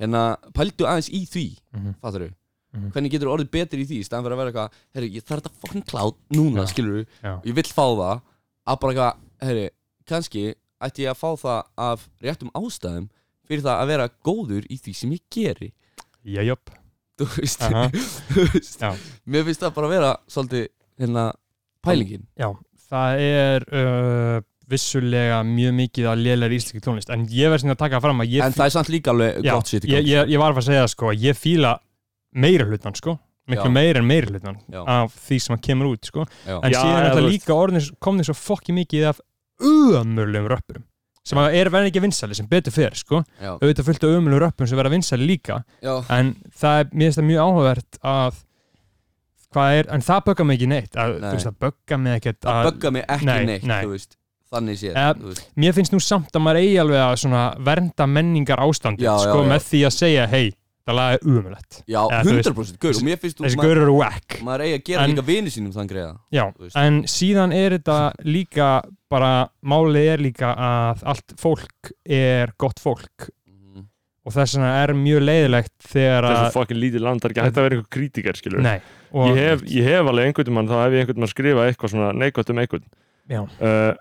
Speaker 1: hérna, pældu aðeins í því
Speaker 3: Mhm.
Speaker 1: fattar þau,
Speaker 3: Mhm.
Speaker 1: hvernig getur orðið betur í því í staðan fyrir að vera eitthvað, herru, ég þarf þetta fucking klátt núna,
Speaker 3: Já.
Speaker 1: skilur
Speaker 3: Já.
Speaker 1: og ég vill fá það að bara eitthvað, herru, kannski ætti ég að fá það af réttum ástæðum fyrir það að vera góður í því sem ég geri
Speaker 3: Jæjöp
Speaker 1: þú veist,
Speaker 3: Aha.
Speaker 1: þú veist
Speaker 3: Já.
Speaker 1: mér finnst það bara að vera svolítið hérna, pælingin
Speaker 3: Já, það er uh, vissulega mjög mikið að lélega íslenski tónlist en ég verð sem að taka fram að ég
Speaker 1: en það er samt líka alveg
Speaker 3: Já,
Speaker 1: gott shit í
Speaker 3: ég,
Speaker 1: gangi
Speaker 3: ég, ég var að fara að segja sko að ég fíla meira hlutan sko miklu
Speaker 1: Já.
Speaker 3: meira en meira hlutan
Speaker 1: Já.
Speaker 3: af því sem að kemur út sko
Speaker 1: Já.
Speaker 3: en
Speaker 2: Já, já,
Speaker 3: síðan er
Speaker 2: þú
Speaker 3: þetta
Speaker 2: veist.
Speaker 3: líka orðin komnið svo fokki mikið af ömurlegum röppurum sem að er verið ekki vinsæli sem betur fer sko
Speaker 1: Já.
Speaker 3: auðvitað fullt af ömurlegum röppurum sem verða vinsæli líka
Speaker 1: Já.
Speaker 3: en það er, mér finnst það mjög áhugavert að hvað er, en það böggar mig ekki neitt að,
Speaker 1: Nei.
Speaker 3: þú veist, það böggar mig ekkert
Speaker 1: það
Speaker 3: að,
Speaker 1: bögga mig ekki
Speaker 3: nei,
Speaker 1: neitt
Speaker 3: nei.
Speaker 1: þú veist, þannig séð
Speaker 3: Eh,
Speaker 1: þú veist.
Speaker 3: mér finnst nú samt að maður eigi alveg að svona vernda menningar ástandi,
Speaker 1: Já, já,
Speaker 3: sko,
Speaker 1: já.
Speaker 3: með því að segja hei, það lag er umulett
Speaker 1: já,
Speaker 3: eh, þú veist,
Speaker 1: 100% gaur, og mér finnst þú
Speaker 3: þessi
Speaker 1: maður,
Speaker 3: gaur eru whack
Speaker 1: maður eigi að gera
Speaker 3: En-
Speaker 1: líka vini sínum þann greiða
Speaker 3: já,
Speaker 1: þú veist.
Speaker 3: en síðan er þetta líka bara, málið er líka að allt fólk er gott fólk
Speaker 1: Mhm.
Speaker 3: og þess vegna er mjög leiðilegt þegar
Speaker 2: þetta er
Speaker 3: að,
Speaker 2: fokkin lítið land, það er ekki hægt að vera eitthvað krítikar skilur
Speaker 3: nei og,
Speaker 2: ég hef, ég hef alveg einhvern mann þá hef ég einhvern mann skrifað eitthvað svona neikvæmt um einhvern
Speaker 3: Já.
Speaker 2: uh,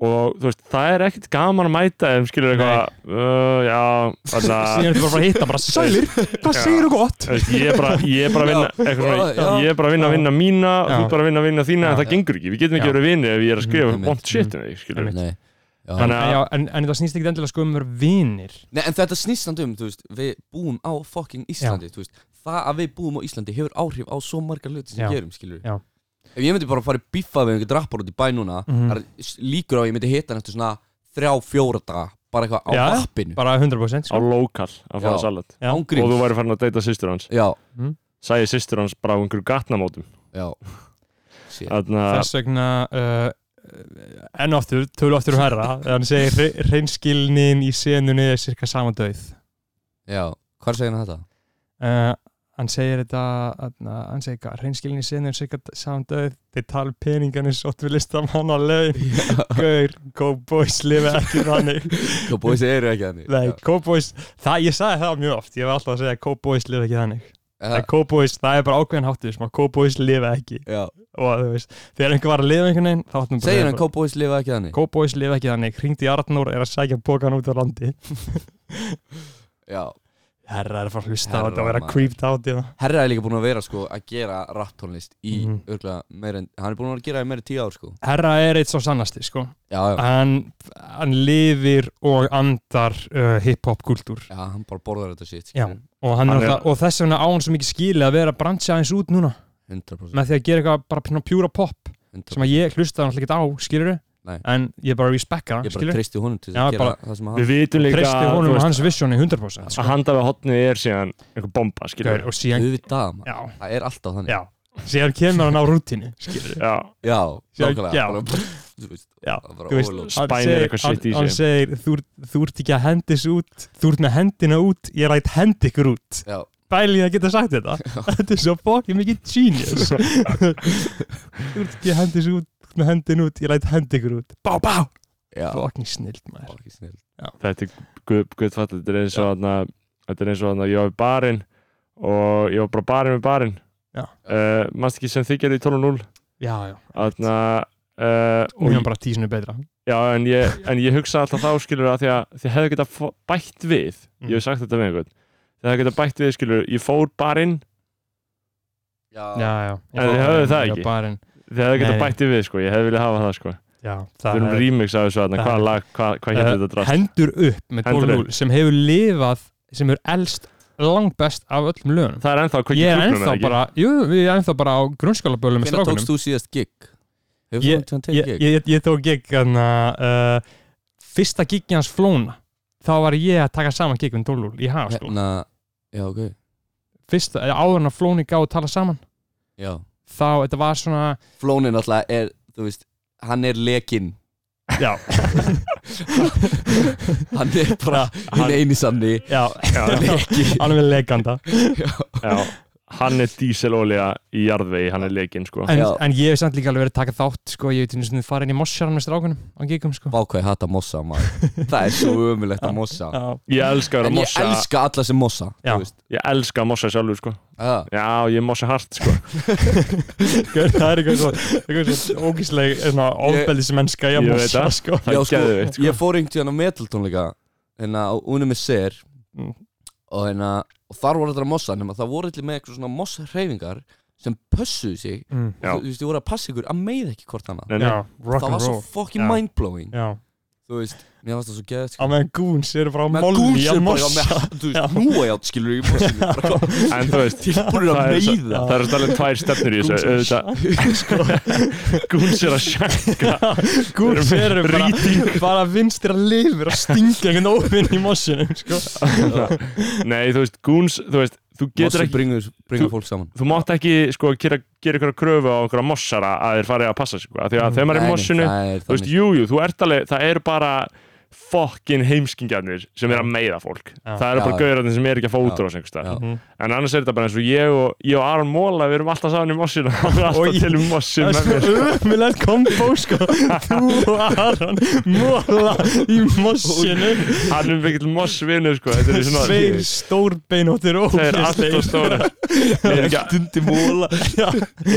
Speaker 2: og þú veist, það er ekkert gaman að mæta þeim skilur eitthvað uh, já,
Speaker 3: síðan
Speaker 2: þarna
Speaker 3: er þetta bara að hitta bara, sælir, hvað
Speaker 2: Ah. Já.
Speaker 3: segir þú gott?
Speaker 2: þú veist, ég er bara, ég er bara að vinna eitthvað svona,
Speaker 1: Já.
Speaker 2: ég er bara að vinna að vinna mína og
Speaker 3: Já.
Speaker 2: þú er bara að vinna að vinna þína,
Speaker 3: Já.
Speaker 2: en það gengur ekki við getum ekki
Speaker 3: Já.
Speaker 2: verið vinni ef ég er að skrifa
Speaker 1: Einmitt.
Speaker 2: vond shit um þig, skilur
Speaker 3: Einmitt.
Speaker 1: Nei. Já.
Speaker 2: Þannig
Speaker 3: En,
Speaker 2: að-
Speaker 3: já, en, en það snýst ekki endilega sko um að vera vinir
Speaker 1: Nei, en þetta snýst samt um, þú veist, við búum á fucking Íslandi, þú veist, það að við búum á Íslandi hefur áhrif á svo margar hluti sem
Speaker 3: Já.
Speaker 1: við gerum, skilur
Speaker 3: Já.
Speaker 1: Ef ég myndi bara fara í bífa við einhvern rappar út í bæ núna,
Speaker 3: Mhm.
Speaker 1: það er s- líkur á að ég myndi hitta hann eftir svona þrjá, fjóra daga, bara eitthvað á
Speaker 3: Já.
Speaker 1: appinu,
Speaker 3: bara 100%
Speaker 2: á
Speaker 3: sko.
Speaker 2: lokal að fara
Speaker 1: Já.
Speaker 2: salat
Speaker 3: Já.
Speaker 1: ángríns
Speaker 2: og þú væri farin að deyta systur hans
Speaker 1: Já,
Speaker 2: sagði systur hans bara á einhverju gatnamótum
Speaker 1: já Sér.
Speaker 2: þannig að
Speaker 3: þess vegna uh, enn og aftur, tölu aftur og herra þegar hann segir hre- hreinskilnin í senunni er cirka sama döið
Speaker 1: Já, hvað segir hann þetta?
Speaker 3: uh, hann segir þetta þarna, hann segir hvað, hreinskilnin í senunni er cirka sama döið þeir tala um peningana eins og við listam hann að laun gaur, go boys, lifa ekki þannig
Speaker 1: Hvað búið þessi eru ekki þannig
Speaker 3: nei,
Speaker 1: Já.
Speaker 3: go boys, það, ég sagði það mjög oft ég hef alltaf að segja go boys, lifa ekki þannig
Speaker 1: En
Speaker 3: en go boys, það er bara ákveðin háttu sem að go boys, lifa ekki
Speaker 1: það- Já,
Speaker 3: og þú veist, þegar einhver var að lifa einhvern veginn þá áttum bara að
Speaker 1: segir
Speaker 3: vera
Speaker 1: hann
Speaker 3: bara-
Speaker 1: Cowboys lifa ekki þannig
Speaker 3: Cowboys lifa ekki þannig, hringdi í Arnór er að sækja bókan út á landi
Speaker 1: Já,
Speaker 3: Herra er að fara að hlusta á
Speaker 1: Herra,
Speaker 3: þetta og vera
Speaker 1: maður.
Speaker 3: creeped out í það
Speaker 1: Herra er líka búin að vera sko að gera rapptónlist í mm
Speaker 3: Mhm.
Speaker 1: meira en, hann er búin að vera að gera í meira en tíu ár sko
Speaker 3: Herra er eitt svo sannasti sko
Speaker 1: Já, já,
Speaker 3: hann, hann lifir og andar uh, hip-hop kultúr
Speaker 1: já, hann bara borðar þetta shit
Speaker 3: Já.
Speaker 1: skilurðu.
Speaker 3: og, hann
Speaker 2: Hann
Speaker 3: hann
Speaker 2: er-
Speaker 3: alltaf, og þess vegna á hann svo mikið skili að vera að brancha aðeins út núna
Speaker 1: 100%,
Speaker 3: með því að gera eitthvað bara svona pjúra pop
Speaker 1: 100%.
Speaker 3: sem að ég hlusta hann ekki á, skilur
Speaker 1: Nei.
Speaker 3: en ég bara respekka hann,
Speaker 1: Ég bara
Speaker 3: skilur
Speaker 1: treysti honum til þess
Speaker 3: Já,
Speaker 1: að gera
Speaker 3: bara-
Speaker 1: það sem hann
Speaker 2: við vitum líka
Speaker 3: treysti
Speaker 2: þú
Speaker 3: honum
Speaker 2: veist,
Speaker 3: og hans visioni 100%
Speaker 2: að
Speaker 3: sko.
Speaker 2: handa við hotnið er síðan einhver bomba skilur
Speaker 3: og síðan,
Speaker 1: Auðvitað, maður.
Speaker 3: já,
Speaker 1: það er alltaf þannig
Speaker 3: já síðan kemur hann á rútinu skilur
Speaker 2: já,
Speaker 1: Já,
Speaker 3: Já,
Speaker 1: nákvæmlega
Speaker 3: já.
Speaker 1: bara- Þú veist,
Speaker 3: Já,
Speaker 1: það er bara
Speaker 3: þú veist,
Speaker 1: overload.
Speaker 3: hann
Speaker 2: Spænir
Speaker 3: segir-
Speaker 2: eitthvað shit í
Speaker 3: hann- Hann
Speaker 2: sig.
Speaker 3: segir, þú, ert- þú ert ekki að hendis út Þú ert með hendina út, ég læt hend ykkur út
Speaker 1: Já,
Speaker 3: Bæli að geta sagt þetta Þetta er svo fokkið mikið genius Þú ert ekki að hendis út Þú ert með hendin út, ég læt hend ykkur út Bá, bá,
Speaker 1: já
Speaker 3: fokkið snild maður
Speaker 1: Fucking snill.
Speaker 2: þetta er guð, guð fatt, þetta er eins og þarna þetta er eins og þarna, ég var í barinn og ég var bara barinn með barinn
Speaker 3: Já.
Speaker 2: uh, mannst ekki sem þið gerði í 12.0
Speaker 3: Já, já,
Speaker 2: þarna uh,
Speaker 3: og
Speaker 2: og
Speaker 3: ég bara tísinu betra
Speaker 2: já, en ég, en ég hugsa alltaf þá skilur að því að þið hefðu getað fó- bætt við ég
Speaker 3: Mm.
Speaker 2: hef sagt þetta með einhvern þið hefðu getað bætt við skilur, ég fór barinn
Speaker 1: Já,
Speaker 3: Já, já
Speaker 2: En þið höfðu það
Speaker 3: Já,
Speaker 2: ekki?
Speaker 3: barinn.
Speaker 2: þið hefðu
Speaker 3: Nei.
Speaker 2: getað bætt við sko, ég hefði viljað hafa það sko
Speaker 3: Já,
Speaker 2: við
Speaker 3: það
Speaker 2: erum remix af þessu þarna,
Speaker 3: það
Speaker 2: hvað
Speaker 3: er-
Speaker 2: lag, hvað, hvað
Speaker 3: Eh,
Speaker 2: hérna þetta drast
Speaker 3: Hendur upp með
Speaker 2: Hendur
Speaker 3: 12.0 sem hefur lifað sem hefur elst langbest af öllum lögunum
Speaker 2: það er ennþá
Speaker 3: Ég
Speaker 2: kveikin
Speaker 3: er ennþá bara, jú, við erum ennþá bara á grunnskólabölu með
Speaker 1: Hvernig tókst
Speaker 3: strákunum
Speaker 1: þú síðast gig? Hefur
Speaker 3: Ég-
Speaker 1: þú hann
Speaker 3: Ég,
Speaker 1: tekið gig?
Speaker 3: ég, ég tók gig þarna, uh, fyrsta gigi hans flóna þá var ég að taka saman gig við Dólúl í hagaskóla
Speaker 1: Hérna, já, ok
Speaker 3: fyrsta, eða áður en að flóni gá að tala saman
Speaker 1: Já
Speaker 3: þá, þetta var svona
Speaker 1: Flónin alltaf er, þú veist, hann er lekinn
Speaker 3: já,
Speaker 1: Hann er bara
Speaker 2: Hann-
Speaker 1: hinn eini sanni
Speaker 3: já,
Speaker 2: já,
Speaker 1: Leki
Speaker 3: hann er leikanda
Speaker 2: já, hann er díselolja í jarðvegi, hann er leikinn sko
Speaker 3: en,
Speaker 1: Já.
Speaker 3: en ég hef samt líka alveg verið að taka þátt sko, ég hef til þess að fara inn í mossjaran með strákunum á gigum sko
Speaker 1: Vákvæði hata mossa maður Oh Það er svo umulegt að mossa
Speaker 3: já,
Speaker 2: ég elska að vera
Speaker 1: En ég
Speaker 2: mossa
Speaker 1: elska alla sem mossa
Speaker 3: Já.
Speaker 1: þú veist.
Speaker 2: ég elska að mossa sjálfur sko
Speaker 1: Já.
Speaker 2: já, ég mossa hart sko
Speaker 3: Gaur, það er eitthvað svo, eitthvað svo ógísleg ofbeldismennska í að
Speaker 2: Ég veit
Speaker 3: mossa
Speaker 2: það.
Speaker 3: sko
Speaker 2: það
Speaker 1: Já,
Speaker 2: er
Speaker 1: sko,
Speaker 2: geðveikt sko
Speaker 1: Ég fór einhvern tíðan á metaltónleika Hérna á unum með sér
Speaker 3: Mm.
Speaker 1: og, hérna, og þar voru þetta að mossa Nefna það voru allir með eitthvað svona mossa hreyfingar Sem pössuðu sig
Speaker 3: Mm.
Speaker 2: Já.
Speaker 1: Þú veist, ég voru að passa ykkur að meið ekki hvort annað
Speaker 2: Nei, nei.
Speaker 3: já, rock
Speaker 1: Það
Speaker 3: and
Speaker 1: var svo
Speaker 3: roll
Speaker 1: fucking
Speaker 3: Já.
Speaker 1: mindblowing
Speaker 3: já
Speaker 1: Þú veist, mér varst það svo geðið
Speaker 3: á meðan Goons eru bara á
Speaker 1: Með
Speaker 3: molli
Speaker 1: gúsir bara,
Speaker 3: að
Speaker 1: já,
Speaker 3: mossa
Speaker 1: með, þú veist, núajátt skilur ég í mossinu bara hvað-
Speaker 2: en þú veist
Speaker 1: Tilbúin að
Speaker 2: það er svo-
Speaker 1: meiða
Speaker 2: það eru alveg tvær stefnur í þessu auðvitað, Goons er að sjanka
Speaker 3: Goons Sko. eru bara, bara vinstir að lifur að stinga einhvern óvinn í mossinum sko.
Speaker 2: Nei, þú veist, Goons, þú veist þú getur
Speaker 1: Mossi
Speaker 2: ekki
Speaker 1: bringur, bringur
Speaker 2: þú-
Speaker 1: fólk saman
Speaker 2: þú mátt ekki sko gera, gera ykkur kröfu á okkur mossara að þeir farið að passa sig sko. af því að
Speaker 3: Mm.
Speaker 2: þegar maður er í
Speaker 1: Nei, nei,
Speaker 2: mossinu
Speaker 1: það er
Speaker 2: þú veist,
Speaker 1: þannig.
Speaker 2: jú, jú, þú ert alveg, það eru bara fokkin heimskingjarnir sem er að meiða fólk
Speaker 3: Já.
Speaker 2: það eru
Speaker 1: Já,
Speaker 2: bara
Speaker 1: já.
Speaker 2: gaurarnir sem er ekki að fá
Speaker 1: Já.
Speaker 2: út úr þessu einhvers staðar.
Speaker 1: Já.
Speaker 2: en annars er þetta bara eins og ég og, ég og Aron Móla við erum alltaf saman í mossinu hann er
Speaker 3: Og
Speaker 2: alltaf
Speaker 3: ég-
Speaker 2: til um mossin
Speaker 3: Það
Speaker 2: með mér
Speaker 3: er svo ömulegt kombo sko Þú og Aron Móla í mossinu
Speaker 2: hann er mikill mossvinur sko þetta er svona
Speaker 3: Sveir stórbeinóttir og
Speaker 2: það er alltaf stóra ég er ekki,
Speaker 1: Dundi móla
Speaker 2: ég er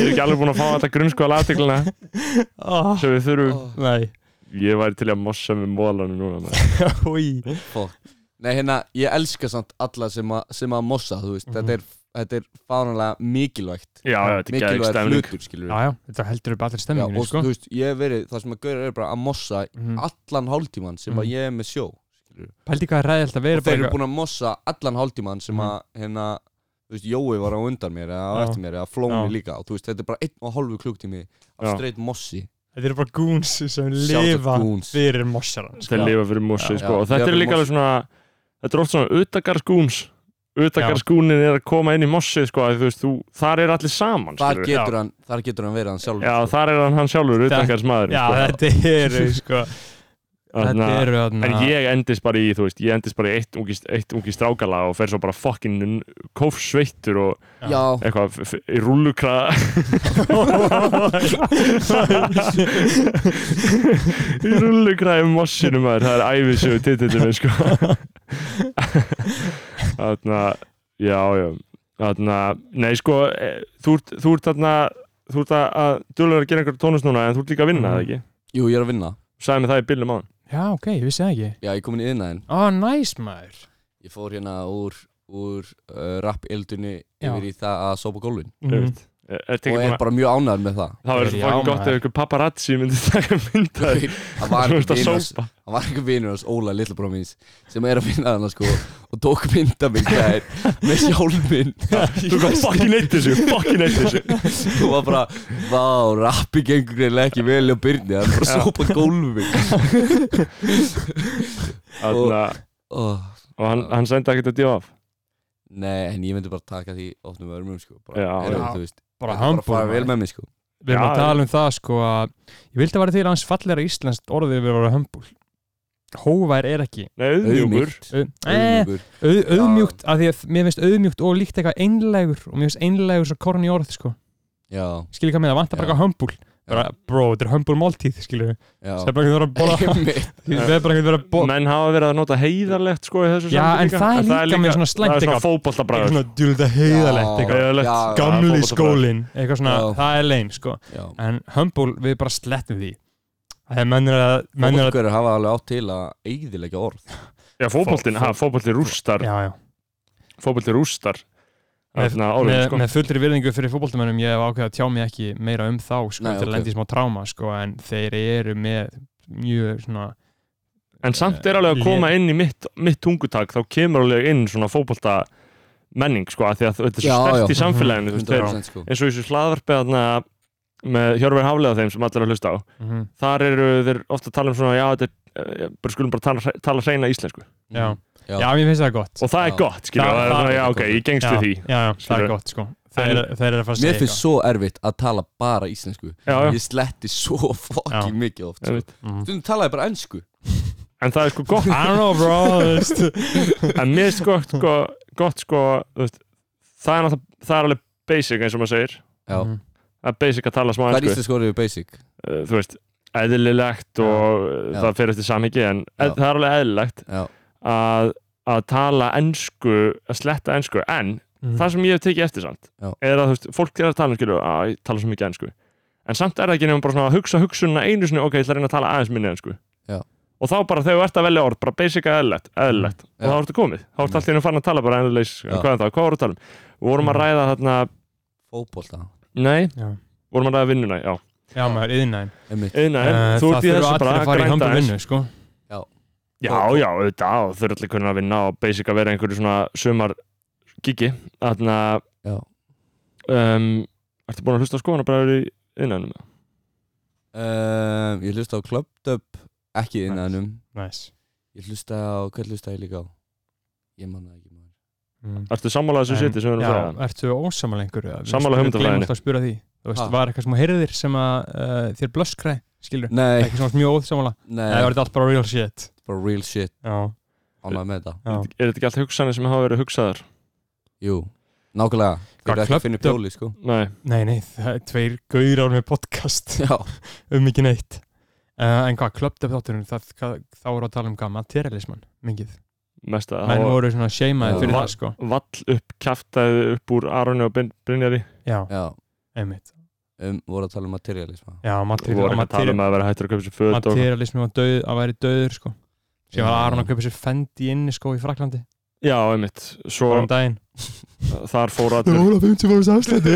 Speaker 2: ekki alveg búin að fá þetta grunnskóla aðteglina
Speaker 3: ah,
Speaker 2: sem við þurfum
Speaker 3: Nei
Speaker 2: ég væri til í að mossa með mólanum núna maður.
Speaker 3: Í
Speaker 1: Nei hérna, ég elska samt alla sem, a, sem að mossa, þú veist Þetta er, þetta er fáranlega mikilvægt
Speaker 2: já, já, Mhm. þetta er gæðið
Speaker 1: Mikilvægt
Speaker 2: stæmning
Speaker 1: hlutur, skilur
Speaker 3: Já, já, þetta heldur upp allir
Speaker 1: Já,
Speaker 3: stemminginu
Speaker 1: og
Speaker 3: sko
Speaker 1: þú veist, ég hef verið, það sem að gauður er bara að mossa
Speaker 3: Mhm.
Speaker 1: allan hálftíman sem að
Speaker 3: Mhm.
Speaker 1: ég er með sjó skilur.
Speaker 3: Pældi hvað er ræðilt að
Speaker 1: og
Speaker 3: vera
Speaker 1: þeir eru búin að mossa allan hálftíman sem að hérna, þú veist, Jói var á undan mér eða á
Speaker 3: Já.
Speaker 1: eftir mér eða flóni
Speaker 2: Já.
Speaker 1: líka og þú veist, þetta er bara einn og hálfu klukkutími
Speaker 2: Já.
Speaker 1: af streit mossi
Speaker 3: Þetta eru bara goons sem
Speaker 1: Shout out
Speaker 3: lifa
Speaker 1: goons.
Speaker 3: fyrir mossaran
Speaker 2: þeir
Speaker 3: sko.
Speaker 2: lifa fyrir mossi
Speaker 3: Já,
Speaker 2: sko.
Speaker 1: já,
Speaker 2: og þetta
Speaker 1: lifa
Speaker 2: er
Speaker 1: fyrir
Speaker 2: líka alveg svona þetta er oft svona utagarskúns utagarskúnin er að koma inn í mossi sko, að, þú veist, þú, þar er allir saman
Speaker 1: þar
Speaker 2: skilurðu.
Speaker 1: getur, hann, þar getur hann verið hann sjálf
Speaker 2: já, þar er hann, hann sjálfur sko. utagarsmaður
Speaker 3: Já, þetta eru sko Þetta eru þarna
Speaker 2: en ég endist bara í þú veist, ég endist bara í eitt ungi, eitt ungi strákala og fer svo bara fokkin kófsveittur og
Speaker 1: já, já.
Speaker 2: eitthvað f- f- í rullukra í rullukra í mossinu maður það er æfisögu titillin minn, sko þarna já já þarna nei sko eh, þú ert þú ert þarna þú ert að, að duðlega að gera einhverja tónust núna en þú ert líka að vinna
Speaker 3: Mhm.
Speaker 2: eða ekki
Speaker 1: jú, ég er að vinna
Speaker 2: sagði mér það í bílum á hann
Speaker 3: Já, ok, ég vissi það ekki
Speaker 1: já, ég er komin í yðnaðin
Speaker 3: Ó, næs maður
Speaker 1: ég fór hérna úr, úr uh, rap eldunni
Speaker 3: Já.
Speaker 1: yfir í það að sopa gólfin
Speaker 3: Mhm.
Speaker 2: E,
Speaker 1: og er bara mjög ánægð með það
Speaker 2: það verður
Speaker 3: Já,
Speaker 2: svo fokkin gott
Speaker 3: maður.
Speaker 2: ef ykkur paparazzi myndi taka myndaði
Speaker 1: það var
Speaker 2: þú
Speaker 1: ekki
Speaker 2: ert að
Speaker 1: vinur
Speaker 2: sópa
Speaker 1: það var einhver vinur hans, Óla, lillabróð míns sem er að finna hana sko og tók mynda minn gæðir með sjálfinn
Speaker 2: þú kom fokkin eitt þessu fokkin eitt þessu
Speaker 1: og var bara, vá, rappi gengur greinilega ekki vel á byrni, það er bara að sópa gólfi
Speaker 2: þarna
Speaker 1: oh,
Speaker 2: og hann, hann sendi ekkert að djóa af
Speaker 1: Nei, en ég myndi bara taka því ofnum örmum sko bara,
Speaker 2: Já,
Speaker 1: er,
Speaker 3: já.
Speaker 1: þú veist, þetta er bara
Speaker 3: Bara
Speaker 1: að
Speaker 3: humble
Speaker 1: fara vel
Speaker 3: maður.
Speaker 1: með mig sko
Speaker 3: Við erum
Speaker 2: Já,
Speaker 3: að
Speaker 2: já.
Speaker 3: tala um það sko að Ég vildi að vera til hans fallegra íslenskt orðið við voru hömbul Hóvær er ekki
Speaker 2: nei, auðmjúkur
Speaker 1: Auðmýkt,
Speaker 3: Au- Eh,
Speaker 1: auðmjúkur.
Speaker 3: auð, Auðmjúkt, af því að mér finnst auðmjúkt og líkt eitthvað einlegur og mér finnst einlegur svo korn í orð sko
Speaker 1: Já,
Speaker 3: Skilji hvað með það, vantar
Speaker 1: Já.
Speaker 3: bara eitthvað hömbul Bara, bro, þetta er hömbul máltíð, skilju
Speaker 1: já
Speaker 3: Það er bara eitthvað að borða
Speaker 1: Einmitt.
Speaker 3: Það er bara eitthvað að borða
Speaker 2: menn hafa verið að nota heiðarlegt sko í þessu
Speaker 3: Já, en
Speaker 2: sambandi
Speaker 3: það er líka með svona slæmt
Speaker 2: það er svona
Speaker 3: eitthvað. Eitthvað
Speaker 2: fótballtabræður
Speaker 3: svona djúlda
Speaker 1: sko.
Speaker 3: heiðalegt
Speaker 1: Já,
Speaker 3: eitthvað
Speaker 2: Heiðarlegt.
Speaker 1: já,
Speaker 3: Gamli
Speaker 2: fótboltabræður.
Speaker 3: skólinn, eitthvað svona,
Speaker 1: Já.
Speaker 3: það er leim sko
Speaker 1: Já,
Speaker 3: En hömbul, við bara slettum því Þegar menn er að, menn er að
Speaker 1: fólkur hafa alveg átt til að eigðilega orð
Speaker 2: já, fótballtin,
Speaker 3: Fó-
Speaker 2: ha, fótballtin rústar
Speaker 3: Já, já
Speaker 2: fótballtin rústar
Speaker 3: Með,
Speaker 2: þarna árið,
Speaker 3: með,
Speaker 2: sko.
Speaker 3: með fullri virðingu fyrir fótboltamönnum ég hef ákveðið að tjá mig ekki meira um þá sko,
Speaker 1: Nei,
Speaker 3: til að
Speaker 1: ok.
Speaker 3: lendi í smá tráma sko, en þeir eru með mjög svona
Speaker 2: en samt er alveg að koma inn í mitt, mitt tungutak þá kemur alveg inn svona fótballta menning sko, af því að þetta er svo
Speaker 1: Já, Mhm.
Speaker 2: stert í
Speaker 1: já.
Speaker 2: samfélaginu þú veist, þeir,
Speaker 1: 100% sko
Speaker 2: eins og í þessu hlaðvarpi þarna með Hjörver Haflega þeim sem allir eru að hlusta á
Speaker 3: mm -hmm.
Speaker 2: þar eru þeir ofta að tala um svona já, þetta er, eh, bara skulum bara tala, tala hreina íslensku
Speaker 3: já.
Speaker 1: Mhm. Já.
Speaker 3: Já. mér finnst það gott
Speaker 2: og það er
Speaker 1: Já.
Speaker 2: gott, skilja,
Speaker 3: Það-
Speaker 2: það er
Speaker 3: það-
Speaker 2: svona já, ok, ég gengst
Speaker 3: já,
Speaker 2: við því
Speaker 3: já, já, það
Speaker 2: Skilurðu?
Speaker 3: er gott sko. þeir,
Speaker 2: En-
Speaker 3: eru- þeir eru að fara að
Speaker 1: Mér
Speaker 3: segja
Speaker 1: finnst svo erfitt að tala bara íslensku
Speaker 2: já, já,
Speaker 1: Ég sletti svo fucking mikið oft
Speaker 2: Einmitt.
Speaker 1: sko. Stundum talaði bara ennsku
Speaker 2: en það er sko gott
Speaker 3: I don't know bro þú veist.
Speaker 2: en mér finnst gott, sko, gott sko, þú veist, það er náttúrulega það er alveg basic eins og maður segir
Speaker 1: Já.
Speaker 3: Mhm.
Speaker 2: það er basic að tala smá
Speaker 1: Hvað er
Speaker 2: einsku
Speaker 1: íslensku orðið við basic?
Speaker 2: þú veist, eðlilegt og
Speaker 1: Já.
Speaker 2: það fer eftir samhengi en eð,
Speaker 1: Já.
Speaker 2: það er alveg eðlilegt
Speaker 1: Já,
Speaker 2: að, að tala ensku að sletta ensku, en
Speaker 3: Mhm.
Speaker 2: það sem ég hef tekið eftir samt
Speaker 1: Mm. Já.
Speaker 2: er að þú veist, fólk er að tala skilur, að ég tala svo mikið ensku en samt er það ekki nefnum bara svona að hugsa hugsunna einu sinni, ok, ég ætla að reyna að tala aðeins minni ensku
Speaker 1: Já.
Speaker 2: og þá bara þegar þú ert að velja orð bara basic að eðlilegt, eðlilegt og
Speaker 1: Mm. Já.
Speaker 2: þá ertu komið, þá ertu
Speaker 1: Já.
Speaker 2: allt í hennu farin að tala bara eðlilegs,
Speaker 1: Já. Mm.
Speaker 2: hvað er það, hvað voru að tala um Við vorum að
Speaker 3: Mhm.
Speaker 2: ræða þarna,
Speaker 1: fótbolta
Speaker 2: nei,
Speaker 3: já.
Speaker 2: vorum að ræða vinnuna, já
Speaker 3: já maður, yðinæðin
Speaker 1: Einmitt.
Speaker 2: Eina,
Speaker 3: Eh,
Speaker 2: þú
Speaker 3: það
Speaker 2: ert í
Speaker 3: þurfa
Speaker 2: þessu
Speaker 3: allir
Speaker 2: bara
Speaker 3: að
Speaker 2: að
Speaker 3: fara í
Speaker 2: grænda
Speaker 3: hömbul
Speaker 2: aðeins.
Speaker 3: vinnu sko.
Speaker 2: Já, já, auðvitað, og þau eru allir kunna að vinna og basic að vera í einhverju svona sumar gigi, þarna
Speaker 1: Já.
Speaker 2: um, Ertu búin að hlusta á skoðan að bræður í innanum?
Speaker 1: Um, ég hlusta á Club Dub ekki um. innanum
Speaker 3: nice.
Speaker 1: ég hlusta á, hvað hlusta ég líka á? ég manna ekki maður
Speaker 3: Mm.
Speaker 2: Ertu sammála þessu
Speaker 3: En-
Speaker 2: seti sem við erum að
Speaker 3: já,
Speaker 2: segja?
Speaker 3: ertu ósamála einhverju eða? Við
Speaker 2: Sammála
Speaker 3: spyrum-
Speaker 2: hugmyndafræðinni.
Speaker 3: gleymum alltaf að spura því þú veist,
Speaker 1: Ha.
Speaker 3: var eitthvað sem hérðir sem að uh, þér blöskræ skilur,
Speaker 1: Nei,
Speaker 3: ekki svona mjög ósamála eða
Speaker 1: nei,
Speaker 3: var þetta allt bara real shit
Speaker 1: bara real shit
Speaker 3: já,
Speaker 1: ánægð með þetta
Speaker 3: já.
Speaker 2: Er þetta ekki allt hugsanir sem hafa verið hugsaðar?
Speaker 1: Jú, nákvæmlega Þeir
Speaker 3: Hvað,
Speaker 1: eru ekki að finna upp
Speaker 3: klöpptu-
Speaker 1: hjóli, sko
Speaker 2: Nei,
Speaker 3: nei, nei, það er tveir gauðir árum með
Speaker 1: Já,
Speaker 3: podcast um ekki neitt uh, en hvað, klöpt af þátturinn það, hvað, þá voru að tala um hvað, materialisman mingið,
Speaker 2: mest að
Speaker 3: menn
Speaker 2: hafa
Speaker 3: voru svona
Speaker 1: Já.
Speaker 3: sheimaði fyrir
Speaker 2: Va-
Speaker 3: það sko,
Speaker 2: vall upp kæftæði upp úr Aronu og Bryn- Brynjari
Speaker 3: já,
Speaker 1: já,
Speaker 3: einmitt
Speaker 1: um, voru að tala um materialisma
Speaker 3: já,
Speaker 2: og voru ekki að tala um
Speaker 3: materialisman
Speaker 2: að vera hættur að kaupa sér föt og...
Speaker 3: materialismi var döð, að væri döður sko sem var
Speaker 1: Já.
Speaker 3: Aron að kaupa sér fendi inni sko í Fraklandi
Speaker 2: Já, einmitt, svo
Speaker 3: bara um daginn
Speaker 2: þar fór allir
Speaker 3: voru að 50 fórum afslætti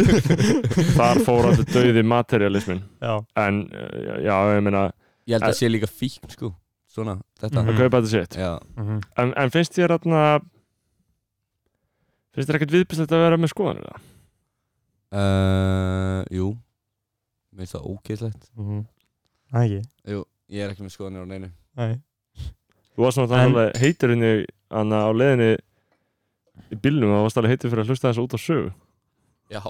Speaker 2: þar fór allir döiði materialismin
Speaker 3: já,
Speaker 2: en, eh, já, ég meina
Speaker 1: Ég held að sé líka fíkn, sko Svona, þetta
Speaker 3: Mhm.
Speaker 2: að kaupa þetta sitt
Speaker 1: Já,
Speaker 3: mhm.
Speaker 2: en, en finnst þér aðna finnst þér ekkert viðbyrslegt að vera með skoðan eða?
Speaker 1: uh, jú Mér finnst það ógeðslegt
Speaker 3: Mhm. Það ekki
Speaker 1: Jú, ég er ekki með skoðanir á neinu
Speaker 3: Nei.
Speaker 2: þú varst
Speaker 3: En-
Speaker 2: náttúrulega en... heitur henni anna, á leiðinni í bílnum og varst alveg heitur fyrir að hlusta þessu út á sögu
Speaker 1: Já,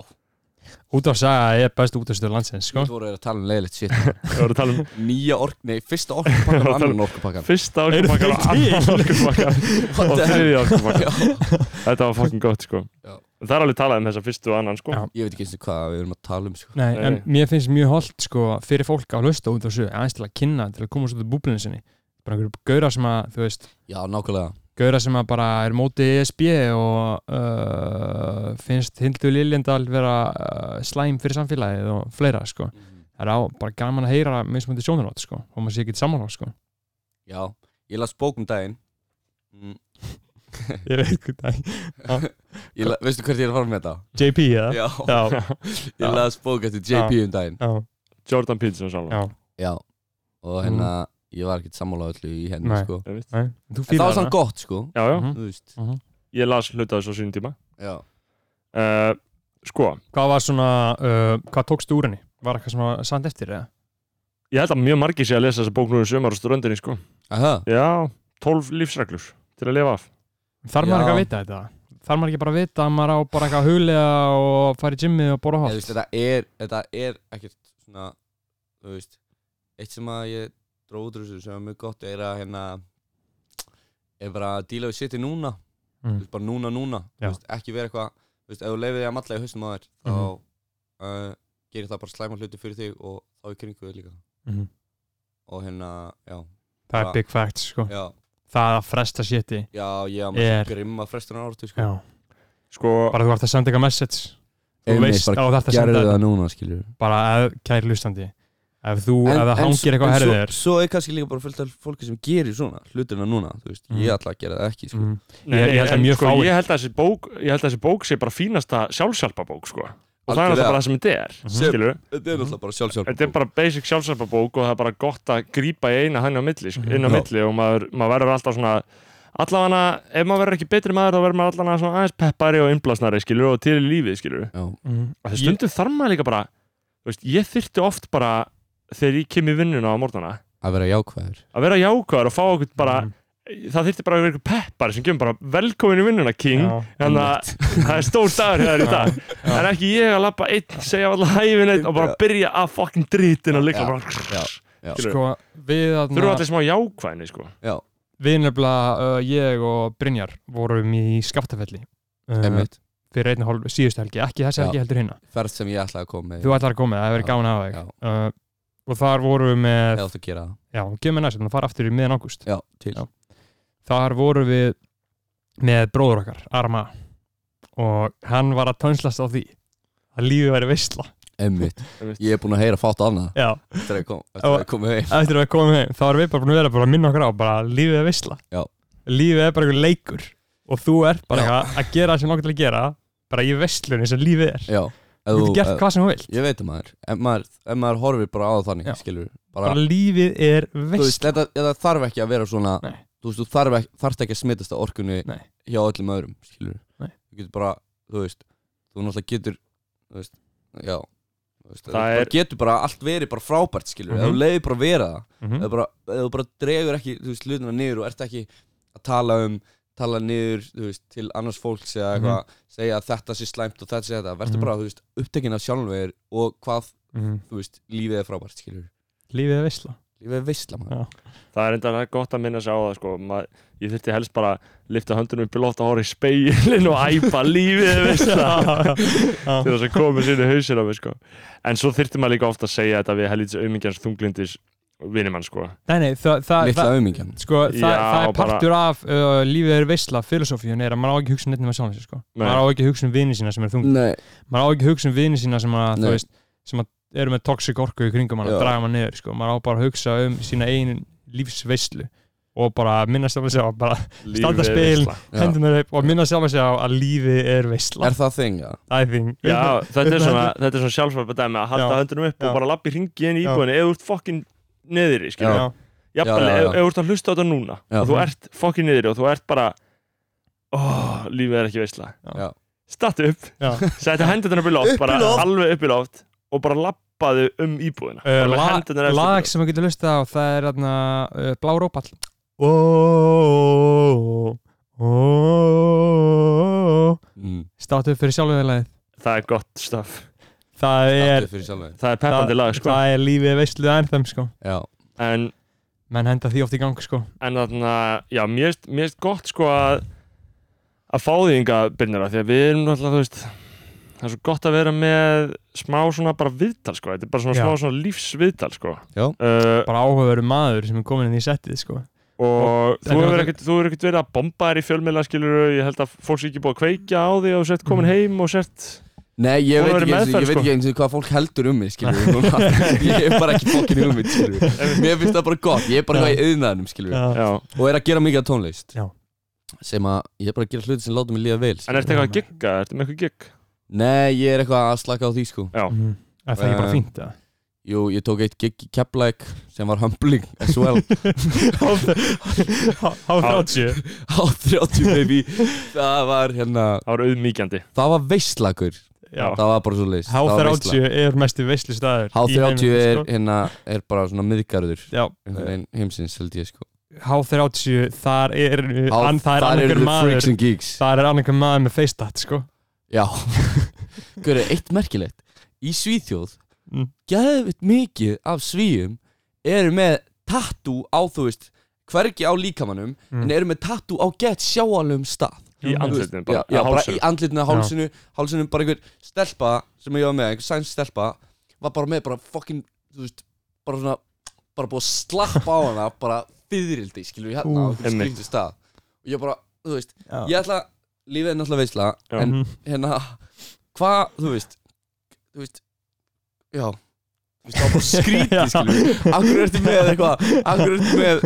Speaker 3: út af saga er best út af stöðu landsins sko
Speaker 1: þú voru að tala um leiðilegt shit
Speaker 2: við vorum að tala um
Speaker 1: Nýja ork, nei, fyrsta orkupakkan og annan orkupakkan
Speaker 2: fyrsta
Speaker 3: Eru
Speaker 2: orkupakkan og
Speaker 3: þeir
Speaker 2: annan
Speaker 3: til?
Speaker 2: orkupakkan
Speaker 1: What
Speaker 2: og
Speaker 1: the hell?
Speaker 2: þriði orkupakkan
Speaker 1: Já.
Speaker 2: þetta var fucking gott sko
Speaker 1: Já.
Speaker 2: það er alveg talað um þessa fyrstu og annan sko
Speaker 3: Já.
Speaker 1: Ég veit ekki eins og hvað við erum að tala um, sko
Speaker 3: Nei,
Speaker 2: Nei.
Speaker 3: en mér finnst mjög holdt sko fyrir fólk að hlusta út af sögu aðeins til að kynna, til að koma svo til búblinu sinni bara einhverju gauðra sem að, þú veist
Speaker 1: Já, nákvæmlega
Speaker 3: gauðra sem að bara er móti ESB og uh, finnst Hildur Liljendal vera uh, slæm fyrir samfélagið og fleira sko
Speaker 1: Mhm.
Speaker 3: það er á, bara gaman að heyra mismundi sjónarhátt sko, og maður sé ekki samanhátt sko
Speaker 1: Já, ég las bók um daginn mm.
Speaker 3: ég veit hvað það
Speaker 1: Ég la- Veistu hvert ég er að fara með þetta?
Speaker 3: JP eða?
Speaker 1: Já,
Speaker 3: já, Já.
Speaker 1: ég las bók eftir JP um daginn
Speaker 3: já,
Speaker 2: Jordan Peterson sjálf
Speaker 3: já.
Speaker 1: Já, og hérna ég var ekkert sammála öllu í henni,
Speaker 3: Nei.
Speaker 1: sko
Speaker 2: já,
Speaker 3: Nei, þú
Speaker 1: En það
Speaker 3: fílar
Speaker 1: var samt gott, sko
Speaker 2: já, já.
Speaker 3: Mhm.
Speaker 1: Þú veist
Speaker 3: Mhm.
Speaker 2: ég las hluta þessu á sínum tíma
Speaker 1: Já,
Speaker 2: uh, sko,
Speaker 3: hvað var svona, uh, hvað tókst úr henni var eitthvað svona sand eftir eða?
Speaker 2: ég held að mjög margir sé að lesa þessa bók núna í sömar og ströndinni sko
Speaker 1: aha
Speaker 2: já, 12 lífsreglur til að lifa af
Speaker 3: þarf maður
Speaker 1: Já.
Speaker 3: ekki að vita þetta? þarf maður ekki bara að vita að maður á bara eitthvað að huglega og fara í gymmið og bóra
Speaker 1: Ég, þú veist,
Speaker 3: hótt
Speaker 1: þetta er, þetta er ekkert svona, þú veist, eitt sem að ég dróð út úr þessu sem er mjög gott er að hérna, er bara að díla við sitið núna,
Speaker 3: Mm.
Speaker 1: þú veist, bara núna, núna,
Speaker 3: Já.
Speaker 1: þú veist, ekki vera eitthvað, þú veist, ef þú leifir því að matla í haustum á þér, þá
Speaker 3: Mhm.
Speaker 1: uh, gerir það bara slæma hluti fyrir þig og þá í kringu þig líka.
Speaker 3: Mhm.
Speaker 1: Og hérna, já,
Speaker 3: það er
Speaker 1: Já.
Speaker 3: big fact sko
Speaker 1: já,
Speaker 3: það að fresta shiti
Speaker 1: já, ég á
Speaker 3: Er-
Speaker 1: mér grimma frestunar ártu, sko.
Speaker 3: já.
Speaker 2: sko,
Speaker 3: bara þú ert að senda eitthvað message þú
Speaker 1: Einmitt,
Speaker 3: veist
Speaker 1: bara
Speaker 3: á þetta að
Speaker 1: Gerðu
Speaker 3: senda
Speaker 1: það núna, skiljur.
Speaker 3: bara að kæri hlustandi ef þú, ef það hangir eitthvað
Speaker 1: en svo,
Speaker 3: herðið þér
Speaker 1: svo er kannski líka bara fullt af fólki sem gerir svona hlutina núna, þú veist,
Speaker 3: Mhm.
Speaker 1: ég ætla að gera það ekki, sko.
Speaker 3: mm.
Speaker 2: nei,
Speaker 3: ég- ég held að
Speaker 2: en
Speaker 3: mjög
Speaker 2: sko,
Speaker 3: fáir-
Speaker 2: ég held að þessi bók ég held að þessi bók sé bara fínasta sjálfsjálpabók sko og það er
Speaker 1: Algjörlega.
Speaker 2: alltaf bara það sem þetta er
Speaker 3: Mhm.
Speaker 1: Sem-
Speaker 2: skilur
Speaker 1: Þetta er náttúrulega bara sjálfsjálf
Speaker 2: þetta er bara basic sjálfsjálfabók og það er bara gott að grípa í eina hann á milli, sko,
Speaker 3: Mhm.
Speaker 2: inn á
Speaker 1: Já.
Speaker 2: milli og maður, maður verður alltaf svona allavega, ef maður verður ekki betri maður þá verður maður allavega svona aðeins peppari og innblasnari skilur og til í lífið skilur
Speaker 1: Já,
Speaker 3: Mm.
Speaker 2: og það stundum þarf maður líka bara þú veist, ég þyrfti oft bara þegar ég kem í vinnuna á morgnana
Speaker 1: að vera jákvæður
Speaker 2: að vera jákvæður og fá okkur bara
Speaker 3: Mm.
Speaker 2: það þyrfti bara að vera einhver peppar sem kemur bara velkomin í vinnuna king
Speaker 3: Já.
Speaker 2: þannig að það er stór dagur hér í dag en ekki ég að lappa einn, segja alltaf hæfin einn og bara byrja að fucking drítin og
Speaker 1: Já.
Speaker 2: líka bara
Speaker 1: Já. Já.
Speaker 2: Skilurðu?
Speaker 3: sko, við
Speaker 2: þurfum
Speaker 3: þarna-
Speaker 2: allir smá jákvæðinni sko
Speaker 1: Já,
Speaker 3: við nefnilega, uh, ég og Brynjar vorum í Skaftafelli uh,
Speaker 1: einmitt
Speaker 3: fyrir einu hálf síðustu helgi, ekki þessi
Speaker 1: Já.
Speaker 3: helgi heldur hinna
Speaker 1: Ferð sem ég ætla að koma með
Speaker 3: þú ætlar að koma, með, það hefur verið
Speaker 1: Já,
Speaker 3: gána á
Speaker 1: Já,
Speaker 3: þig uh, og þar vorum við með
Speaker 1: eða þú gera það
Speaker 3: já, kemur næst, þannig að fara aftur í miðan ágúst
Speaker 1: Já, til
Speaker 3: Já. þar vorum við með bróður okkar, Arma og hann var að tönslast á því að lífið væri veistla
Speaker 1: Einmitt
Speaker 2: Einmitt.
Speaker 1: Ég er búinn að heyra fátt af það
Speaker 3: já,
Speaker 1: Eftir að ég kom- eftir
Speaker 3: Já.
Speaker 1: að ég komi heim
Speaker 3: eftir að við komum heim þá erum við bara búin að vera bara að minna okkur á bara að lífið er veistla
Speaker 1: Já.
Speaker 3: lífið er bara einhver leikur og þú ert bara
Speaker 1: Já.
Speaker 3: eitthvað að gera það sem nokkur til að gera bara í veistlunni sem lífið er
Speaker 1: Já ef
Speaker 3: þú
Speaker 1: þú-
Speaker 3: getur gert
Speaker 1: ef-
Speaker 3: hvað sem þú vilt
Speaker 1: Ég veit það maður Ef maður, ef maður horfir bara á það
Speaker 3: Já.
Speaker 1: þannig, skilur Bara,
Speaker 3: bara lífið er
Speaker 1: þú veist,
Speaker 3: veistla
Speaker 1: þetta, þetta þarf ekki að vera svona
Speaker 3: Nei.
Speaker 1: Þú veist, þú þarf ekki, þarft ekki að smitast á orkunni
Speaker 3: Nei.
Speaker 1: hjá öllum öðrum, skilur
Speaker 3: Nei.
Speaker 1: Þú getur bara, þú veist Þú náttúrulega getur, þú veist, já Þú veist,
Speaker 2: Það
Speaker 1: þú bara
Speaker 2: er-
Speaker 1: getur bara allt verið bara frábært, skilur mm
Speaker 3: Mhm.
Speaker 1: Ef þú leiðir bara að vera það
Speaker 3: mm
Speaker 1: eða bara, eða þú bara dregur ekki þú veist, hlutina niður og ert ekki að tala um tala niður þú veist, til annars fólks eða eitthvað segja að þetta sé slæmt og þetta sé þetta verður
Speaker 3: Mhm.
Speaker 1: bara, þú veist, upptekinn af sjálfur og hvað,
Speaker 3: mm.
Speaker 1: þú veist, lífið er frábært skilur,
Speaker 3: lífið er veisla
Speaker 1: lífið er veistla maður
Speaker 3: Já.
Speaker 2: Það er enda gott að minna sig á það sko. Ma, ég þurfti helst bara að lifta höndunum upp í loft og horfa í speilin og æpa lífið veist það til þess að koma sinni hausir á mig sko. En svo þurfti maður líka ofta að segja þetta við helítis aumingjans þunglindis vinnimann sko.
Speaker 3: nei, nei, það, það,
Speaker 1: litla
Speaker 3: það,
Speaker 1: auðmingjan
Speaker 3: sko, það,
Speaker 2: Já,
Speaker 3: það er
Speaker 2: bara-
Speaker 3: partur af uh, lífið er veisla filosófíun er að maður á ekki að hugsa um neitt nema sjálfum sér sko.
Speaker 2: Nei.
Speaker 3: maður á ekki að hugsa um vini sína sem er þung
Speaker 1: Nei,
Speaker 3: maður á ekki að hugsa um vini sína sem að, þú
Speaker 1: Nei.
Speaker 3: veist, sem að eru með toxic orku í kringum hann að
Speaker 1: Já.
Speaker 3: draga maður niður sko. maður á bara að hugsa um sína eigin lífsveislu og bara minna sjálf að segja bara
Speaker 2: Lífið
Speaker 3: Standa
Speaker 2: er
Speaker 3: spegil.
Speaker 2: veisla.
Speaker 1: Já.
Speaker 3: hendunar upp og minna sjálf að segja að lífið er veisla
Speaker 1: er það þing, já
Speaker 3: I think
Speaker 2: Já, þetta er
Speaker 3: Upp með
Speaker 2: svona, þetta er svona sjálfsvarpa dæmi að halda
Speaker 3: Já.
Speaker 2: höndunum upp
Speaker 3: Já.
Speaker 2: og bara lappi hringi inn í
Speaker 3: Já.
Speaker 2: íbúðinu eða þú ert fokkin niðri, skilur
Speaker 3: Já.
Speaker 2: Jafnvel,
Speaker 1: Já, já, já.
Speaker 2: ef ef þú ert að hlusta á þetta núna
Speaker 1: Já.
Speaker 2: og þú ert fokkin niðri og þú ert bara oh, lífið er ekki veisla
Speaker 1: Já.
Speaker 2: Stattu upp,
Speaker 3: Já.
Speaker 2: setja hendurnar upp í loft
Speaker 1: Upp í
Speaker 2: bara
Speaker 1: loft.
Speaker 2: alveg upp í loft og bara lappaðu um íbúðina
Speaker 3: Uh,
Speaker 2: bara með
Speaker 3: la-
Speaker 2: hendurnar efst upp í
Speaker 3: lag
Speaker 2: loft.
Speaker 3: sem maður getur lusta á það er þarna uh, blá rópall oh, oh, oh,
Speaker 1: mm.
Speaker 3: státt upp fyrir sjálfveðalagið
Speaker 2: Það er gott stöf
Speaker 3: það er
Speaker 1: Allt fyrir sjálfur
Speaker 2: Það er peppandi lag, sko
Speaker 3: það er lífið veistluð ennþem sko
Speaker 1: Já,
Speaker 2: en,
Speaker 3: menn henda því oft í gang sko
Speaker 2: en þarna, já, mér erst, mér erst gott, sko að að fá því ynga byrnara því að við erum náttúrulega, þú veist það er svo gott að vera með smá svona bara viðtal, sko þetta er bara svona
Speaker 3: Já.
Speaker 2: smá svona lífsviðtal, sko
Speaker 1: Já.
Speaker 2: uh,
Speaker 3: bara áhugaveru maður sem er komin inn í settið sko
Speaker 2: og þú
Speaker 3: en
Speaker 2: hefur
Speaker 3: það-
Speaker 2: ekkert, þú hefur ekkert verið að bomba þér í fjölmiðla skiluru, ég held að fólk sé ekki búið að kveikja á því og sett komin
Speaker 1: Mm.
Speaker 3: Mhm.
Speaker 2: heim og sett
Speaker 1: Nei, ég
Speaker 2: Hún
Speaker 1: veit
Speaker 2: hefur
Speaker 1: ekki,
Speaker 2: verið
Speaker 1: eins og- ég
Speaker 3: sko.
Speaker 2: meðferð,
Speaker 1: veit ekki eins og hvað fólk heldur um mig, skilur við núna. Ég er bara ekki fokkin um mig, skilur við Mér finnst það bara gott, ég er bara
Speaker 3: Já.
Speaker 1: eitthvað í yðnaðinum, skilur við
Speaker 3: Já.
Speaker 2: já.
Speaker 1: Og er að gera mikið af tónlist
Speaker 3: Já.
Speaker 1: Sem að, ég er bara að gera hluti sem láta mig líða vel
Speaker 2: en
Speaker 1: skilur.
Speaker 2: ertu eitthvað að gigga, ertu með eitthvað gigg
Speaker 1: Nei, ég er eitthvað að slaka á því, sko
Speaker 2: Já.
Speaker 3: Mhm. Er það er ekki bara
Speaker 1: Eh,
Speaker 3: fínt eða?
Speaker 1: Jú, ég tók eitt gig í Keflæk sem var humbling as well
Speaker 3: Há 30
Speaker 1: Á 30 baby Það var, hérna,
Speaker 2: það var auðmíkjandi
Speaker 1: það var veistlakur
Speaker 3: Já.
Speaker 1: Það var bara svo leist
Speaker 3: Há 30 er mestu veistlu staður
Speaker 1: Há
Speaker 3: í heiminum,
Speaker 1: 30 er,
Speaker 3: sko.
Speaker 1: hérna, er bara svona miðgarður
Speaker 3: Já,
Speaker 1: einhvern veginn heimsins held ég sko
Speaker 3: H30 þar er,
Speaker 1: Á-
Speaker 3: an, það er
Speaker 1: þar
Speaker 3: annarkur
Speaker 1: the freaks
Speaker 3: maður
Speaker 1: and geeks
Speaker 3: þar er annarkur maður með feistatt sko
Speaker 1: Já Hver er eitt merkilegt Í Svíþjóð
Speaker 3: Mm.
Speaker 1: Gæðvitt mikið af svíum Eru með tattoo á þú veist Hvergi á líkamannum
Speaker 3: Mm.
Speaker 1: En eru með tattoo á gett sjáanlegum stað
Speaker 2: í
Speaker 1: Þú
Speaker 3: Já,
Speaker 1: veist,
Speaker 2: andlitinu bara,
Speaker 1: já, já,
Speaker 2: á
Speaker 1: bara
Speaker 2: hálsinum.
Speaker 1: í andlitinu, hálsinu Hálsinu bara einhver stelpa Sem ég var með, einhver sæns stelpa Var bara með bara fucking Þú veist, bara svona Bara búið að slappa á hana Bara fyririldi, skilur við hérna Á
Speaker 3: Ú,
Speaker 1: einhverjum
Speaker 2: einmitt.
Speaker 1: skrýndu stað Og ég bara, þú veist Ég ætla, lífið er náttúrulega veisla
Speaker 2: Já.
Speaker 1: En
Speaker 3: Mhm.
Speaker 1: hérna hvað, þú veist þú veist, já þú veist, það var bara skrítið,
Speaker 3: Já.
Speaker 1: skilur við akkur ertu með eitthvað, akkur ertu með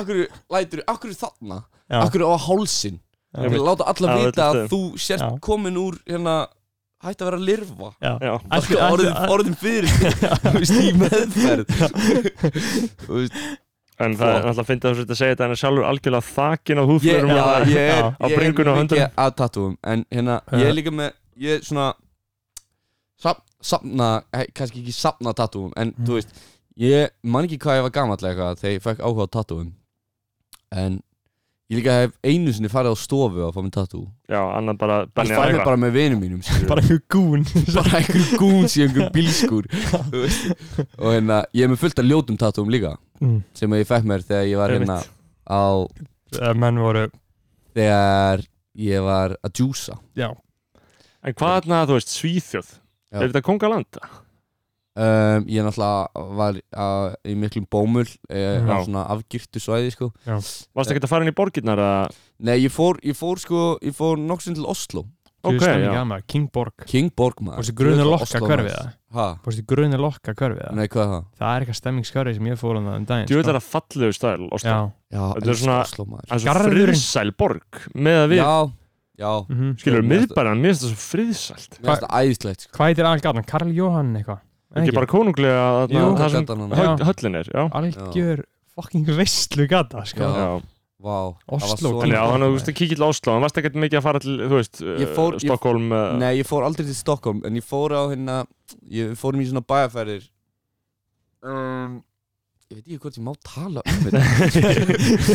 Speaker 1: akkur lætur, akkur er þarna
Speaker 3: Já.
Speaker 1: akkur á hálsin,
Speaker 3: Já.
Speaker 1: ég vil láta alla
Speaker 2: Já,
Speaker 1: vita að
Speaker 2: þetta er-
Speaker 1: þú sért
Speaker 3: Já.
Speaker 1: komin úr hérna, hætti að vera að lirfa
Speaker 2: já,
Speaker 3: Ætli-
Speaker 1: Alltaf
Speaker 3: ætli-
Speaker 1: orðin, orðin fyrir þú veist, í meðferð Þú veist,
Speaker 2: en það er
Speaker 1: Flott.
Speaker 2: náttúrulega að finna þess að segja þetta en er sjálfur algjörlega þakin á húflurum
Speaker 1: Sko. ég, já, ég er,
Speaker 2: á
Speaker 1: ég er
Speaker 2: bringunni á höndunum.
Speaker 1: mikið að tattúum en hérna, ég er líka með ég er svona sap, sapna, eh, kannski ekki sapna tattúum en
Speaker 3: Mm.
Speaker 1: þú veist, ég man ekki hvað ég var gamall eða eitthvað þegar ég fekk áhuga á tattúum en ég líka hef einu sinni farið á stofu að fá mér tattú
Speaker 2: já, annan bara
Speaker 1: ég
Speaker 2: benni að
Speaker 1: fæ mér
Speaker 2: eitthvað
Speaker 1: bara með vinum mínum skilurðu.
Speaker 3: bara einhver gún
Speaker 1: bara einhver gún í einhver bílskur þú veist. og hérna, ég er með fullt af ljótum tattúum líka
Speaker 3: Mm.
Speaker 1: sem ég fekk mér þegar ég var hérna
Speaker 2: Einmitt.
Speaker 1: á,
Speaker 3: Eh, menn voru
Speaker 1: þegar ég var að djúsa
Speaker 3: já,
Speaker 2: en hvað þarna, þú veist, Svíþjóð
Speaker 1: Já.
Speaker 2: er þetta kongaland?
Speaker 1: um, ég náttúrulega var uh, í miklum bómul uh,
Speaker 3: Já.
Speaker 1: á svona afgirtu svæði sko.
Speaker 2: varst ekki að fara inn í borginnar að
Speaker 1: nei, ég fór, ég fór sko ég fór nokksinn til Oslo
Speaker 2: ok, já,
Speaker 3: gama, King Borg
Speaker 1: King Borgman
Speaker 3: fórstu grunni lokka hverfið það
Speaker 1: ha?
Speaker 3: fórstu grunni lokka hverfið það
Speaker 1: nei, hvað er það?
Speaker 3: það er eitthvað stemmingskörfið sem ég fór um það um daginn
Speaker 2: þú veit
Speaker 3: sko.
Speaker 2: það að fallegu stæl og
Speaker 3: já,
Speaker 2: stæl
Speaker 1: já,
Speaker 2: Þetta er
Speaker 1: elska
Speaker 2: svona-
Speaker 1: Oslo maður
Speaker 2: það er svo
Speaker 3: Garðurinn.
Speaker 2: friðsæl borg með að við,
Speaker 1: já, já
Speaker 3: mhm.
Speaker 2: skilur,
Speaker 1: Já, mér finnst-
Speaker 2: miðbæran mér finnst það svo friðsælt
Speaker 1: mér finnst það æðislegt sko.
Speaker 3: hvað heitir allgarðan, Karl Jóhann eitthvað En
Speaker 2: ekki bara konunglega
Speaker 3: Jú.
Speaker 2: þarna, það sem
Speaker 1: þetta hann
Speaker 3: Já.
Speaker 2: höll- höllin er, já,
Speaker 3: algjör fucking veistlu gata
Speaker 1: Já.
Speaker 3: sko.
Speaker 2: já.
Speaker 1: vá það var
Speaker 3: Oslo,
Speaker 1: svo-
Speaker 2: En já, þannig
Speaker 3: Borg,
Speaker 2: að þú
Speaker 3: maður.
Speaker 2: veist að kíkja til Oslo en varst ekkert mikið að fara til, þú veist,
Speaker 1: Ég fór-
Speaker 2: uh,
Speaker 1: ég-
Speaker 2: Stockholm uh,
Speaker 1: Nei, ég fór aldrei til Stockholm En ég fór á hérna Ég fórum í svona bæjarferðir um, ég veit ekki hvort ég má tala um þetta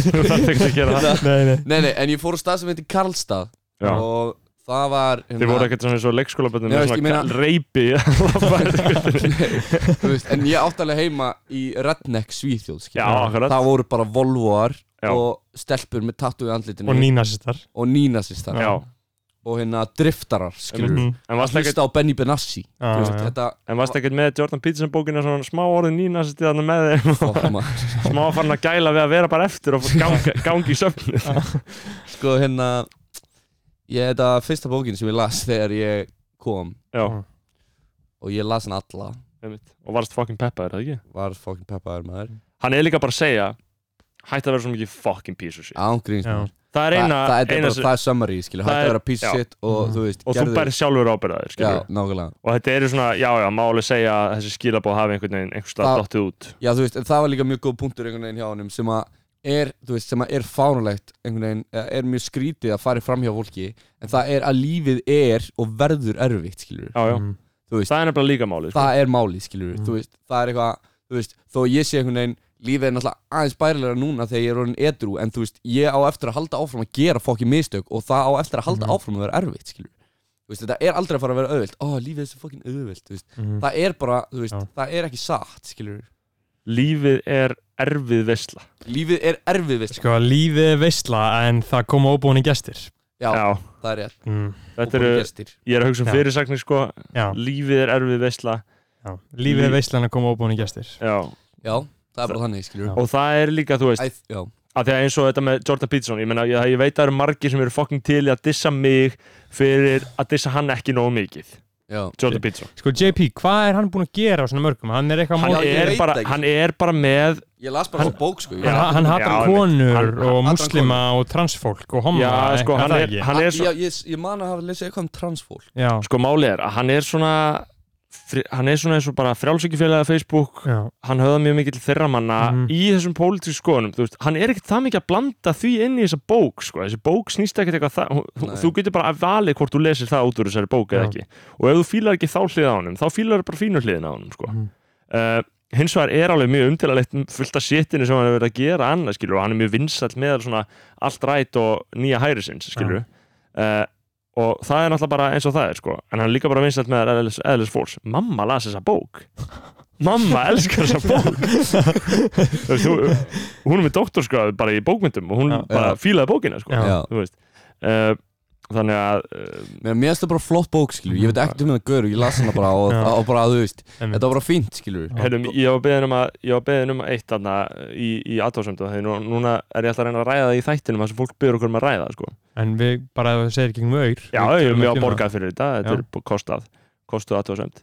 Speaker 2: Þú þarf ekki að gera það
Speaker 3: Nei, nei
Speaker 1: Nei, nei, en ég fór á stað sem heitir Karlstad
Speaker 2: Já.
Speaker 1: og það var hérna-
Speaker 2: Þið voru ekkert svona eins og leikskólaböndum
Speaker 1: Nei,
Speaker 2: með
Speaker 1: veist, ég meina-
Speaker 2: svona reypi
Speaker 1: Nei, þú veist, en ég átti alveg heima í Redneck Svíþjóð skilur.
Speaker 2: Já, akkurat.
Speaker 1: það voru bara Volvoar
Speaker 2: Já.
Speaker 1: og stelpur með tattu í andlitinu
Speaker 3: Og nínasistar
Speaker 1: og nínasistar
Speaker 2: Já,
Speaker 1: og hérna driftarar skilur
Speaker 3: Mhm.
Speaker 2: en varst ekkert
Speaker 1: hlusta á Benny Benassi
Speaker 3: Já,
Speaker 1: þú veist,
Speaker 3: já.
Speaker 1: þetta
Speaker 2: En varst ekkert með Jordan Peterson bókina svona smá orðin nýna sem stíðan með þeim og
Speaker 1: fokk, maður.
Speaker 2: smá farin að gæla við að vera bara eftir og gangi, gangi í söfnið
Speaker 1: sko hérna ég þetta var fyrsta bókin sem ég las þegar ég kom
Speaker 2: Já,
Speaker 1: og ég las hann alla
Speaker 2: einmitt Og varst fucking peppaður, eða ekki?
Speaker 1: var fokkin peppaður maður
Speaker 2: Hann er líka bara að segja Hætti að vera svo mikið fucking piece of shit
Speaker 1: ángríns
Speaker 3: Já.
Speaker 1: maður
Speaker 2: Það er
Speaker 1: Þa,
Speaker 2: eina,
Speaker 1: það, er
Speaker 2: eina
Speaker 1: bara,
Speaker 2: sem-
Speaker 1: það er summary skilur
Speaker 2: Það
Speaker 1: hætti
Speaker 2: er-
Speaker 1: að vera piece of
Speaker 2: já. Mhm.
Speaker 1: shit og þú veist
Speaker 2: Og þú bæri sjálfur ábyrðaðir,
Speaker 1: já,
Speaker 2: skilur
Speaker 1: nákvæmlega
Speaker 2: Og þetta eru svona, já, já, máli segja að þessi skilabóð hafi einhvern veginn einhvers stað
Speaker 1: Það-
Speaker 2: dottið út
Speaker 1: Já, þú veist, en það var líka mjög góð punktur einhvern veginn hjá honum sem að er, þú veist, sem að er fánulegt einhvern veginn, eða er mjög skrítið að fara fram hjá fólki en það er að lífið er og verður erfitt, skilur
Speaker 2: Já, já,
Speaker 3: Mm.
Speaker 1: þú veist,
Speaker 2: það er nefnilega líka máli sko.
Speaker 1: það er málið, skilur
Speaker 3: Mm.
Speaker 1: þú veist, það er eitthvað, þú veist, þó ég sé einhvern veginn lífið er náttúrulega aðeins bærilega núna þegar ég er orðin edru, en þú veist, ég á eftir að halda áfram að gera fokki mistök og það á eftir að halda
Speaker 3: Mhm.
Speaker 1: áfram að vera erfitt, skilur þú veist, þetta er aldrei að fara að vera auðvelt, ó, lífið er svo fokkin auðvelt, þú veist,
Speaker 3: Mhm.
Speaker 1: það er bara, þú veist,
Speaker 3: Já.
Speaker 1: það er ekki satt, skilur
Speaker 2: Lífið er erfið veisla
Speaker 1: lífið er erfið, veist,
Speaker 3: Sko, lífið er veisla en það koma óbúinni gestir
Speaker 1: já,
Speaker 2: Já,
Speaker 1: það er rétt
Speaker 3: mm.
Speaker 2: þetta eru,
Speaker 1: gestir
Speaker 2: ég er að hugsa um
Speaker 3: Já.
Speaker 2: fyrirsagnir sko
Speaker 3: Já,
Speaker 2: Lífið er erfið veisla
Speaker 3: já Lífið
Speaker 2: Líf-
Speaker 3: er veisla en það koma óbúinni gestir
Speaker 2: Já,
Speaker 1: Já, það er bara þannig,
Speaker 3: Já.
Speaker 1: skilur
Speaker 2: og það er líka, þú veist
Speaker 1: Æ, já,
Speaker 2: að því að eins og þetta með Jordan Peterson ég, meina, ég, ég veit að það eru margir sem eru fucking til í að dissa mig fyrir að dissa hann ekki nógu mikið
Speaker 1: já
Speaker 2: Jordan Peterson
Speaker 3: Sko, JP, hvað er hann búinn að gera á svona mörgum? Hann er eitthvað
Speaker 2: hann
Speaker 3: mót
Speaker 1: ég
Speaker 2: er,
Speaker 1: veit
Speaker 2: bara,
Speaker 1: ekki.
Speaker 2: hann er bara með
Speaker 1: Ég las bara
Speaker 3: Hann-
Speaker 1: svo bók, sko ég-
Speaker 2: Já,
Speaker 3: Hann, hann
Speaker 2: já,
Speaker 3: hatar
Speaker 2: einmitt.
Speaker 3: konur
Speaker 2: Hann-
Speaker 3: og
Speaker 1: hann hatar
Speaker 3: muslima og transfólk og homma
Speaker 2: já, sko,
Speaker 3: eitthvað
Speaker 2: hann,
Speaker 3: Oh það
Speaker 2: er,
Speaker 3: ekki?
Speaker 2: hann
Speaker 1: Ah,
Speaker 2: er svo,
Speaker 1: já, ég, ég man að hafa lesið eitthvað um transfólk
Speaker 3: Já,
Speaker 2: sko máli er að hann er svona fri, hann er svona eins og bara frjálsökjufélaga Facebook
Speaker 3: já,
Speaker 2: hann höfða mjög mikið til þeirra manna
Speaker 3: Mhm.
Speaker 2: í þessum pólitísk skoðunum þú veist, hann er ekkert það mikið að blanda því inn í þessa bók sko. þessi bók snýst ekkert eitthvað það, hún-
Speaker 1: Nei.
Speaker 2: þú getur bara að valið hvort þú lesir það út úr þessari bók eða
Speaker 3: Já.
Speaker 2: ekki og ef þú fílar ekki þá hliða á honum þá fílar bara fínu hliðina á honum sko.
Speaker 3: Mhm.
Speaker 2: uh, hins vegar er alveg mjög umtilalegt fullt af sétinu sem hann hefur verið að gera annað skilur og hann er mjög vinsall með svona allt rætt og nýja hærisins skilur uh, og það er náttúrulega bara eins og það er sko en hann er líka bara vinsall með eðlis, eðlis fólks mamma las þessa bók mamma elskar þessa bók Þú veist, hún, hún er með doktorskráð bara í bókmyndum og hún
Speaker 3: Já.
Speaker 2: bara
Speaker 1: Já.
Speaker 2: fílaði bókina sko,
Speaker 3: Já.
Speaker 1: Já,
Speaker 2: þú veist uh, þannig að uh,
Speaker 1: mér mér finnst það bara flott bók, skilur Ég
Speaker 2: Mm.
Speaker 1: veit ekkert um það gaur, og ég las hana bara og,
Speaker 3: Já.
Speaker 1: og bara, þú veist,
Speaker 3: einmitt.
Speaker 1: þetta var bara fínt, skilur
Speaker 3: Já.
Speaker 2: heyrðum, ég var beðin um að ég var beðin um eitt þarna í, í aðtóðsöndu þegar nú, núna er ég alltaf að reyna að ræða það í þættinum þar sem fólk byrður okkur um að ræða það, sko.
Speaker 3: En við bara ef við segir gegnum auður
Speaker 2: já, ég
Speaker 3: við
Speaker 2: er
Speaker 3: tölum
Speaker 2: mjög
Speaker 3: ekki
Speaker 2: að
Speaker 3: um
Speaker 2: borgað fyrir þetta þetta
Speaker 3: Já.
Speaker 2: er b- kostað, kostuð aðtóðsönd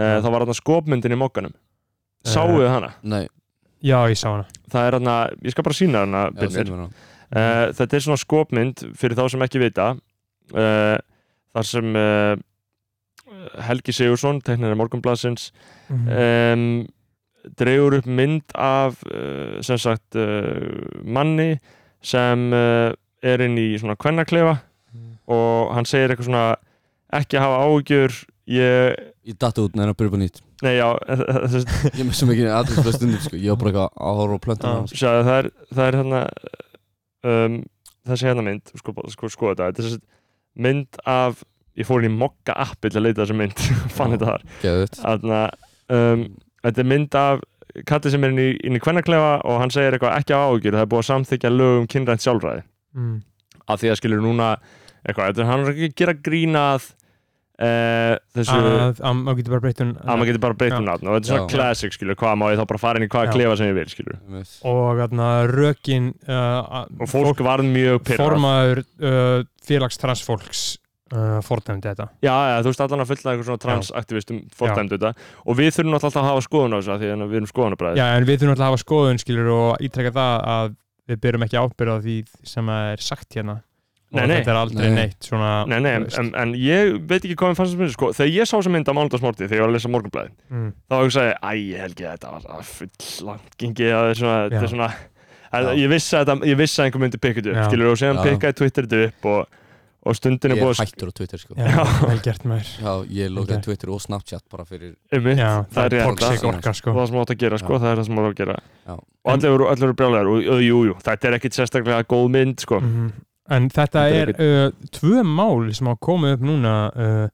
Speaker 2: uh,
Speaker 3: Já.
Speaker 2: þá var þarna skopmyndin í mokkanum sáuðu hana,
Speaker 1: Nei,
Speaker 3: það. Já, ég sá hana
Speaker 2: það er þarna ég skal bara sína hana,
Speaker 1: já,
Speaker 2: Birnir
Speaker 1: sínum hana
Speaker 2: Uh, þetta er svona skopmynd fyrir þá sem ekki vita uh, þar sem uh, Helgi Sigursson, teknari Morgunblassins um, dregur upp mynd af uh, sem sagt uh, manni sem uh, er inn í svona kvennaklefa og hann segir eitthvað svona ekki hafa áhugjur ég,
Speaker 1: Ég datt út, neina, byrja bara nýtt
Speaker 2: nei já þessi,
Speaker 1: Ég með svo mikið aðeins stundum, sko Ég var bara eitthvað að horfa á plöntum
Speaker 3: Já.
Speaker 1: hans sko.
Speaker 2: Sjáðu, það er, það er hérna um, þessi hérna mynd sko, sko, sko þetta, þetta er þessi mynd af ég fór inn í Mokka appi til að leita þessu mynd
Speaker 1: Já.
Speaker 2: fann þetta þar
Speaker 1: Geðvett
Speaker 2: Þarna, um, þetta er mynd af kalli sem er inn í, inn í kvennaklefa og hann segir eitthvað ekki á ágjur það er búið að samþykja lög um kynrænt sjálfræði
Speaker 3: Mm.
Speaker 2: af því að skilur núna eitthvað, þetta er hann er ekki að gera grínað e, þessu
Speaker 3: Að að maður getur bara breytt um
Speaker 2: að maður getur bara breytt um
Speaker 3: Já.
Speaker 2: nafn og þetta er svona
Speaker 1: Já.
Speaker 2: classic skilur, hvað má ég þá bara fara inn í hvaða
Speaker 3: Já.
Speaker 2: klefa sem ég vil skilur
Speaker 1: Mm,
Speaker 3: Og þarna rökin uh,
Speaker 2: og fólk, varð mjög pyrrað
Speaker 3: Formaður uh, félags transfólks uh, Fordæmdi þetta
Speaker 2: Já, já, þú veist allan að fulla eitthvað svona transaktivistum fórtæmdu þetta og við þurfum náttúrulega alltaf að hafa skoðun á þessu af því að hérna, við erum skoðunabræðir
Speaker 3: Já, en við þurfum alltaf að hafa skoðun skilur og ítrekka það að við byrjum ekki ábyrða því sem að er sagt hérna
Speaker 2: Nei,
Speaker 3: og
Speaker 2: nei.
Speaker 3: þetta er aldrei
Speaker 1: Nei.
Speaker 3: neitt svona,
Speaker 2: Nei, nei, en,
Speaker 3: þú veist.
Speaker 2: en, en ég veit ekki hvað mér fannst þess að sko, þegar ég sá þess að mynda mánundagsmorti þegar ég var að lesa morgunblæði,
Speaker 3: mm,
Speaker 2: þá hugsaði ég, æ, Helgi, þetta var það full langt gengið að svona, þetta
Speaker 3: Já.
Speaker 2: er svona að,
Speaker 1: Já.
Speaker 2: ég, vissi að þetta, ég vissi að einhver myndi pikka þetta upp,
Speaker 3: Já.
Speaker 2: skilur, og síðan
Speaker 1: Já.
Speaker 2: pikkaði Twitter þetta upp og, og stundin er
Speaker 1: Ég
Speaker 2: búið
Speaker 1: er
Speaker 2: að
Speaker 1: hættur á Twitter sko
Speaker 3: Já, vel gert maður
Speaker 1: Já, ég lokaði
Speaker 3: Ok.
Speaker 1: Twitter og Snapchat bara fyrir
Speaker 2: ummitt,
Speaker 3: Já,
Speaker 2: það er rétt
Speaker 1: toxic
Speaker 2: það
Speaker 3: toxic
Speaker 1: sko.
Speaker 2: er það
Speaker 3: orka sko
Speaker 2: sem átt að gera,
Speaker 1: Já.
Speaker 2: sko, það er það sem átt að gera
Speaker 1: Já.
Speaker 2: og allir eru, allir eru brjálæðar og og jú, jú, þetta er ekkit sérstaklega góð mynd, sko
Speaker 3: Mhm. En þetta
Speaker 2: Þetta er
Speaker 3: er uh, tvö mál sem hafa komið upp núna uh,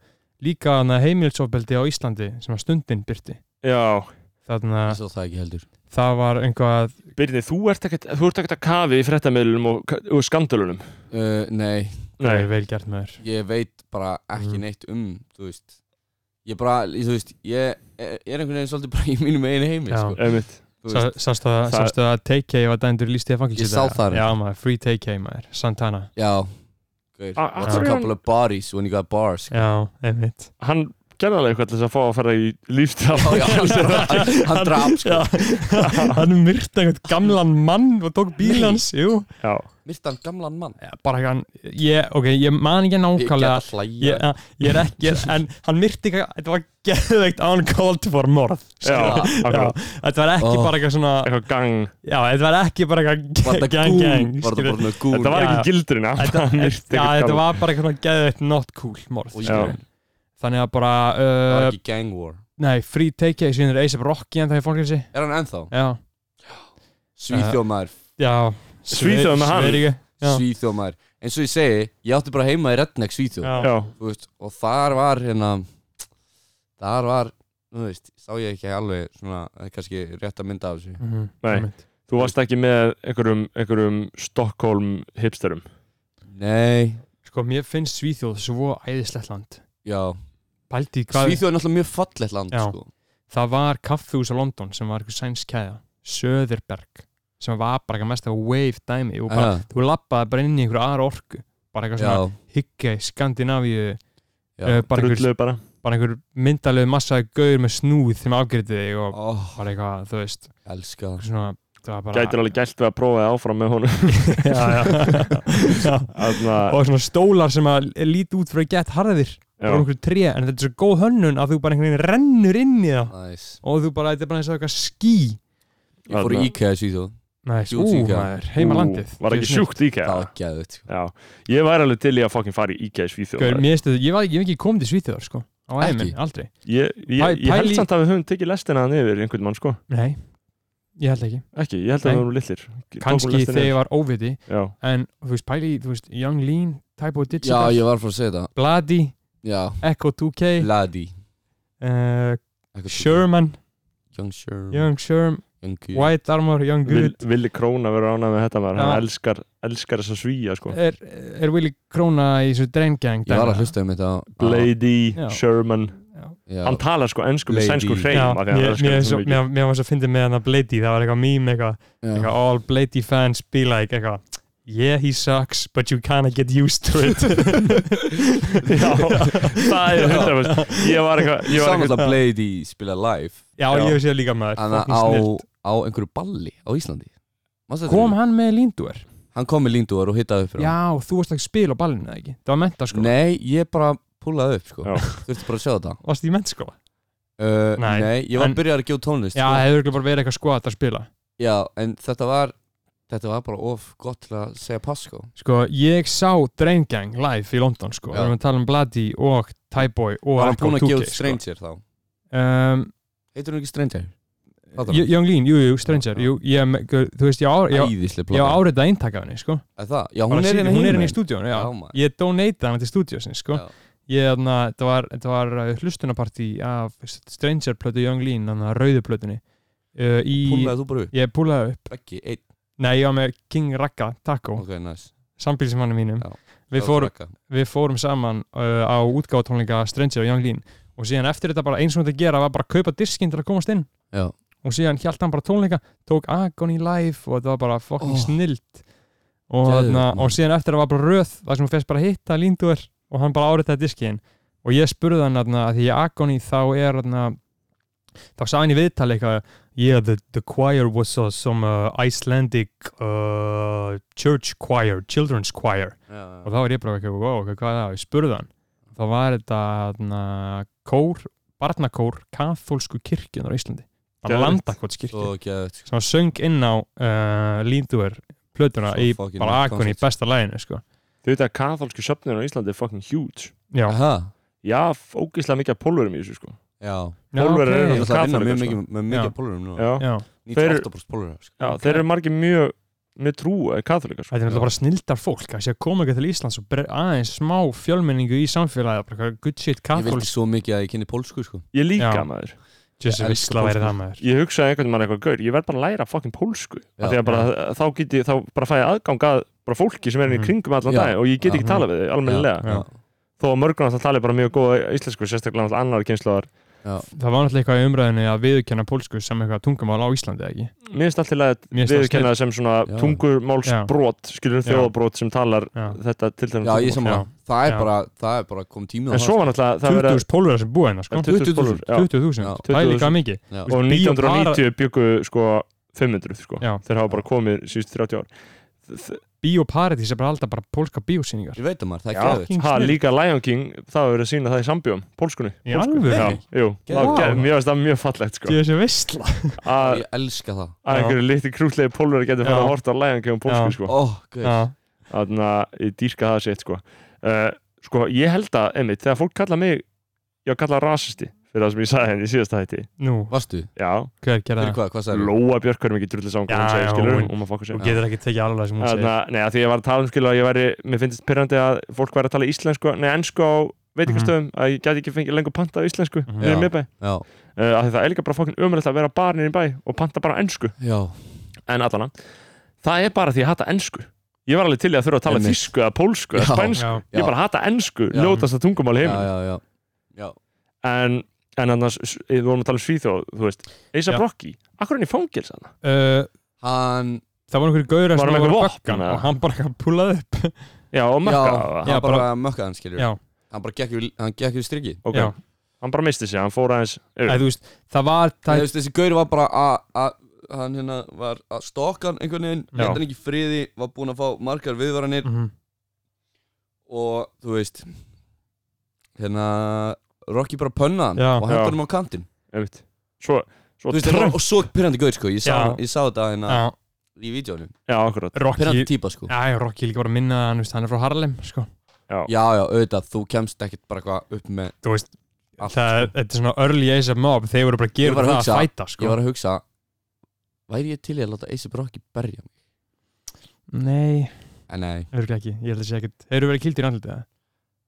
Speaker 3: líka þarna heimilsofbeldi á Íslandi sem að stundin byrti
Speaker 2: Já,
Speaker 3: þarna
Speaker 1: Ég svo það ekki heldur
Speaker 3: það var einhvað
Speaker 2: Byrni, þú ert ekkert, þú ert ekkert að kafi í fréttamiðlunum og, og skandalunum
Speaker 1: uh, Nei,
Speaker 3: Nei.
Speaker 2: Nei,
Speaker 3: vel gert maður
Speaker 1: ég veit bara ekki
Speaker 3: Mm.
Speaker 1: neitt um Þú veist Ég bara, ég- þú veist, ég er er einhvern veginn svolítið bara í mínum einu heimi
Speaker 3: Já.
Speaker 1: sko
Speaker 2: ummitt
Speaker 1: Þú
Speaker 3: Sá-
Speaker 1: veist,
Speaker 3: Sástu að,
Speaker 2: Það-
Speaker 3: sástu að TK var dæmdur í lístíða fangilsi
Speaker 1: Ég sá það
Speaker 3: Já maður, free TK maður, Santana
Speaker 1: Já, gaur
Speaker 2: A- af
Speaker 1: What's a
Speaker 2: hverju
Speaker 1: couple of bodies when you got bars sko.
Speaker 3: Já, einmitt
Speaker 2: Hann gerði alveg eitthvað til þess að fá að fara í lífstaf
Speaker 1: Já, já, hann- hann draf sko
Speaker 3: Já, hann myrta einhvern gamlan mann og tók bíl
Speaker 1: Nei.
Speaker 3: hans Jú,
Speaker 2: já,
Speaker 1: Myrtan gamlan mann
Speaker 3: Já, bara hann ég, ok, ég man ekki
Speaker 1: Ég get
Speaker 3: nákvæmlega
Speaker 1: að hlæja
Speaker 3: ég, eh, ég er ekki, ég, en hann myrti eitthvað, þetta var geðveikt uncalled for morð
Speaker 2: já,
Speaker 1: Já.
Speaker 2: akkurat.
Speaker 3: þetta var ekki
Speaker 1: Oh.
Speaker 3: bara eitthvað svona já,
Speaker 2: eitthvað gang
Speaker 3: þetta var ekki bara
Speaker 1: Var
Speaker 3: eitthvað
Speaker 1: það
Speaker 3: ge- gang gang
Speaker 1: gún? Var það
Speaker 3: skilur.
Speaker 1: bara svona gún?
Speaker 2: Þetta var
Speaker 3: Já.
Speaker 2: ekki gildurinn
Speaker 3: þetta, já, þetta var bara eitthvað svona geðveikt not cool morð
Speaker 1: Og
Speaker 2: Já.
Speaker 1: ég-
Speaker 3: þannig að bara,
Speaker 1: Það var
Speaker 3: uh,
Speaker 1: ekki gang war
Speaker 3: nei, free take síðan er A$AP Rocky en það er fólkinsi
Speaker 1: Er hann ennþá?
Speaker 3: já,
Speaker 1: Svíþjómaður
Speaker 3: já
Speaker 2: Svíþjóð með hann.
Speaker 3: Sverige. Já.
Speaker 1: Svíþjómaður Eins og ég segi, ég átti bara heima í Redneck Svíþjóð
Speaker 3: já,
Speaker 2: Já,
Speaker 1: Þú veist, Og þar var hérna Þar var, þú veist, sá ég ekki alveg svona eh, kannski rétt að mynda af þessu
Speaker 3: Mhm,
Speaker 2: Nei.
Speaker 3: einmitt.
Speaker 2: þú varst ekki með einhverjum, einhverjum Stockholm hipsterum
Speaker 1: Nei,
Speaker 3: sko, mér finnst Svíþjóð svo æðislegt land
Speaker 1: já
Speaker 3: Pældi, í hvað,
Speaker 1: Svíþjóð er náttúrulega mjög fallegt land
Speaker 3: Já.
Speaker 1: sko.
Speaker 3: það var kaffhús á London sem var eitthvað sænskæða Söðurberg sem var bara eitthvað mest að wave dæmi og bara,
Speaker 1: Já,
Speaker 3: þú lappaði bara inn í einhverju aðra orku bara eitthvað svona
Speaker 1: já,
Speaker 3: higgja í Skandinavíu
Speaker 1: já.
Speaker 3: uh, bara einhver,
Speaker 2: drullu bara
Speaker 3: bara einhver myndalegu massa gaur með snúð sem afgriði þig og
Speaker 1: Ó,
Speaker 3: bara eitthvað, þú veist
Speaker 1: elska það
Speaker 3: svona, það var bara
Speaker 2: gætir alveg gælt við að prófa það áfram með honum
Speaker 3: já, já. já.
Speaker 2: Þarna,
Speaker 3: og svona stólar sem að líti út fyrir að gett harðir
Speaker 2: já,
Speaker 3: og einhverju tré, en þetta er svo góð hönnun að þú bara einhvern veginn rennur inn í það
Speaker 1: Næs
Speaker 3: og þú bara, þetta er bara eins og eitthvað ský
Speaker 1: Ég fór í
Speaker 2: Þarna.
Speaker 1: IKEA í Svíþjóð
Speaker 3: Næs,
Speaker 1: Jú,
Speaker 3: ú,
Speaker 1: tíka.
Speaker 3: maður, E heima
Speaker 2: Ú,
Speaker 3: landið
Speaker 2: var ekki sjúkt
Speaker 1: Það
Speaker 2: íkja
Speaker 1: var geðvægt sko.
Speaker 2: já, ég væri alveg til í að fucking fara í íkja í Svíþjóð
Speaker 3: Gaur,
Speaker 2: maður.
Speaker 3: mér stu, ég var ekki, ég hef ekki komið til Svíþjóðar, sko Á
Speaker 1: Ekki?
Speaker 3: æminn, aldrei
Speaker 2: ég, ég,
Speaker 3: Pæ-
Speaker 2: ég held
Speaker 3: pæli-
Speaker 2: samt að við höfum tekið lestina hann yfir einhvern mann sko
Speaker 3: Nei, ég held ekki
Speaker 2: ekki, ég held að
Speaker 3: Nei.
Speaker 2: við vorum litlir Tókum
Speaker 3: Kanski
Speaker 2: lestina
Speaker 3: þegar ég
Speaker 2: yfir.
Speaker 3: var óviti
Speaker 2: já,
Speaker 3: En, þú veist, pæli, þú veist, Young Lean, Typo
Speaker 1: Já,
Speaker 3: Digital
Speaker 1: ég var frá að segja þetta
Speaker 3: Bladi,
Speaker 1: Já,
Speaker 3: Echo 2K
Speaker 1: Ladi
Speaker 3: uh,
Speaker 1: Eitthvað-
Speaker 3: Sherman,
Speaker 1: Young
Speaker 2: Mm.
Speaker 1: Sherm
Speaker 3: Young Sherm
Speaker 1: Young Q
Speaker 3: White Armor, Young
Speaker 2: Vil,
Speaker 3: Good
Speaker 2: Willi Króna verður ánað með þetta maður,
Speaker 3: Já.
Speaker 2: hann elskar, elskar þess að svíja sko
Speaker 3: Er, er Willi Króna í þessu dreingang
Speaker 1: Ég var að hlusta um þetta á- á-
Speaker 2: Blady,
Speaker 3: Já.
Speaker 2: Sherman
Speaker 1: Já,
Speaker 2: hann talar sko ensku með
Speaker 1: Lady.
Speaker 2: sænsku hreim
Speaker 3: Já,
Speaker 2: af því að hann
Speaker 3: mér,
Speaker 2: elskar
Speaker 3: mér,
Speaker 2: þetta
Speaker 3: er
Speaker 2: svo
Speaker 3: svo,
Speaker 2: mikið.
Speaker 3: mér, mér var svo fyndið með hann að Blady það var eitthvað mím, eitthvað
Speaker 1: já.
Speaker 3: eitthvað all Blady fans be like eitthvað yeah he sucks but you kinda get used to it
Speaker 2: Já, það er hundra Ég var eitthvað
Speaker 1: Ég
Speaker 2: Ég
Speaker 1: sá
Speaker 2: var eitthvað
Speaker 1: náttúrulega Blade í spila live
Speaker 3: já,
Speaker 2: Já.
Speaker 3: ég hef séð líka maður
Speaker 1: Þannig
Speaker 3: fucking
Speaker 1: á,
Speaker 3: snillt.
Speaker 1: á einhverju balli á Íslandi Manstu eftir
Speaker 3: kom
Speaker 1: því?
Speaker 3: hann með Lindur
Speaker 1: Hann kom með línduar og hittaði upp fyrir
Speaker 3: já, þú varst ekki spil á ballinu eða ekki það var menta
Speaker 1: hann
Speaker 3: sko
Speaker 1: Nei, ég bara púlaði upp sko
Speaker 2: Já.
Speaker 1: Þurfti bara að sjá þetta
Speaker 3: varst í menta sko
Speaker 1: uh,
Speaker 3: Nei,
Speaker 1: nei, ég var
Speaker 3: en-
Speaker 1: en, byrjar að gefa tónlist
Speaker 3: já,
Speaker 1: sko.
Speaker 3: það hefur ekki bara verið eitthvað sko að spila
Speaker 1: já, en þetta var Þetta var bara of gott til að segja pass sko
Speaker 3: sko, ég sá Drain Gang live í London sko
Speaker 1: Já.
Speaker 3: við erum að tala um Blady og Tyboy og
Speaker 1: Var hann búinn að gefa út
Speaker 3: 2K,
Speaker 1: Stranger þá?
Speaker 3: um,
Speaker 1: Heitir hún ekki Stranger? Fattar
Speaker 3: J-
Speaker 1: hann?
Speaker 3: Young Lean, jú, jú, Stranger
Speaker 1: Já.
Speaker 3: jú, ég, þú veist, ég á, ég,
Speaker 1: Æðisleg
Speaker 3: á- ég á
Speaker 1: plata
Speaker 3: árið að eintaka henni sko
Speaker 1: Er það? Já,
Speaker 3: Bara
Speaker 1: hún er
Speaker 3: síðan-
Speaker 1: hérna
Speaker 3: hún er
Speaker 1: heima.
Speaker 3: henni í stúdíónu, já,
Speaker 1: Já, maður.
Speaker 3: ég donata hana til stúdíósinn, sko
Speaker 1: Já.
Speaker 3: ég, þarna, þetta var, þetta var uh, hlustunapartí af Stranger plötu Young Lean, þannig að rauðu plötunni uh, í,
Speaker 1: Púlaði þú bara upp?
Speaker 3: ég púlaði upp
Speaker 1: Beggi, einn
Speaker 3: nei, ég var með King Ragga Taco,
Speaker 1: Ok, nice
Speaker 3: sambílismanni mínum
Speaker 1: Já.
Speaker 3: við, fórum, við fórum saman uh, á útgáðtónleika Stranger og Young Lean og síðan eftir þetta bara eins og þetta gera var bara að kaupa diskinn til að komast inn
Speaker 1: Já
Speaker 3: og síðan hjælt hann bara tónleika tók Agony live og þetta var bara fucking
Speaker 1: Oh.
Speaker 3: snillt og,
Speaker 1: Geðveikt,
Speaker 3: þarna,
Speaker 1: maður.
Speaker 3: og síðan eftir það var bara röð þar sem hún fyrst bara að hitta Lindur og hann bara áritaði diskiðin og ég spurði hann þarna, að því í Agony þá er þarna, þá sagði hann í viðtali eitthvað yeah the, the choir was uh, some uh, Icelandic uh, church choir, children's choir og
Speaker 1: Já,
Speaker 3: þá var ég bara eitthvað, wow, hvað hvað er það, ég spurði hann þá var þetta na, kór, barnakór kathólsku kirkjunar á Íslandi bara
Speaker 1: Svo
Speaker 2: Geðveikt.
Speaker 1: sko.
Speaker 3: landakotskirkju
Speaker 1: geðvægt
Speaker 3: sem söng inn á uh, Lindur plötuna
Speaker 1: Svo
Speaker 3: í
Speaker 1: fucking
Speaker 3: bara
Speaker 1: nett
Speaker 3: akun í
Speaker 1: koncept.
Speaker 3: besta læginu sko.
Speaker 2: Þú þau veit að katholsku söfnun á Íslandi er fucking huge
Speaker 3: Já,
Speaker 1: Aha,
Speaker 2: já, ógislega mikið af pólverum í þessu sko
Speaker 1: já
Speaker 3: já,
Speaker 2: Pólverjar
Speaker 3: ok.
Speaker 2: eru
Speaker 1: Það er að vinna
Speaker 2: Kaþólikar,
Speaker 1: mjög
Speaker 2: sko.
Speaker 1: mikið með mikið
Speaker 3: Já.
Speaker 1: af pólurum núna
Speaker 2: já,
Speaker 3: Já,
Speaker 1: 98% pólurum sko.
Speaker 2: já þeir eru margir mjög mjög trú katholika sko.
Speaker 3: þetta er náttúrulega bara snildar fólk að sé að koma ekki til Íslands og bre- aðeins smá fjölmenningu í samfélagi bara eitthvað good shit
Speaker 1: Ég vildi
Speaker 3: kathols
Speaker 1: svo mikið að ég kynni pólsku sko.
Speaker 2: ég líka
Speaker 3: Já.
Speaker 2: maður
Speaker 3: Jössi,
Speaker 1: Ég elska
Speaker 3: veistla væri
Speaker 1: pólsku.
Speaker 3: það maður
Speaker 2: ég hugsaði einhvern veginn eitthvað gaur, ég verð bara að læra fucking pólsku
Speaker 1: Já,
Speaker 2: já, að bara, þá get ég, þá bara fæ ég aðgang að bara fólki sem er inn í
Speaker 3: Mhm.
Speaker 2: kringum allan
Speaker 1: Já.
Speaker 2: dag og ég get ekki
Speaker 3: Já.
Speaker 2: tala við þau almennilega
Speaker 3: Já.
Speaker 2: þó að mörgum alltaf tala bara mjög góða íslensku sérstaklega alltaf annar kynnslóðar
Speaker 3: Það var náttúrulega eitthvað í umræðinu að viðurkenna pólsku sem eitthvað tungumál á Íslandi, eða ekki?
Speaker 2: mér finnst alltaf að
Speaker 3: Mér finnst það
Speaker 2: viðurkenna það sem svona
Speaker 1: Já.
Speaker 2: tungumálsbrot skilur
Speaker 3: Já.
Speaker 2: þjóðabrot sem talar
Speaker 3: Já.
Speaker 2: þetta til
Speaker 1: Já, ég
Speaker 2: dæmis um
Speaker 1: saman Það er
Speaker 3: Já.
Speaker 1: bara, það er bara komið tími á
Speaker 2: en
Speaker 1: það,
Speaker 2: svo var náttúrulega það verið
Speaker 3: 20.000 pólverðar sem búið hérna, sko.
Speaker 2: 20.000 pólverjar, já.
Speaker 3: 20.000,
Speaker 1: Já.
Speaker 3: það er líka mikið.
Speaker 1: sko. Já.
Speaker 2: og
Speaker 3: Bíó
Speaker 2: 1990 byggu sko 500 sko
Speaker 3: Já.
Speaker 2: þeir hafa bara komið síðust 30 ár Þ-
Speaker 3: Bíóparadís er bara alltaf bara pólska bíósýningar.
Speaker 1: sko. Ég veit að maður, það er sko.
Speaker 2: Já.
Speaker 1: geðvægt
Speaker 3: King
Speaker 2: ha,
Speaker 3: snill.
Speaker 2: líka Lion King það hafa verið að sína það í sambjóm pólskunni
Speaker 3: Í
Speaker 2: pólsku.
Speaker 3: alvöru?
Speaker 2: Já, jú,
Speaker 1: Geðveikt.
Speaker 2: það var
Speaker 3: Vá.
Speaker 2: ge- mér finnst það mjög fallegt sko
Speaker 3: Jössi, veistla.
Speaker 2: að
Speaker 1: Ég elska það
Speaker 2: að
Speaker 3: Já.
Speaker 2: einhverju litli krútlega pólveri getur fara
Speaker 3: Já.
Speaker 2: að horta á Lion King og
Speaker 3: Já.
Speaker 2: pólsku sko
Speaker 1: Ó, gauð
Speaker 3: Já,
Speaker 2: þannig að ég dýrka það sétt sko uh, sko ég held að einmitt þegar fólk kalla mig ég var kallað rasisti fyrir það sem ég sagði henni í síðasta hætti
Speaker 3: nú,
Speaker 1: Varstu?
Speaker 2: já,
Speaker 3: hver gerða
Speaker 1: Fyrir
Speaker 3: það?
Speaker 1: hvað, hvað sagði?
Speaker 2: Lóa Björk hverjum ekki drullið saman hvað hún
Speaker 3: Já,
Speaker 2: segir
Speaker 3: já,
Speaker 2: skilur
Speaker 3: hún-
Speaker 2: og maður fokkar
Speaker 3: Þú
Speaker 2: sér
Speaker 3: getur ekki tekið alveg sem hún segir.
Speaker 2: Þarna, nei, að því ég var að tala um skilur að ég væri, mér finnst pyrrandi að fólk væri að tala íslensku, nei, ennsku á veitingastöðum, að ég gæti ekki fengið lengur panta á íslensku
Speaker 3: Mhm.
Speaker 2: niður í
Speaker 1: Já.
Speaker 2: miðbæ,
Speaker 1: Já,
Speaker 2: uh, að því það er líka bara fólkin umræðilegt að vera bara niður í bæ og panta bara ennsku,
Speaker 1: já,
Speaker 2: en allana það er bara því ég hata ennsku ég var alveg til í að þurfa að tala
Speaker 1: Einmitt.
Speaker 2: þísku eða pólsku eða
Speaker 1: Já.
Speaker 2: spænsku,
Speaker 3: Já,
Speaker 1: já.
Speaker 2: ég bara hata ennsku
Speaker 1: Já.
Speaker 2: ljótasta tungumál
Speaker 1: já,
Speaker 2: heim
Speaker 1: já, já Já,
Speaker 2: en, en annars, s- við vorum að tala um Svíþjóð þú veist, Eisa
Speaker 3: Já.
Speaker 2: Brokki, akkur er hann í fangils hann?
Speaker 3: Uh,
Speaker 1: hann
Speaker 3: það var einhverju
Speaker 2: Var
Speaker 3: gaur sem
Speaker 2: hann
Speaker 3: var
Speaker 2: með
Speaker 3: að
Speaker 2: vopn,
Speaker 3: bakka hann
Speaker 2: eða?
Speaker 3: og hann bara eitthvað púlaði upp
Speaker 2: Já, og
Speaker 1: Já,
Speaker 2: Magga,
Speaker 1: hann
Speaker 2: já.
Speaker 3: Já,
Speaker 1: bara
Speaker 3: bara-
Speaker 1: mökkaði hann, skilur
Speaker 3: Já,
Speaker 1: Hann bara gekk við, hann gekk við strikki
Speaker 2: ok,
Speaker 3: já.
Speaker 2: hann bara misti sig, hann fór aðeins yfir.
Speaker 3: Æ, þú veist, það var
Speaker 1: Það
Speaker 3: það,
Speaker 1: veist, þessi gaur var bara að- að Hann hérna var að stokka hann einhvern veginn
Speaker 2: Já.
Speaker 1: Leta hann ekki í friði, var búinn að fá margar viðvaranir
Speaker 3: mm
Speaker 1: Og, þú veist Hérna Rocky bara pönnaði
Speaker 3: Já.
Speaker 1: hann og hendur
Speaker 2: Já.
Speaker 1: hann á kantinn
Speaker 2: einmitt svo, svo
Speaker 1: Þú veist, það var-
Speaker 2: Trump
Speaker 1: og svo pyrrandi gaur sko, ég sá,
Speaker 3: Já.
Speaker 1: ég sá þetta hérna
Speaker 3: já,
Speaker 1: í vídjónum
Speaker 2: já, akkurat
Speaker 3: Rocky
Speaker 1: Pyrrandi típa sko Já,
Speaker 3: Já, já, Rocky er líka bara að minna að hann, veist, hann er frá Harlem sko.
Speaker 1: já, auðvitað, þú kemst ekkert bara eitthvað upp með
Speaker 3: Þú veist,
Speaker 1: allt
Speaker 3: það,
Speaker 1: sko.
Speaker 3: þetta er svona early Ace of Mob þeir voru bara að
Speaker 1: Ég
Speaker 3: gera
Speaker 1: var að
Speaker 3: það að
Speaker 1: hugsa-
Speaker 3: fæta
Speaker 1: Ég
Speaker 3: sko.
Speaker 1: var að hugsa, væri ég til í að láta Eisi Brokki berja mig?
Speaker 3: Nei,
Speaker 1: En nei,
Speaker 3: örgulega ekki, ég held að sé ekkert Þeir eru verið kildir í andlitið eða?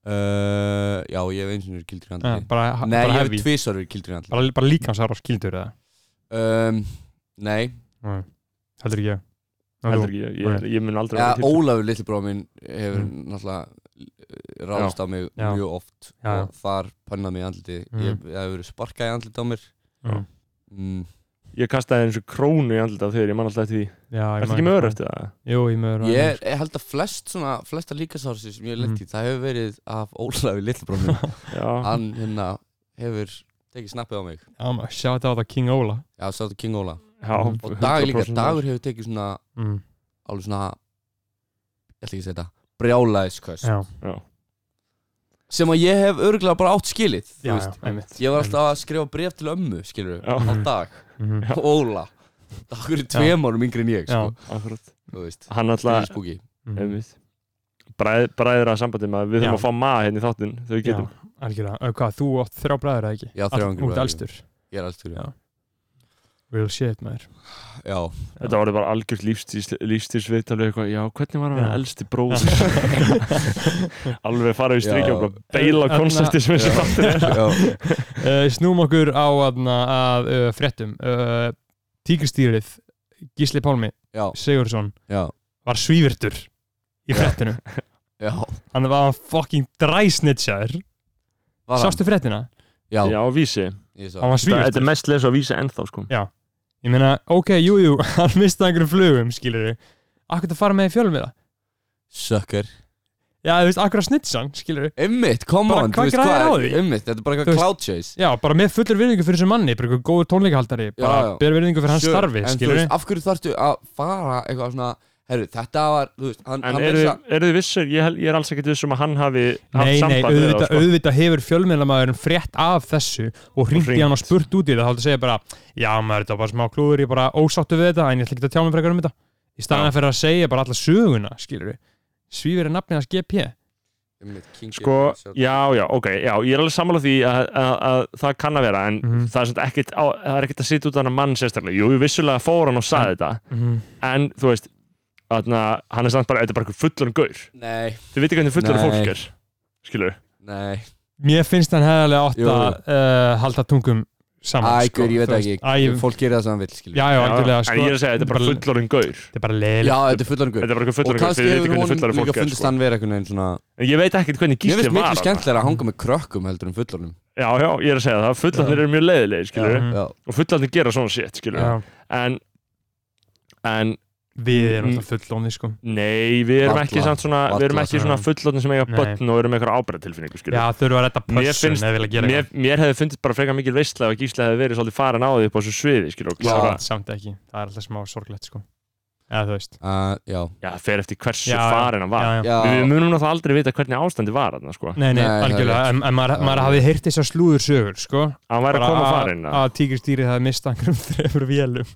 Speaker 1: uh, já, ég hef eins og verið kildur í
Speaker 3: Ja,
Speaker 1: andliti
Speaker 3: bara, ha-
Speaker 1: Nei,
Speaker 3: bara
Speaker 1: ég hef
Speaker 3: hefði
Speaker 1: tvisvar verið kildur í andliti
Speaker 3: bara, bara líkamsárar kildur eða
Speaker 1: um, Nei,
Speaker 3: Nei, Heldur ekki ég Ná,
Speaker 2: heldur
Speaker 3: þú-
Speaker 2: ekki, ég, ég, ég mun aldrei
Speaker 1: ja,
Speaker 2: vera til-
Speaker 1: Ólafur Lillibróð minn hefur
Speaker 3: Mm.
Speaker 1: náttúrulega ráðast á mig
Speaker 3: Já.
Speaker 1: mjög oft
Speaker 3: Já, já.
Speaker 1: og þar pönnað mig í andliti
Speaker 3: Mm.
Speaker 1: Ég það hefur verið sparkað í andliti á mér
Speaker 3: Já.
Speaker 1: mm,
Speaker 2: ég kastaði eins og krónu í andlita þegar ég man alltaf eftir því
Speaker 3: Já, ég
Speaker 2: ertu
Speaker 3: man
Speaker 2: ekki
Speaker 3: hvað-
Speaker 2: með öru eftir það?
Speaker 3: Jú, ég mögur
Speaker 1: Ég, ég held að flest svona, flesta líkasársir sem ég hef
Speaker 3: Mm.
Speaker 1: lett í, það hefur verið af Ólafi Lillbróminn,
Speaker 2: já,
Speaker 1: hann hérna hefur tekið snappið á mig
Speaker 3: Sjá þetta á það King Ola
Speaker 1: Já, sá þetta King Óla
Speaker 2: já
Speaker 1: Og dag líka,
Speaker 2: 100%
Speaker 1: dagur hefur tekið svona,
Speaker 3: mm.
Speaker 1: alveg svona ég ætla ekki að segja þetta, brjálæðiskvöst
Speaker 3: Já,
Speaker 1: sem að ég hef örgulega bara átt skilið þú
Speaker 3: já,
Speaker 1: veist.
Speaker 3: einmitt
Speaker 1: Ég var alltaf að skrifa bref til ömmu, skilur
Speaker 2: Já.
Speaker 1: á dag,
Speaker 3: Mhm.
Speaker 2: Já.
Speaker 1: Óla Dagur er tveim árum yngri en ég, sko
Speaker 2: akkurat.
Speaker 1: Þú veist,
Speaker 2: hann
Speaker 1: það
Speaker 2: alltaf
Speaker 1: spúki
Speaker 3: Mhm.
Speaker 2: einmitt Bræð, bræðra sambandi maður, við þurfum
Speaker 3: Já.
Speaker 2: að fá maður hérna í þáttinn þegar við getum
Speaker 3: Já, algjörlega. Ö, Hvað, þú átt þrjá bræður eða ekki?
Speaker 1: Já, þrjá yngri
Speaker 3: Þú ert
Speaker 1: bræður.
Speaker 3: elstur.
Speaker 1: Ég er alltaf, já,
Speaker 3: Já. Real shit, maður.
Speaker 1: já.
Speaker 2: þetta voru bara algjörst lífstíðsviðtalið eitthvað, já, hvernig var hann
Speaker 3: Já.
Speaker 2: elsti bróður alveg fara í stríkja
Speaker 1: Já.
Speaker 2: og bara beila
Speaker 3: Þarna-
Speaker 2: konceptið sem þessi þáttir er
Speaker 1: já.
Speaker 3: uh, snúm okkur á aðna, að uh, fréttum. Uh, tíkristýrið, Gísli Pálmi
Speaker 1: já,
Speaker 3: Sigursson,
Speaker 1: já,
Speaker 3: var svívirtur í fréttinu.
Speaker 1: já
Speaker 3: Hann var fucking dræsnitsjaður.
Speaker 1: Var hann?
Speaker 3: Sástu fréttina?
Speaker 1: Já,
Speaker 2: já, vísi,
Speaker 1: ég sá
Speaker 3: Hann var
Speaker 2: þetta er
Speaker 3: svívirtur.
Speaker 2: mest lesa á vísi ennþá sko
Speaker 3: Ég meina, ok, jú, jú, hann mistaði einhverjum flugum, skilur við. Akkur það fara með í fjölum við það?
Speaker 1: Sökkur
Speaker 3: Já, þú veist, akkur að snitsa hann, skilur við.
Speaker 1: Einmitt, come
Speaker 3: Bara
Speaker 1: on, þú
Speaker 3: hvað
Speaker 1: veist
Speaker 3: græðir á
Speaker 1: hvað
Speaker 3: því?
Speaker 1: er Einmitt, þetta er bara
Speaker 3: Þú
Speaker 1: eitthvað
Speaker 3: veist-
Speaker 1: cloud chase
Speaker 3: Já, bara með fullur virðingu fyrir þessum manni, bara eitthvað góður tónleikahaldari, bara
Speaker 1: já.
Speaker 3: ber virðingu fyrir hans
Speaker 1: Sure,
Speaker 3: starfi,
Speaker 1: en
Speaker 3: skilur
Speaker 1: þú veist, af hverju þarftu að fara eitthvað svona herru, þetta var, þú veist, hann,
Speaker 2: En
Speaker 1: hann
Speaker 2: eru
Speaker 1: meira
Speaker 2: þið- eru þið vissir, ég, hel- ég er alls ekkert vissum að hann hafi haft
Speaker 3: Nei, nei,
Speaker 2: samband við
Speaker 3: auðvitað,
Speaker 2: það sko.
Speaker 3: auðvitað hefur fjölmiðlamæðurinn frétt af þessu og hringt í
Speaker 2: Hringt.
Speaker 3: hann og spurt út í það þá ætla að segja bara, já maður, þetta var bara smá klúður ég er bara ósáttu við þetta, en ég ætla ekki að tjá mig frekar um þetta í staðan
Speaker 2: Já.
Speaker 3: fyrir að segja bara alla söguna, skilur við svífur er nafnið hans GP
Speaker 2: sko, já, já, ok já, ég er alveg sammála því að, að, að það kann að vera en
Speaker 3: Mhm.
Speaker 2: það er svona ekkit á, það er ekkit að sitja út af hann mann sérstaklega jú, vissulega fór hann og saði þetta
Speaker 3: mm.
Speaker 2: en, þú veist, þarna, hann er samt bara þetta er bara eitthvað fullan gaur
Speaker 1: Nei,
Speaker 2: þið veitir hvernig fullan
Speaker 1: Nei.
Speaker 2: fólk er skilur,
Speaker 1: nei
Speaker 3: Mér finnst hann hefðarlega
Speaker 1: Jú,
Speaker 3: átt
Speaker 1: jú.
Speaker 3: að uh, halda tungum saman
Speaker 1: Æ,
Speaker 3: sko,
Speaker 1: sko, ég veit
Speaker 3: þú
Speaker 1: ekki,
Speaker 3: veist. Æ, ég-
Speaker 1: fólk gerir það sem það vil, skilur
Speaker 3: Já, já, algjörlega
Speaker 2: en
Speaker 3: sko,
Speaker 2: ég er að segja, þetta er bara fullan gaur
Speaker 3: Þetta er bara
Speaker 1: já
Speaker 3: leiðilegt
Speaker 1: þetta er fullan
Speaker 2: þetta
Speaker 1: guð
Speaker 2: er bara eitthvað
Speaker 1: Og
Speaker 2: fullan gaur,
Speaker 1: kannski
Speaker 2: þið veitir
Speaker 1: hefur
Speaker 2: hvernig
Speaker 1: hún
Speaker 2: fullan
Speaker 1: líka
Speaker 2: fólk er
Speaker 1: fundist
Speaker 2: sko.
Speaker 1: hann vera einhvern veginn svona
Speaker 2: en ég veit ekkit hvernig
Speaker 1: Mér
Speaker 2: gísli
Speaker 1: finnst
Speaker 2: var
Speaker 1: miklu
Speaker 2: þarna.
Speaker 1: skemmtilega að hanga með krökkum heldur en fullornum
Speaker 2: já, já, ég er að segja það, fullanir eru mjög leiðilegir skilur,
Speaker 3: Já.
Speaker 1: Já,
Speaker 2: og fullanir gera svona shit, skilur
Speaker 3: Já,
Speaker 2: en, en
Speaker 3: Við erum
Speaker 2: Mm.
Speaker 3: alltaf fullóni sko
Speaker 2: Nei, við erum
Speaker 1: Varla,
Speaker 2: ekki samt svona við erum
Speaker 1: varla,
Speaker 2: ekki svona
Speaker 3: já.
Speaker 2: fullotnir sem eiga
Speaker 3: Nei.
Speaker 2: börn og erum með eitthvað ábyrðatilfinningu
Speaker 3: Já, þau eru að redda
Speaker 2: Mér
Speaker 3: pössun
Speaker 2: finnst-
Speaker 3: eða vilja gera
Speaker 2: mér, mér hefði fundist bara frekar mikil veistla ef að Gísli hefði verið svolítið farin á því upp á þessu sviði skilur, og
Speaker 1: Já.
Speaker 2: klára,
Speaker 3: eitthvað Samt ekki, það er alltaf smá sorglegt sko Eða þú veist
Speaker 1: uh, já
Speaker 2: já, það fer eftir hversu
Speaker 3: Já, já.
Speaker 2: farin hann var
Speaker 3: Já, já.
Speaker 1: Já,
Speaker 2: Við munum náttúrulega aldrei vita hvernig ástandi var hann sko.
Speaker 3: Nei, nei,
Speaker 1: Nei, það er
Speaker 3: algjörlega,
Speaker 1: rétt.
Speaker 3: en, en maður,
Speaker 1: Já,
Speaker 3: maður
Speaker 1: já.
Speaker 3: hafi heyrt þessar slúður sögur, sko
Speaker 2: Hann væri að
Speaker 3: Bara
Speaker 2: koma farin
Speaker 3: að tígristýrið hafi mistað einhverjum þrefur vélum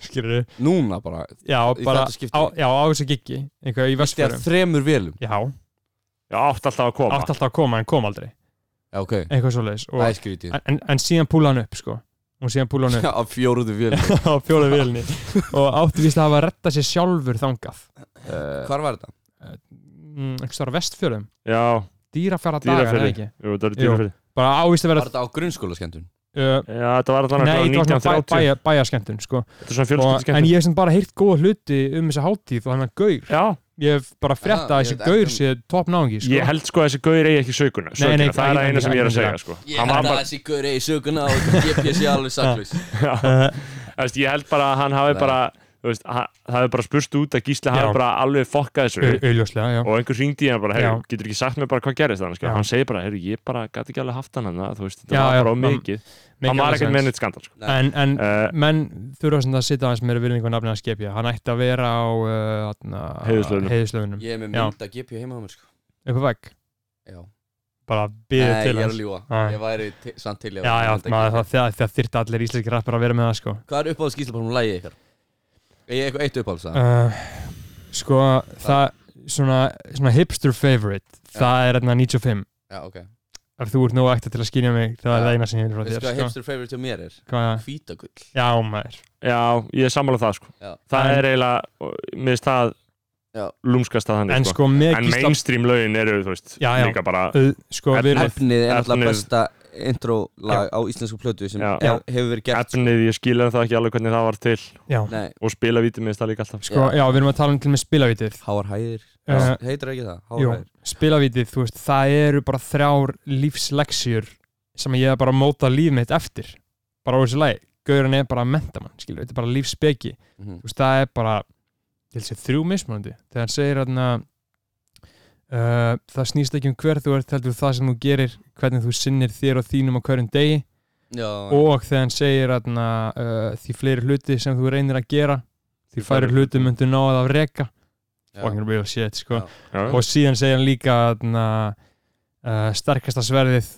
Speaker 3: skilur
Speaker 1: núna bara
Speaker 3: já,
Speaker 1: Í
Speaker 3: bara
Speaker 1: þetta skipti.
Speaker 3: á, já, á þessu giggi einhverja í
Speaker 1: Þegar
Speaker 3: Vestfjörðum
Speaker 1: þremur velum
Speaker 3: já, átt
Speaker 2: Já, átt alltaf að koma
Speaker 3: alltaf að koma en kom aldrei
Speaker 1: Já, ok,
Speaker 3: eitthvað svoleiðis
Speaker 1: það
Speaker 3: og,
Speaker 1: er skrítið
Speaker 3: en, en síðan púla hann upp sko og síðan púla hann upp
Speaker 1: Já, fjóruðu velum
Speaker 3: á fjóla vélni og átti víst að hafa að retta sér sjálfur þangað
Speaker 2: Eh,
Speaker 3: uh,
Speaker 1: Hvar var þetta?
Speaker 3: mm, einhvers þar á Vestfjörðum
Speaker 2: Já,
Speaker 3: dýrafjara dagar eða
Speaker 2: dýrafyrir
Speaker 3: ekki
Speaker 2: Jú, það er
Speaker 3: Jú.
Speaker 2: dýrafyrir
Speaker 3: bara ávist að vera
Speaker 1: Var þetta á grunnskóla skemmtun?
Speaker 3: uh,
Speaker 2: Já, þetta var alltaf
Speaker 3: nei, það var svona bæ,
Speaker 2: 1930
Speaker 3: bæja, bæjaskendun sko
Speaker 2: Þetta er svona
Speaker 3: og, en
Speaker 2: fjölskyldskemmt
Speaker 3: ég hef sem bara heyrt góða hluti um þessa hátíð og hann að gaur
Speaker 2: Já,
Speaker 3: ég hef bara
Speaker 2: Ah,
Speaker 3: frétt
Speaker 1: Já,
Speaker 3: að
Speaker 1: ég
Speaker 3: þessi
Speaker 1: veit ekki
Speaker 3: gaur
Speaker 1: um-
Speaker 3: sé topp náðingi sko.
Speaker 2: ég held sko að þessi gaur eigi ekki sökuna,
Speaker 3: Nei, nei,
Speaker 2: sökuna. Það er
Speaker 3: ég-
Speaker 2: að eina sem ég er að
Speaker 3: ég-
Speaker 2: segja sko.
Speaker 1: Ég
Speaker 2: Hann
Speaker 1: held
Speaker 2: var
Speaker 1: að
Speaker 2: bara-
Speaker 1: þessi gaur eigi söguna og GPS er alveg saklaus
Speaker 2: Já.
Speaker 3: uh,
Speaker 2: Þú veist, ég held bara að hann hafi
Speaker 1: Nei.
Speaker 2: bara þú veist, hann- það hefur bara spurst út að Gísli
Speaker 3: Já.
Speaker 2: hafi bara alveg fokkað þessu
Speaker 3: au- augljóslega, já
Speaker 2: og einhver ringdi í hann bara,
Speaker 3: Já.
Speaker 2: hey, getur ekki sagt mér bara hvað gerist þannig,
Speaker 3: Já.
Speaker 2: hann segir bara, hey, ég bara gæti ekki alveg haft hann hann, þú veist, þetta
Speaker 3: Já,
Speaker 2: var
Speaker 3: já,
Speaker 2: bara of
Speaker 3: hann-
Speaker 2: mikið
Speaker 3: Make
Speaker 2: hann var
Speaker 3: alveg
Speaker 2: ekkert
Speaker 3: sens.
Speaker 2: með neitt skandal sko.
Speaker 3: en, en
Speaker 2: uh,
Speaker 3: menn þurfa svona að sitja aðeins meira virðingu að nafnið að skepja hann ætti að vera á uh,
Speaker 2: Heiðurslaunum.
Speaker 3: heiðislöfunum
Speaker 1: Ég er með
Speaker 3: Já.
Speaker 1: mynd að GPS heima á mér sko
Speaker 3: eitthvað vegg,
Speaker 1: Já
Speaker 3: bara býðið
Speaker 1: Nei, ég
Speaker 3: til
Speaker 1: er að
Speaker 3: hans
Speaker 1: ljúa
Speaker 3: Nei.
Speaker 1: Ég væri til- samt til í að-
Speaker 3: já, já,
Speaker 1: ég held að
Speaker 3: maður,
Speaker 1: GP.
Speaker 3: það, það, það þyrta allir íslenski rappar að vera með það sko
Speaker 1: Hvað er uppáhalds gíslapálum lægið ykkar? Ég er eitthvað eitt uppáhalds það
Speaker 3: uh, sko, það svona, svona hipster favorite
Speaker 1: Já.
Speaker 3: það er hérna 95
Speaker 1: Já, ok
Speaker 3: ef þú ert nógu ekta til að skilja mig það
Speaker 1: Já.
Speaker 3: er það eina sem ég vil frá
Speaker 1: Veistu
Speaker 3: þér
Speaker 1: hvað
Speaker 3: sko. Eh.
Speaker 1: hipster favorite hjá mér er?
Speaker 3: Hvað-
Speaker 1: Hvítagull
Speaker 3: já, maður
Speaker 2: já, ég er sammálað það, sko.
Speaker 1: Já.
Speaker 2: það
Speaker 3: En-
Speaker 2: er eiginlega, minnst það
Speaker 1: Já.
Speaker 2: lúmskast að
Speaker 3: en
Speaker 2: þannig, sko.
Speaker 3: sko, með
Speaker 2: en
Speaker 3: gísla
Speaker 2: mainstream lögin eru, þú veist,
Speaker 3: Já, já.
Speaker 2: líka bara
Speaker 3: uh, sko, við erum
Speaker 1: Efnið er
Speaker 2: Efnið.
Speaker 1: náttúrulega besta intro lag á íslensku plötu sem
Speaker 2: Já.
Speaker 1: er, hefur verið gert
Speaker 2: efnið, ég skil en það ekki alveg hvernig það var til
Speaker 3: já,
Speaker 1: Nei,
Speaker 2: og spila vítið minnst það líka alltaf
Speaker 3: sko, já, við erum að tala um til með spilavítið
Speaker 1: Háar hæðir
Speaker 3: Já.
Speaker 1: Heitir ekki það?
Speaker 3: Jú,
Speaker 1: Háar hæðir
Speaker 3: spilavítið, þú veist, það eru bara þrjár lífsleksjur sem ég hef bara mótað líf mitt eftir bara á þessu lagi, gaurin er bara mentamann, skilur, þetta er bara lífsbeki
Speaker 1: Mhm.
Speaker 3: þú veist, það er bara ég held sér þrjú mismunandi, þegar hann segir þarna uh, það snýst ekki um hver þú ert heldur það sem þú gerir hvernig þú sinnir þér og þínum á hverjum degi
Speaker 1: Já,
Speaker 3: og þegar hann segir þarna uh, því fleiri hluti sem þú reynir að gera því færi hluti myndu náða að reka
Speaker 1: já.
Speaker 3: fucking real shit, sko
Speaker 1: Já.
Speaker 2: já,
Speaker 3: og síðan segir hann líka na, uh, sterkasta sverðið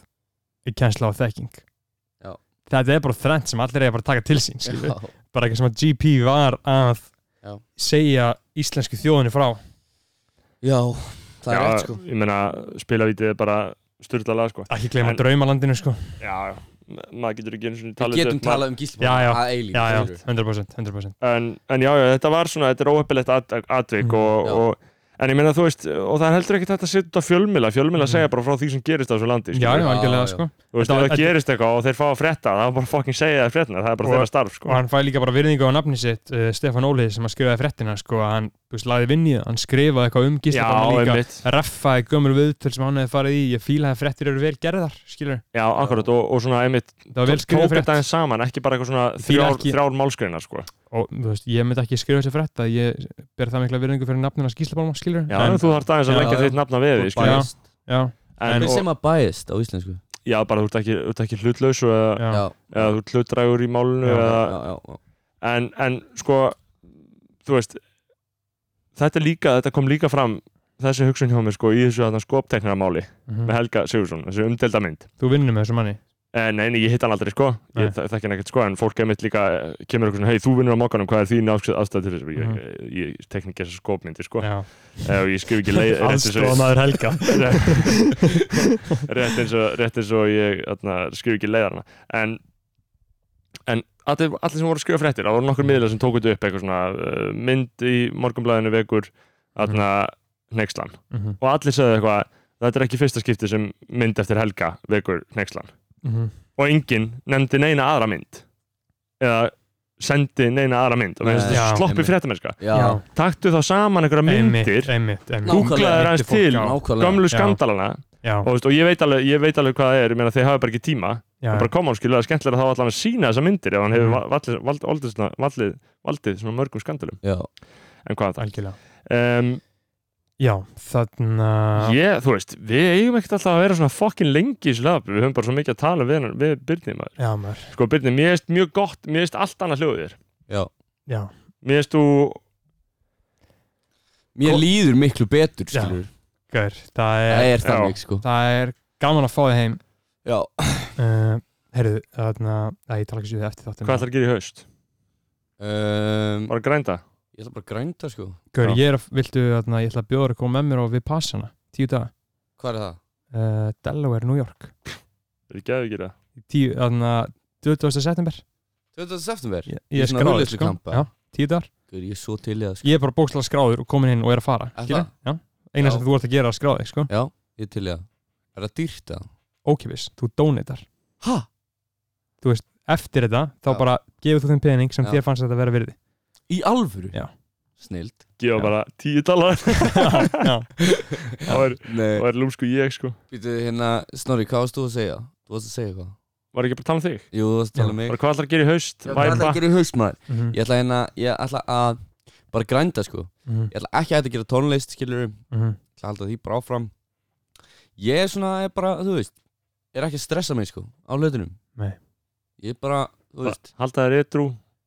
Speaker 3: er kjensla og þekking
Speaker 1: Já.
Speaker 3: þetta er bara þrennt sem allir eiga bara að taka til sín skilur.
Speaker 1: Já.
Speaker 3: bara eitthvað sem að GP var að
Speaker 1: Já.
Speaker 3: segja íslensku þjóðinu frá
Speaker 1: Já, það er
Speaker 2: Já,
Speaker 1: rétt sko
Speaker 2: ég meina, spila vítið er bara styrla lag, sko
Speaker 3: ekki gleyma
Speaker 2: En-
Speaker 3: draumalandinu sko
Speaker 2: já, já, ma- maður getur ekki einu sinni
Speaker 1: Við
Speaker 2: talið
Speaker 1: getum
Speaker 2: maður-
Speaker 1: talað um
Speaker 3: Já, já.
Speaker 1: gíslapálum að eilíð
Speaker 3: já, já, 100%, 100%.
Speaker 2: en, en já, já, þetta var svona, þetta er óheppilegt at- atvik
Speaker 3: Mhm.
Speaker 2: og,
Speaker 1: Já.
Speaker 2: og en ég meina þú veist, og það er heldur ekkert hægt að setja út á fjölmila, fjölmila
Speaker 3: Mhm.
Speaker 2: segja bara frá því sem gerist á þessu landi,
Speaker 3: já, já,
Speaker 2: skilurðu.
Speaker 1: já,
Speaker 3: algjörlega
Speaker 1: já.
Speaker 3: sko
Speaker 2: þú veist,
Speaker 3: Þetta
Speaker 2: ef
Speaker 3: var-
Speaker 2: það gerist eitthvað og þeir fá að frétta, það er bara fucking segja það fréttina, það er bara
Speaker 3: Og-
Speaker 2: þeirra starf,
Speaker 3: og
Speaker 2: sko
Speaker 3: hann fæði líka bara virðingu á nafni sitt uh, Stefan Ólið sem að skrifaði fréttina sko að hann, þú veist, laði vinn í það hann skrifaði eitthvað um
Speaker 2: já,
Speaker 3: gíslabann líka
Speaker 2: einmitt,
Speaker 3: reffaði gömul viðtöl sem hann hefði farið í ég fílaði að fréttir eru vel gerðar skilur,
Speaker 2: já, akkurat, og, og svona einmitt,
Speaker 3: það var vel
Speaker 2: tók
Speaker 3: skrifað frétt
Speaker 2: þetta eins saman, ekki bara eitthvað svona
Speaker 3: fíla
Speaker 2: þrjár,
Speaker 3: ekki-
Speaker 2: þrjár málskreinar, sko
Speaker 3: og þú veist, ég myndi ekki skrifa þessi frétt að ég ber það mikla virðingu fyrir nafnina skíslapálma skilur,
Speaker 2: já, en, þú þarft aðeins
Speaker 3: Já,
Speaker 2: að leggja
Speaker 1: já.
Speaker 2: þitt nafna við,
Speaker 1: Þú
Speaker 2: því,
Speaker 1: ert
Speaker 2: skilurðu.
Speaker 1: biased.
Speaker 3: já,
Speaker 2: en,
Speaker 1: Við
Speaker 2: og,
Speaker 1: sem að bæðist á íslensku
Speaker 2: já, bara þú ert ekki, þú ert ekki hlutlaus og,
Speaker 3: já, uh,
Speaker 1: Já,
Speaker 2: eða þú ert hlutdrægur í málinu
Speaker 3: Já,
Speaker 2: eða,
Speaker 1: já, já, já.
Speaker 2: en, en sko þú veist þetta, er líka, þetta kom líka fram þessi hugsun hjá mér sko í þessu þarna skopteknaramáli
Speaker 3: Mhm.
Speaker 2: með Helga Sigursson, þessu umdelda mynd
Speaker 3: þú vinnur með þessu manni
Speaker 2: Eh, nei, nei, ég hitt hann aldrei sko
Speaker 3: Nei.
Speaker 2: Ég þek- þekki hann ekkert sko En fólk er mitt líka eh, Kemur eitthvað svona Hei, þú vinnur á mokkanum Hvað er þín aðstæð til þessu? Ég, ég, ég tekni ekki þessar skópmyndi sko
Speaker 3: Já.
Speaker 2: Eh, og Ég skrif ekki leið rétt eins og-
Speaker 3: Aðstoðamaður Helga
Speaker 2: rétt, eins og, rétt eins og ég atna, skrif ekki leiðarna en, en allir, allir sem voru að skrifa fréttir það voru nokkur miðlega sem tóku þetta upp eitthvað svona uh, mynd í morgunblæðinu vekur atna, nexlan
Speaker 3: Mhm,
Speaker 2: og allir sagði eitthvað þetta er ekki fyrsta skipti sem mynd eftir helga vekur nexlan
Speaker 3: mhm.
Speaker 2: og enginn nefndi neina aðra mynd eða sendi neina aðra mynd og mér finnst
Speaker 1: Nei.
Speaker 2: þetta
Speaker 3: Já,
Speaker 2: sloppi
Speaker 1: einmitt.
Speaker 2: fréttamennska
Speaker 1: Já,
Speaker 3: Já.
Speaker 2: taktu þá saman einhverja
Speaker 3: Einmitt,
Speaker 2: myndir
Speaker 3: einmitt, einmitt.
Speaker 1: Nákvæmlega.
Speaker 2: googlaði aðeins
Speaker 3: Myndir fólk,
Speaker 2: til
Speaker 3: já.
Speaker 1: nákvæmlega
Speaker 2: gömlu
Speaker 3: Já.
Speaker 2: skandalana
Speaker 3: Já,
Speaker 2: og, veist, og ég, veit alveg, ég veit alveg hvað það er ég meina þeir hafa bara ekki tíma
Speaker 3: já,
Speaker 2: og bara koma hún skilur að skemmtilega þá allan að sína þessa myndir ef hann hefur
Speaker 3: Mhm.
Speaker 2: va- valdið, valdið, valdið, svona- valdið, valdið svona mörgum skandalum
Speaker 1: Já,
Speaker 2: en hvað það
Speaker 3: algjörlega
Speaker 2: um,
Speaker 3: Já, þannig að
Speaker 2: ég, þú veist, við eigum ekkert alltaf að vera svona fokkin lengi í slöp við höfum bara svo mikið að tala við, hennar- við Byrni maður
Speaker 3: Já, maður,
Speaker 2: sko Byrni, mér erst mjög gott, mér erst allt annað hljóðið þér
Speaker 1: já
Speaker 3: já
Speaker 2: mér erst þú,
Speaker 1: Mér
Speaker 3: Kom-
Speaker 1: líður miklu betur,
Speaker 3: Já.
Speaker 1: skilur
Speaker 3: Gaur, það
Speaker 1: Það
Speaker 3: er,
Speaker 1: er þannig, sko
Speaker 3: það er gaman að fá þið heim
Speaker 1: Já,
Speaker 3: uh, Herðu, þannig að ég tala ekki sér eftir þáttum
Speaker 2: hvað ætlar að gera í haust?
Speaker 1: um,
Speaker 2: bara grænda?
Speaker 1: Ég ætla bara að grænda, sko
Speaker 3: Gaur,
Speaker 2: Já.
Speaker 3: ég er að, viltu, þannig að ég ætla að bjóða þér að koma með mér og við passa hana Tíu daga
Speaker 1: Hvað er það?
Speaker 3: uh, Delaware, New York
Speaker 2: Við geðum ekki það
Speaker 3: Tíu, þannig að 20. september
Speaker 1: 20. september?
Speaker 3: Ég,
Speaker 1: Í
Speaker 3: ég
Speaker 1: svona
Speaker 3: skráður, sko.
Speaker 1: hugleiðslukampa?
Speaker 3: Já, tíu dagar
Speaker 1: Guður, ég er svo til í það, sko
Speaker 3: Ég er bara bókslega skráður og komin inn og er að fara
Speaker 1: Er
Speaker 3: skilurðu?
Speaker 1: það?
Speaker 3: Já, eina
Speaker 1: Já.
Speaker 3: sem þú ert að gera er að skráði, sko
Speaker 1: Já, ég er til í það Er það dýrt það?
Speaker 3: Ókipis, þú donatar
Speaker 1: Ha?
Speaker 3: Eftir þetta, þá
Speaker 1: Já.
Speaker 3: bara gefur þú þeim pening sem
Speaker 1: Já.
Speaker 3: þér fannst þetta vera virði
Speaker 1: Í alvöru?
Speaker 3: Já.
Speaker 1: Snild
Speaker 2: gefa
Speaker 3: Já.
Speaker 2: bara tíu dalar
Speaker 3: Já,
Speaker 2: og er,
Speaker 1: Nei
Speaker 2: og er lúmsku ég sko
Speaker 1: Býtu, hérna, Snorri, hvað varst þú að segja? Þú varst að segja eitthvað?
Speaker 2: var ekki bara að tala um þig?
Speaker 1: Jú, þú varst að tala um mig
Speaker 2: bara hvað ætlar að gera í haust?
Speaker 1: Ég ætla
Speaker 2: Væpa?
Speaker 1: að gera í haust, maður
Speaker 3: Mhm,
Speaker 1: Ég ætla hérna, ég ætla að Bara grænda, sko
Speaker 3: mhm,
Speaker 1: Ég ætla ekki að hætta að gera tónlist, skilur
Speaker 3: mhm.
Speaker 1: ætla að halda því bara áfram ég er svona, er bara, þú veist er ekki að stressa mig sko, á hlutunum
Speaker 3: Nei.
Speaker 1: ég er bara, þú
Speaker 2: Bara
Speaker 1: veist
Speaker 2: halda þér ytrú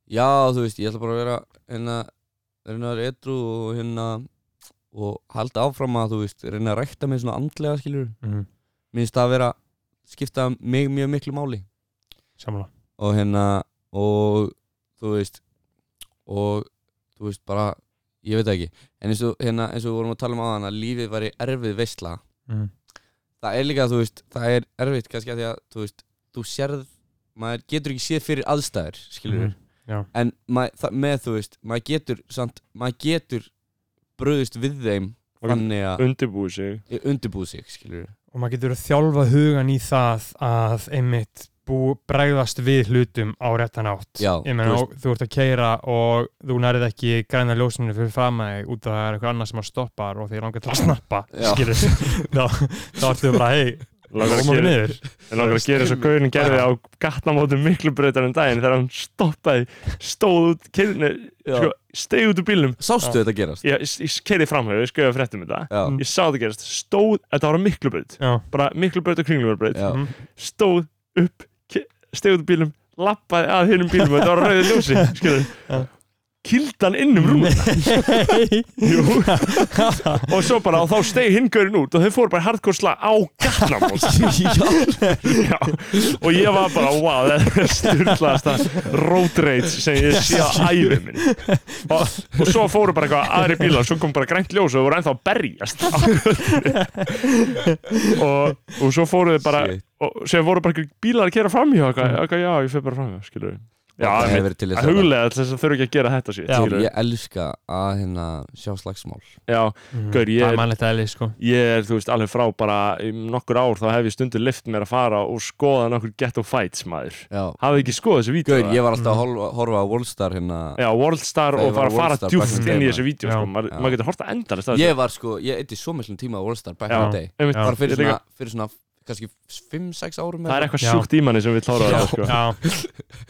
Speaker 1: já, þú veist, ég ætla bara að vera hérna, reyna að vera etru og hérna og halda áfram að, þú veist, reyna að rækta mig svona andlega skilur,
Speaker 3: Mhm.
Speaker 1: minnst það að vera skipta mig mjög miklu máli
Speaker 3: Sammála
Speaker 1: og hérna, og þú veist og, þú veist, bara ég veit það ekki, en eins og hérna, eins og við vorum að tala um áðan að lífið væri erfið veistla
Speaker 3: Mhm,
Speaker 1: það er líka, þú veist, það er erfitt kannski að því að, þú veist, þú sérð maður getur ekki séð fyrir aðstæður skilur við,
Speaker 3: mhm. Já,
Speaker 1: en maður, það, með, þú veist maður getur, samt, maður getur bröðist við þeim
Speaker 2: Ok.
Speaker 1: þannig að
Speaker 2: undirbúi sig
Speaker 1: undirbúð sig, skilur við
Speaker 3: og maður getur að þjálfa hugan í það að einmitt bú, bregðast við hlutum á réttan átt
Speaker 1: Já,
Speaker 3: ég meina,
Speaker 1: þú
Speaker 3: þú, þú ert að keira og þú nærið ekki græna ljósinu fyrir fram að þig út að það er eitthvað annað sem að stoppar og því langar til að snappa
Speaker 1: Já.
Speaker 3: skilur, þá, þá ertu bara hei,
Speaker 2: langar að
Speaker 3: koma við
Speaker 2: gera
Speaker 3: niður
Speaker 2: En langar að gera svo gaurin gerði á gattamótum miklu breytar en daginn þegar hann stoppaði, stóð út, keirni,
Speaker 1: Já.
Speaker 2: sko, steig út úr bílnum.
Speaker 1: sástu þetta gerast
Speaker 2: Ég, ég keiri framhau, ég skoði að fréttum um þetta.
Speaker 1: já,
Speaker 2: Ég sá það gerast, stóð, þetta var miklu breyt,
Speaker 3: já,
Speaker 2: bara miklu breyt og kringlumar breyt.
Speaker 1: já,
Speaker 3: Mhm.
Speaker 2: Stóð upp, ke- steig út úr bílnum, lappaði að hinum bílnum og þetta var rauðið ljósi, skilur.
Speaker 3: Já.
Speaker 2: Kildan inn um rúna Jú. og svo bara og þá steig hinn gaurin út og þau fóru bara í hardcore slag á gattamót Já, og ég var bara, wow, þetta er styrlaðasta road rage sem ég sé á æfið minni og, og svo fóru bara eitthvað aðri bílar, svo kom bara grænt ljós og þau voru ennþá að berjast á götunni. og, og svo fóru þau bara,
Speaker 1: Shit.
Speaker 2: og sem voru bara einhverjir bílar að kera framhjá, eitthvað, eitthvað, já, ég fyrir bara framhjá, skilur Já,
Speaker 1: það hefur
Speaker 2: einmitt.
Speaker 1: verið til
Speaker 2: að
Speaker 1: þess að
Speaker 2: huglega til þess að þau eru ekki að gera þetta sér,
Speaker 3: Já.
Speaker 2: skilur
Speaker 1: ég elska að hérna sjá slagsmál
Speaker 2: Já, Gaur, ég
Speaker 3: Mm. það
Speaker 2: er-
Speaker 3: er mannlegt aðeins sko
Speaker 2: ég er, þú veist, alveg frá bara um nokkur ár þá hef ég stundu lift mér að fara og skoða nokkur ghetto fights, maður
Speaker 1: já,
Speaker 2: hafið ekki skoðað þessu vídeo
Speaker 1: gaur, ég var
Speaker 2: Mm.
Speaker 1: alltaf að horfa- horfa á Wallstar hérna
Speaker 2: Já, Worldstar
Speaker 1: Það var
Speaker 2: og bara fara
Speaker 1: Worldstar back in
Speaker 2: djúft
Speaker 1: the
Speaker 2: inn í
Speaker 1: day,
Speaker 2: þessu vídeo
Speaker 3: Já.
Speaker 2: sko. maður
Speaker 1: Já.
Speaker 2: maður getur horta endalist að
Speaker 1: ég var sko, ég eitti svo miklum tíma á Wallstar back in
Speaker 2: Já.
Speaker 1: the day
Speaker 2: þessu
Speaker 3: Já.
Speaker 1: bara fyrir
Speaker 2: Ég líka-
Speaker 1: svona, fyrir svona kannski 5-6 árum
Speaker 2: það er eitthvað
Speaker 3: Já.
Speaker 2: sjúkt í manni sem við klára það sko.
Speaker 3: já,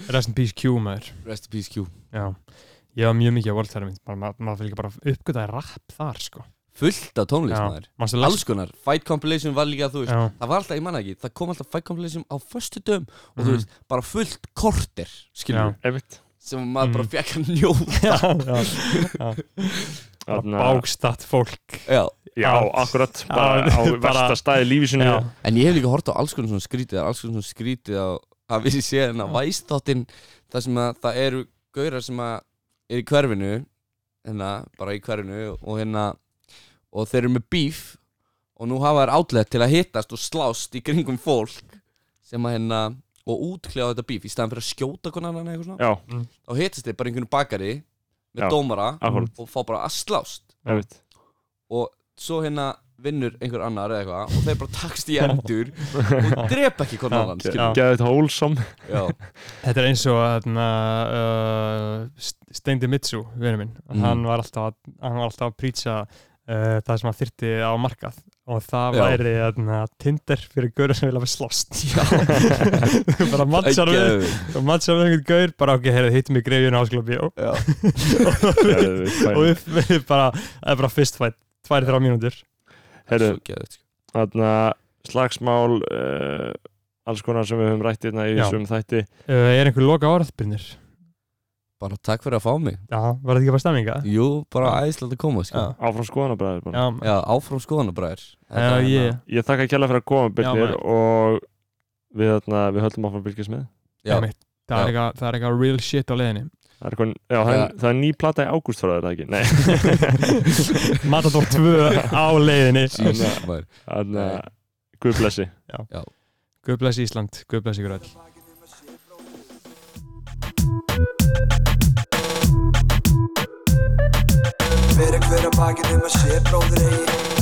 Speaker 3: rest in peace Q maður
Speaker 1: Rest in peace Q
Speaker 3: já, ég var mjög mikið á World Terra minn bara, maður, maður fyrir líka bara uppgötaði rap þar sko
Speaker 1: fullt af tónlist
Speaker 3: Já.
Speaker 1: maður alls
Speaker 3: Manstu last-
Speaker 1: konar, Fight Compilation var líka þú veist
Speaker 3: já,
Speaker 1: það var alltaf, ég manna ekki, það kom alltaf Fight Compilation á förstu dögum og
Speaker 3: Mhm.
Speaker 1: þú veist, bara fullt korter skilur,
Speaker 3: já, Mm.
Speaker 1: við,
Speaker 2: Einmitt.
Speaker 1: sem maður bara
Speaker 3: Mhm.
Speaker 1: fekk að njóta
Speaker 3: já, já,
Speaker 2: Þarna-
Speaker 3: bákstatt fólk
Speaker 1: Já,
Speaker 2: já,
Speaker 3: Já.
Speaker 2: akkurat,
Speaker 3: Já,
Speaker 2: bara á
Speaker 3: bara-
Speaker 2: versta stæði lífi sinu
Speaker 3: Já.
Speaker 1: En ég hef líka hort á alls konar svona skrítið alls konar svona skrítið á að við séð hérna væstáttinn þar sem að það eru gaurar sem að er í hverfinu hérna, bara í hverfinu og hérna og þeir eru með bíf og nú hafa þær outlet til að hittast og slást í kringum fólk sem að hérna og útkljá þetta bíf í staðan fyrir að skjóta konan hann eitthvað svona
Speaker 2: já,
Speaker 1: þá hittast þeir bara í einhvern bakari með
Speaker 2: Já.
Speaker 1: dómara
Speaker 2: akkurat,
Speaker 1: og fá bara að slást
Speaker 2: ég veit
Speaker 1: og svo hérna vinnur einhver annar eða eitthvað og þeir bara takst í endur og drepa ekki hvern annan skilur.
Speaker 2: geða þetta hólsam
Speaker 1: Já.
Speaker 3: Þetta er eins og þarna, uh, Steindi Mitsu, vinur minn
Speaker 1: Mhm.
Speaker 3: hann, var alltaf, að- hann var alltaf að prýtsa uh, það sem hann þyrti á markað og það
Speaker 1: Já.
Speaker 3: væri þarna, Tinder fyrir gauður sem vilja að vera slást Þú bara matchar við
Speaker 1: Geðveikt.
Speaker 3: og matchar við einhvern gaur bara ok, heyrðu, hittum við greifjun ásklubi og,
Speaker 1: Já.
Speaker 3: og
Speaker 2: Herru,
Speaker 3: við, við bara, það er bara fyrst fætt tvær, þrjá mínútur
Speaker 1: Svo geðveikt, sko.
Speaker 2: þarna slagsmál uh, alls konar sem við höfum rætt hérna í
Speaker 3: Já.
Speaker 2: þessum þætti
Speaker 3: uh, Er einhver loka orðbyrnir?
Speaker 1: Bara takk fyrir að fá mig
Speaker 3: Já, var þetta ekki bara stemminga?
Speaker 1: Jú, bara æðislega að koma sko.
Speaker 2: áfram skoðanabræður bara.
Speaker 3: Já,
Speaker 1: Já, áfram skoðanabræður
Speaker 3: já,
Speaker 1: hérna-
Speaker 3: ég
Speaker 2: Ég þakka kjalla fyrir að koma
Speaker 3: Já,
Speaker 2: Birnir
Speaker 3: bara-
Speaker 2: og við, þarna, við höldum áfram að fylgjast með
Speaker 1: Já.
Speaker 3: Einmitt. Það
Speaker 1: Já.
Speaker 3: er eitthvað- það er eitthvað real shit á leiðinni
Speaker 2: Það er, kon, já, það,
Speaker 1: Já.
Speaker 2: er, það er ný plata í ágúst frá þetta ekki Nei,
Speaker 3: Matador 2 á leiðinni
Speaker 1: Jesus, maður.
Speaker 2: þannig að Guð blessi
Speaker 3: Guð bless Ísland, Guð bless ykkur öll
Speaker 4: Fyrir hver að bakið um að sé bróðir eigi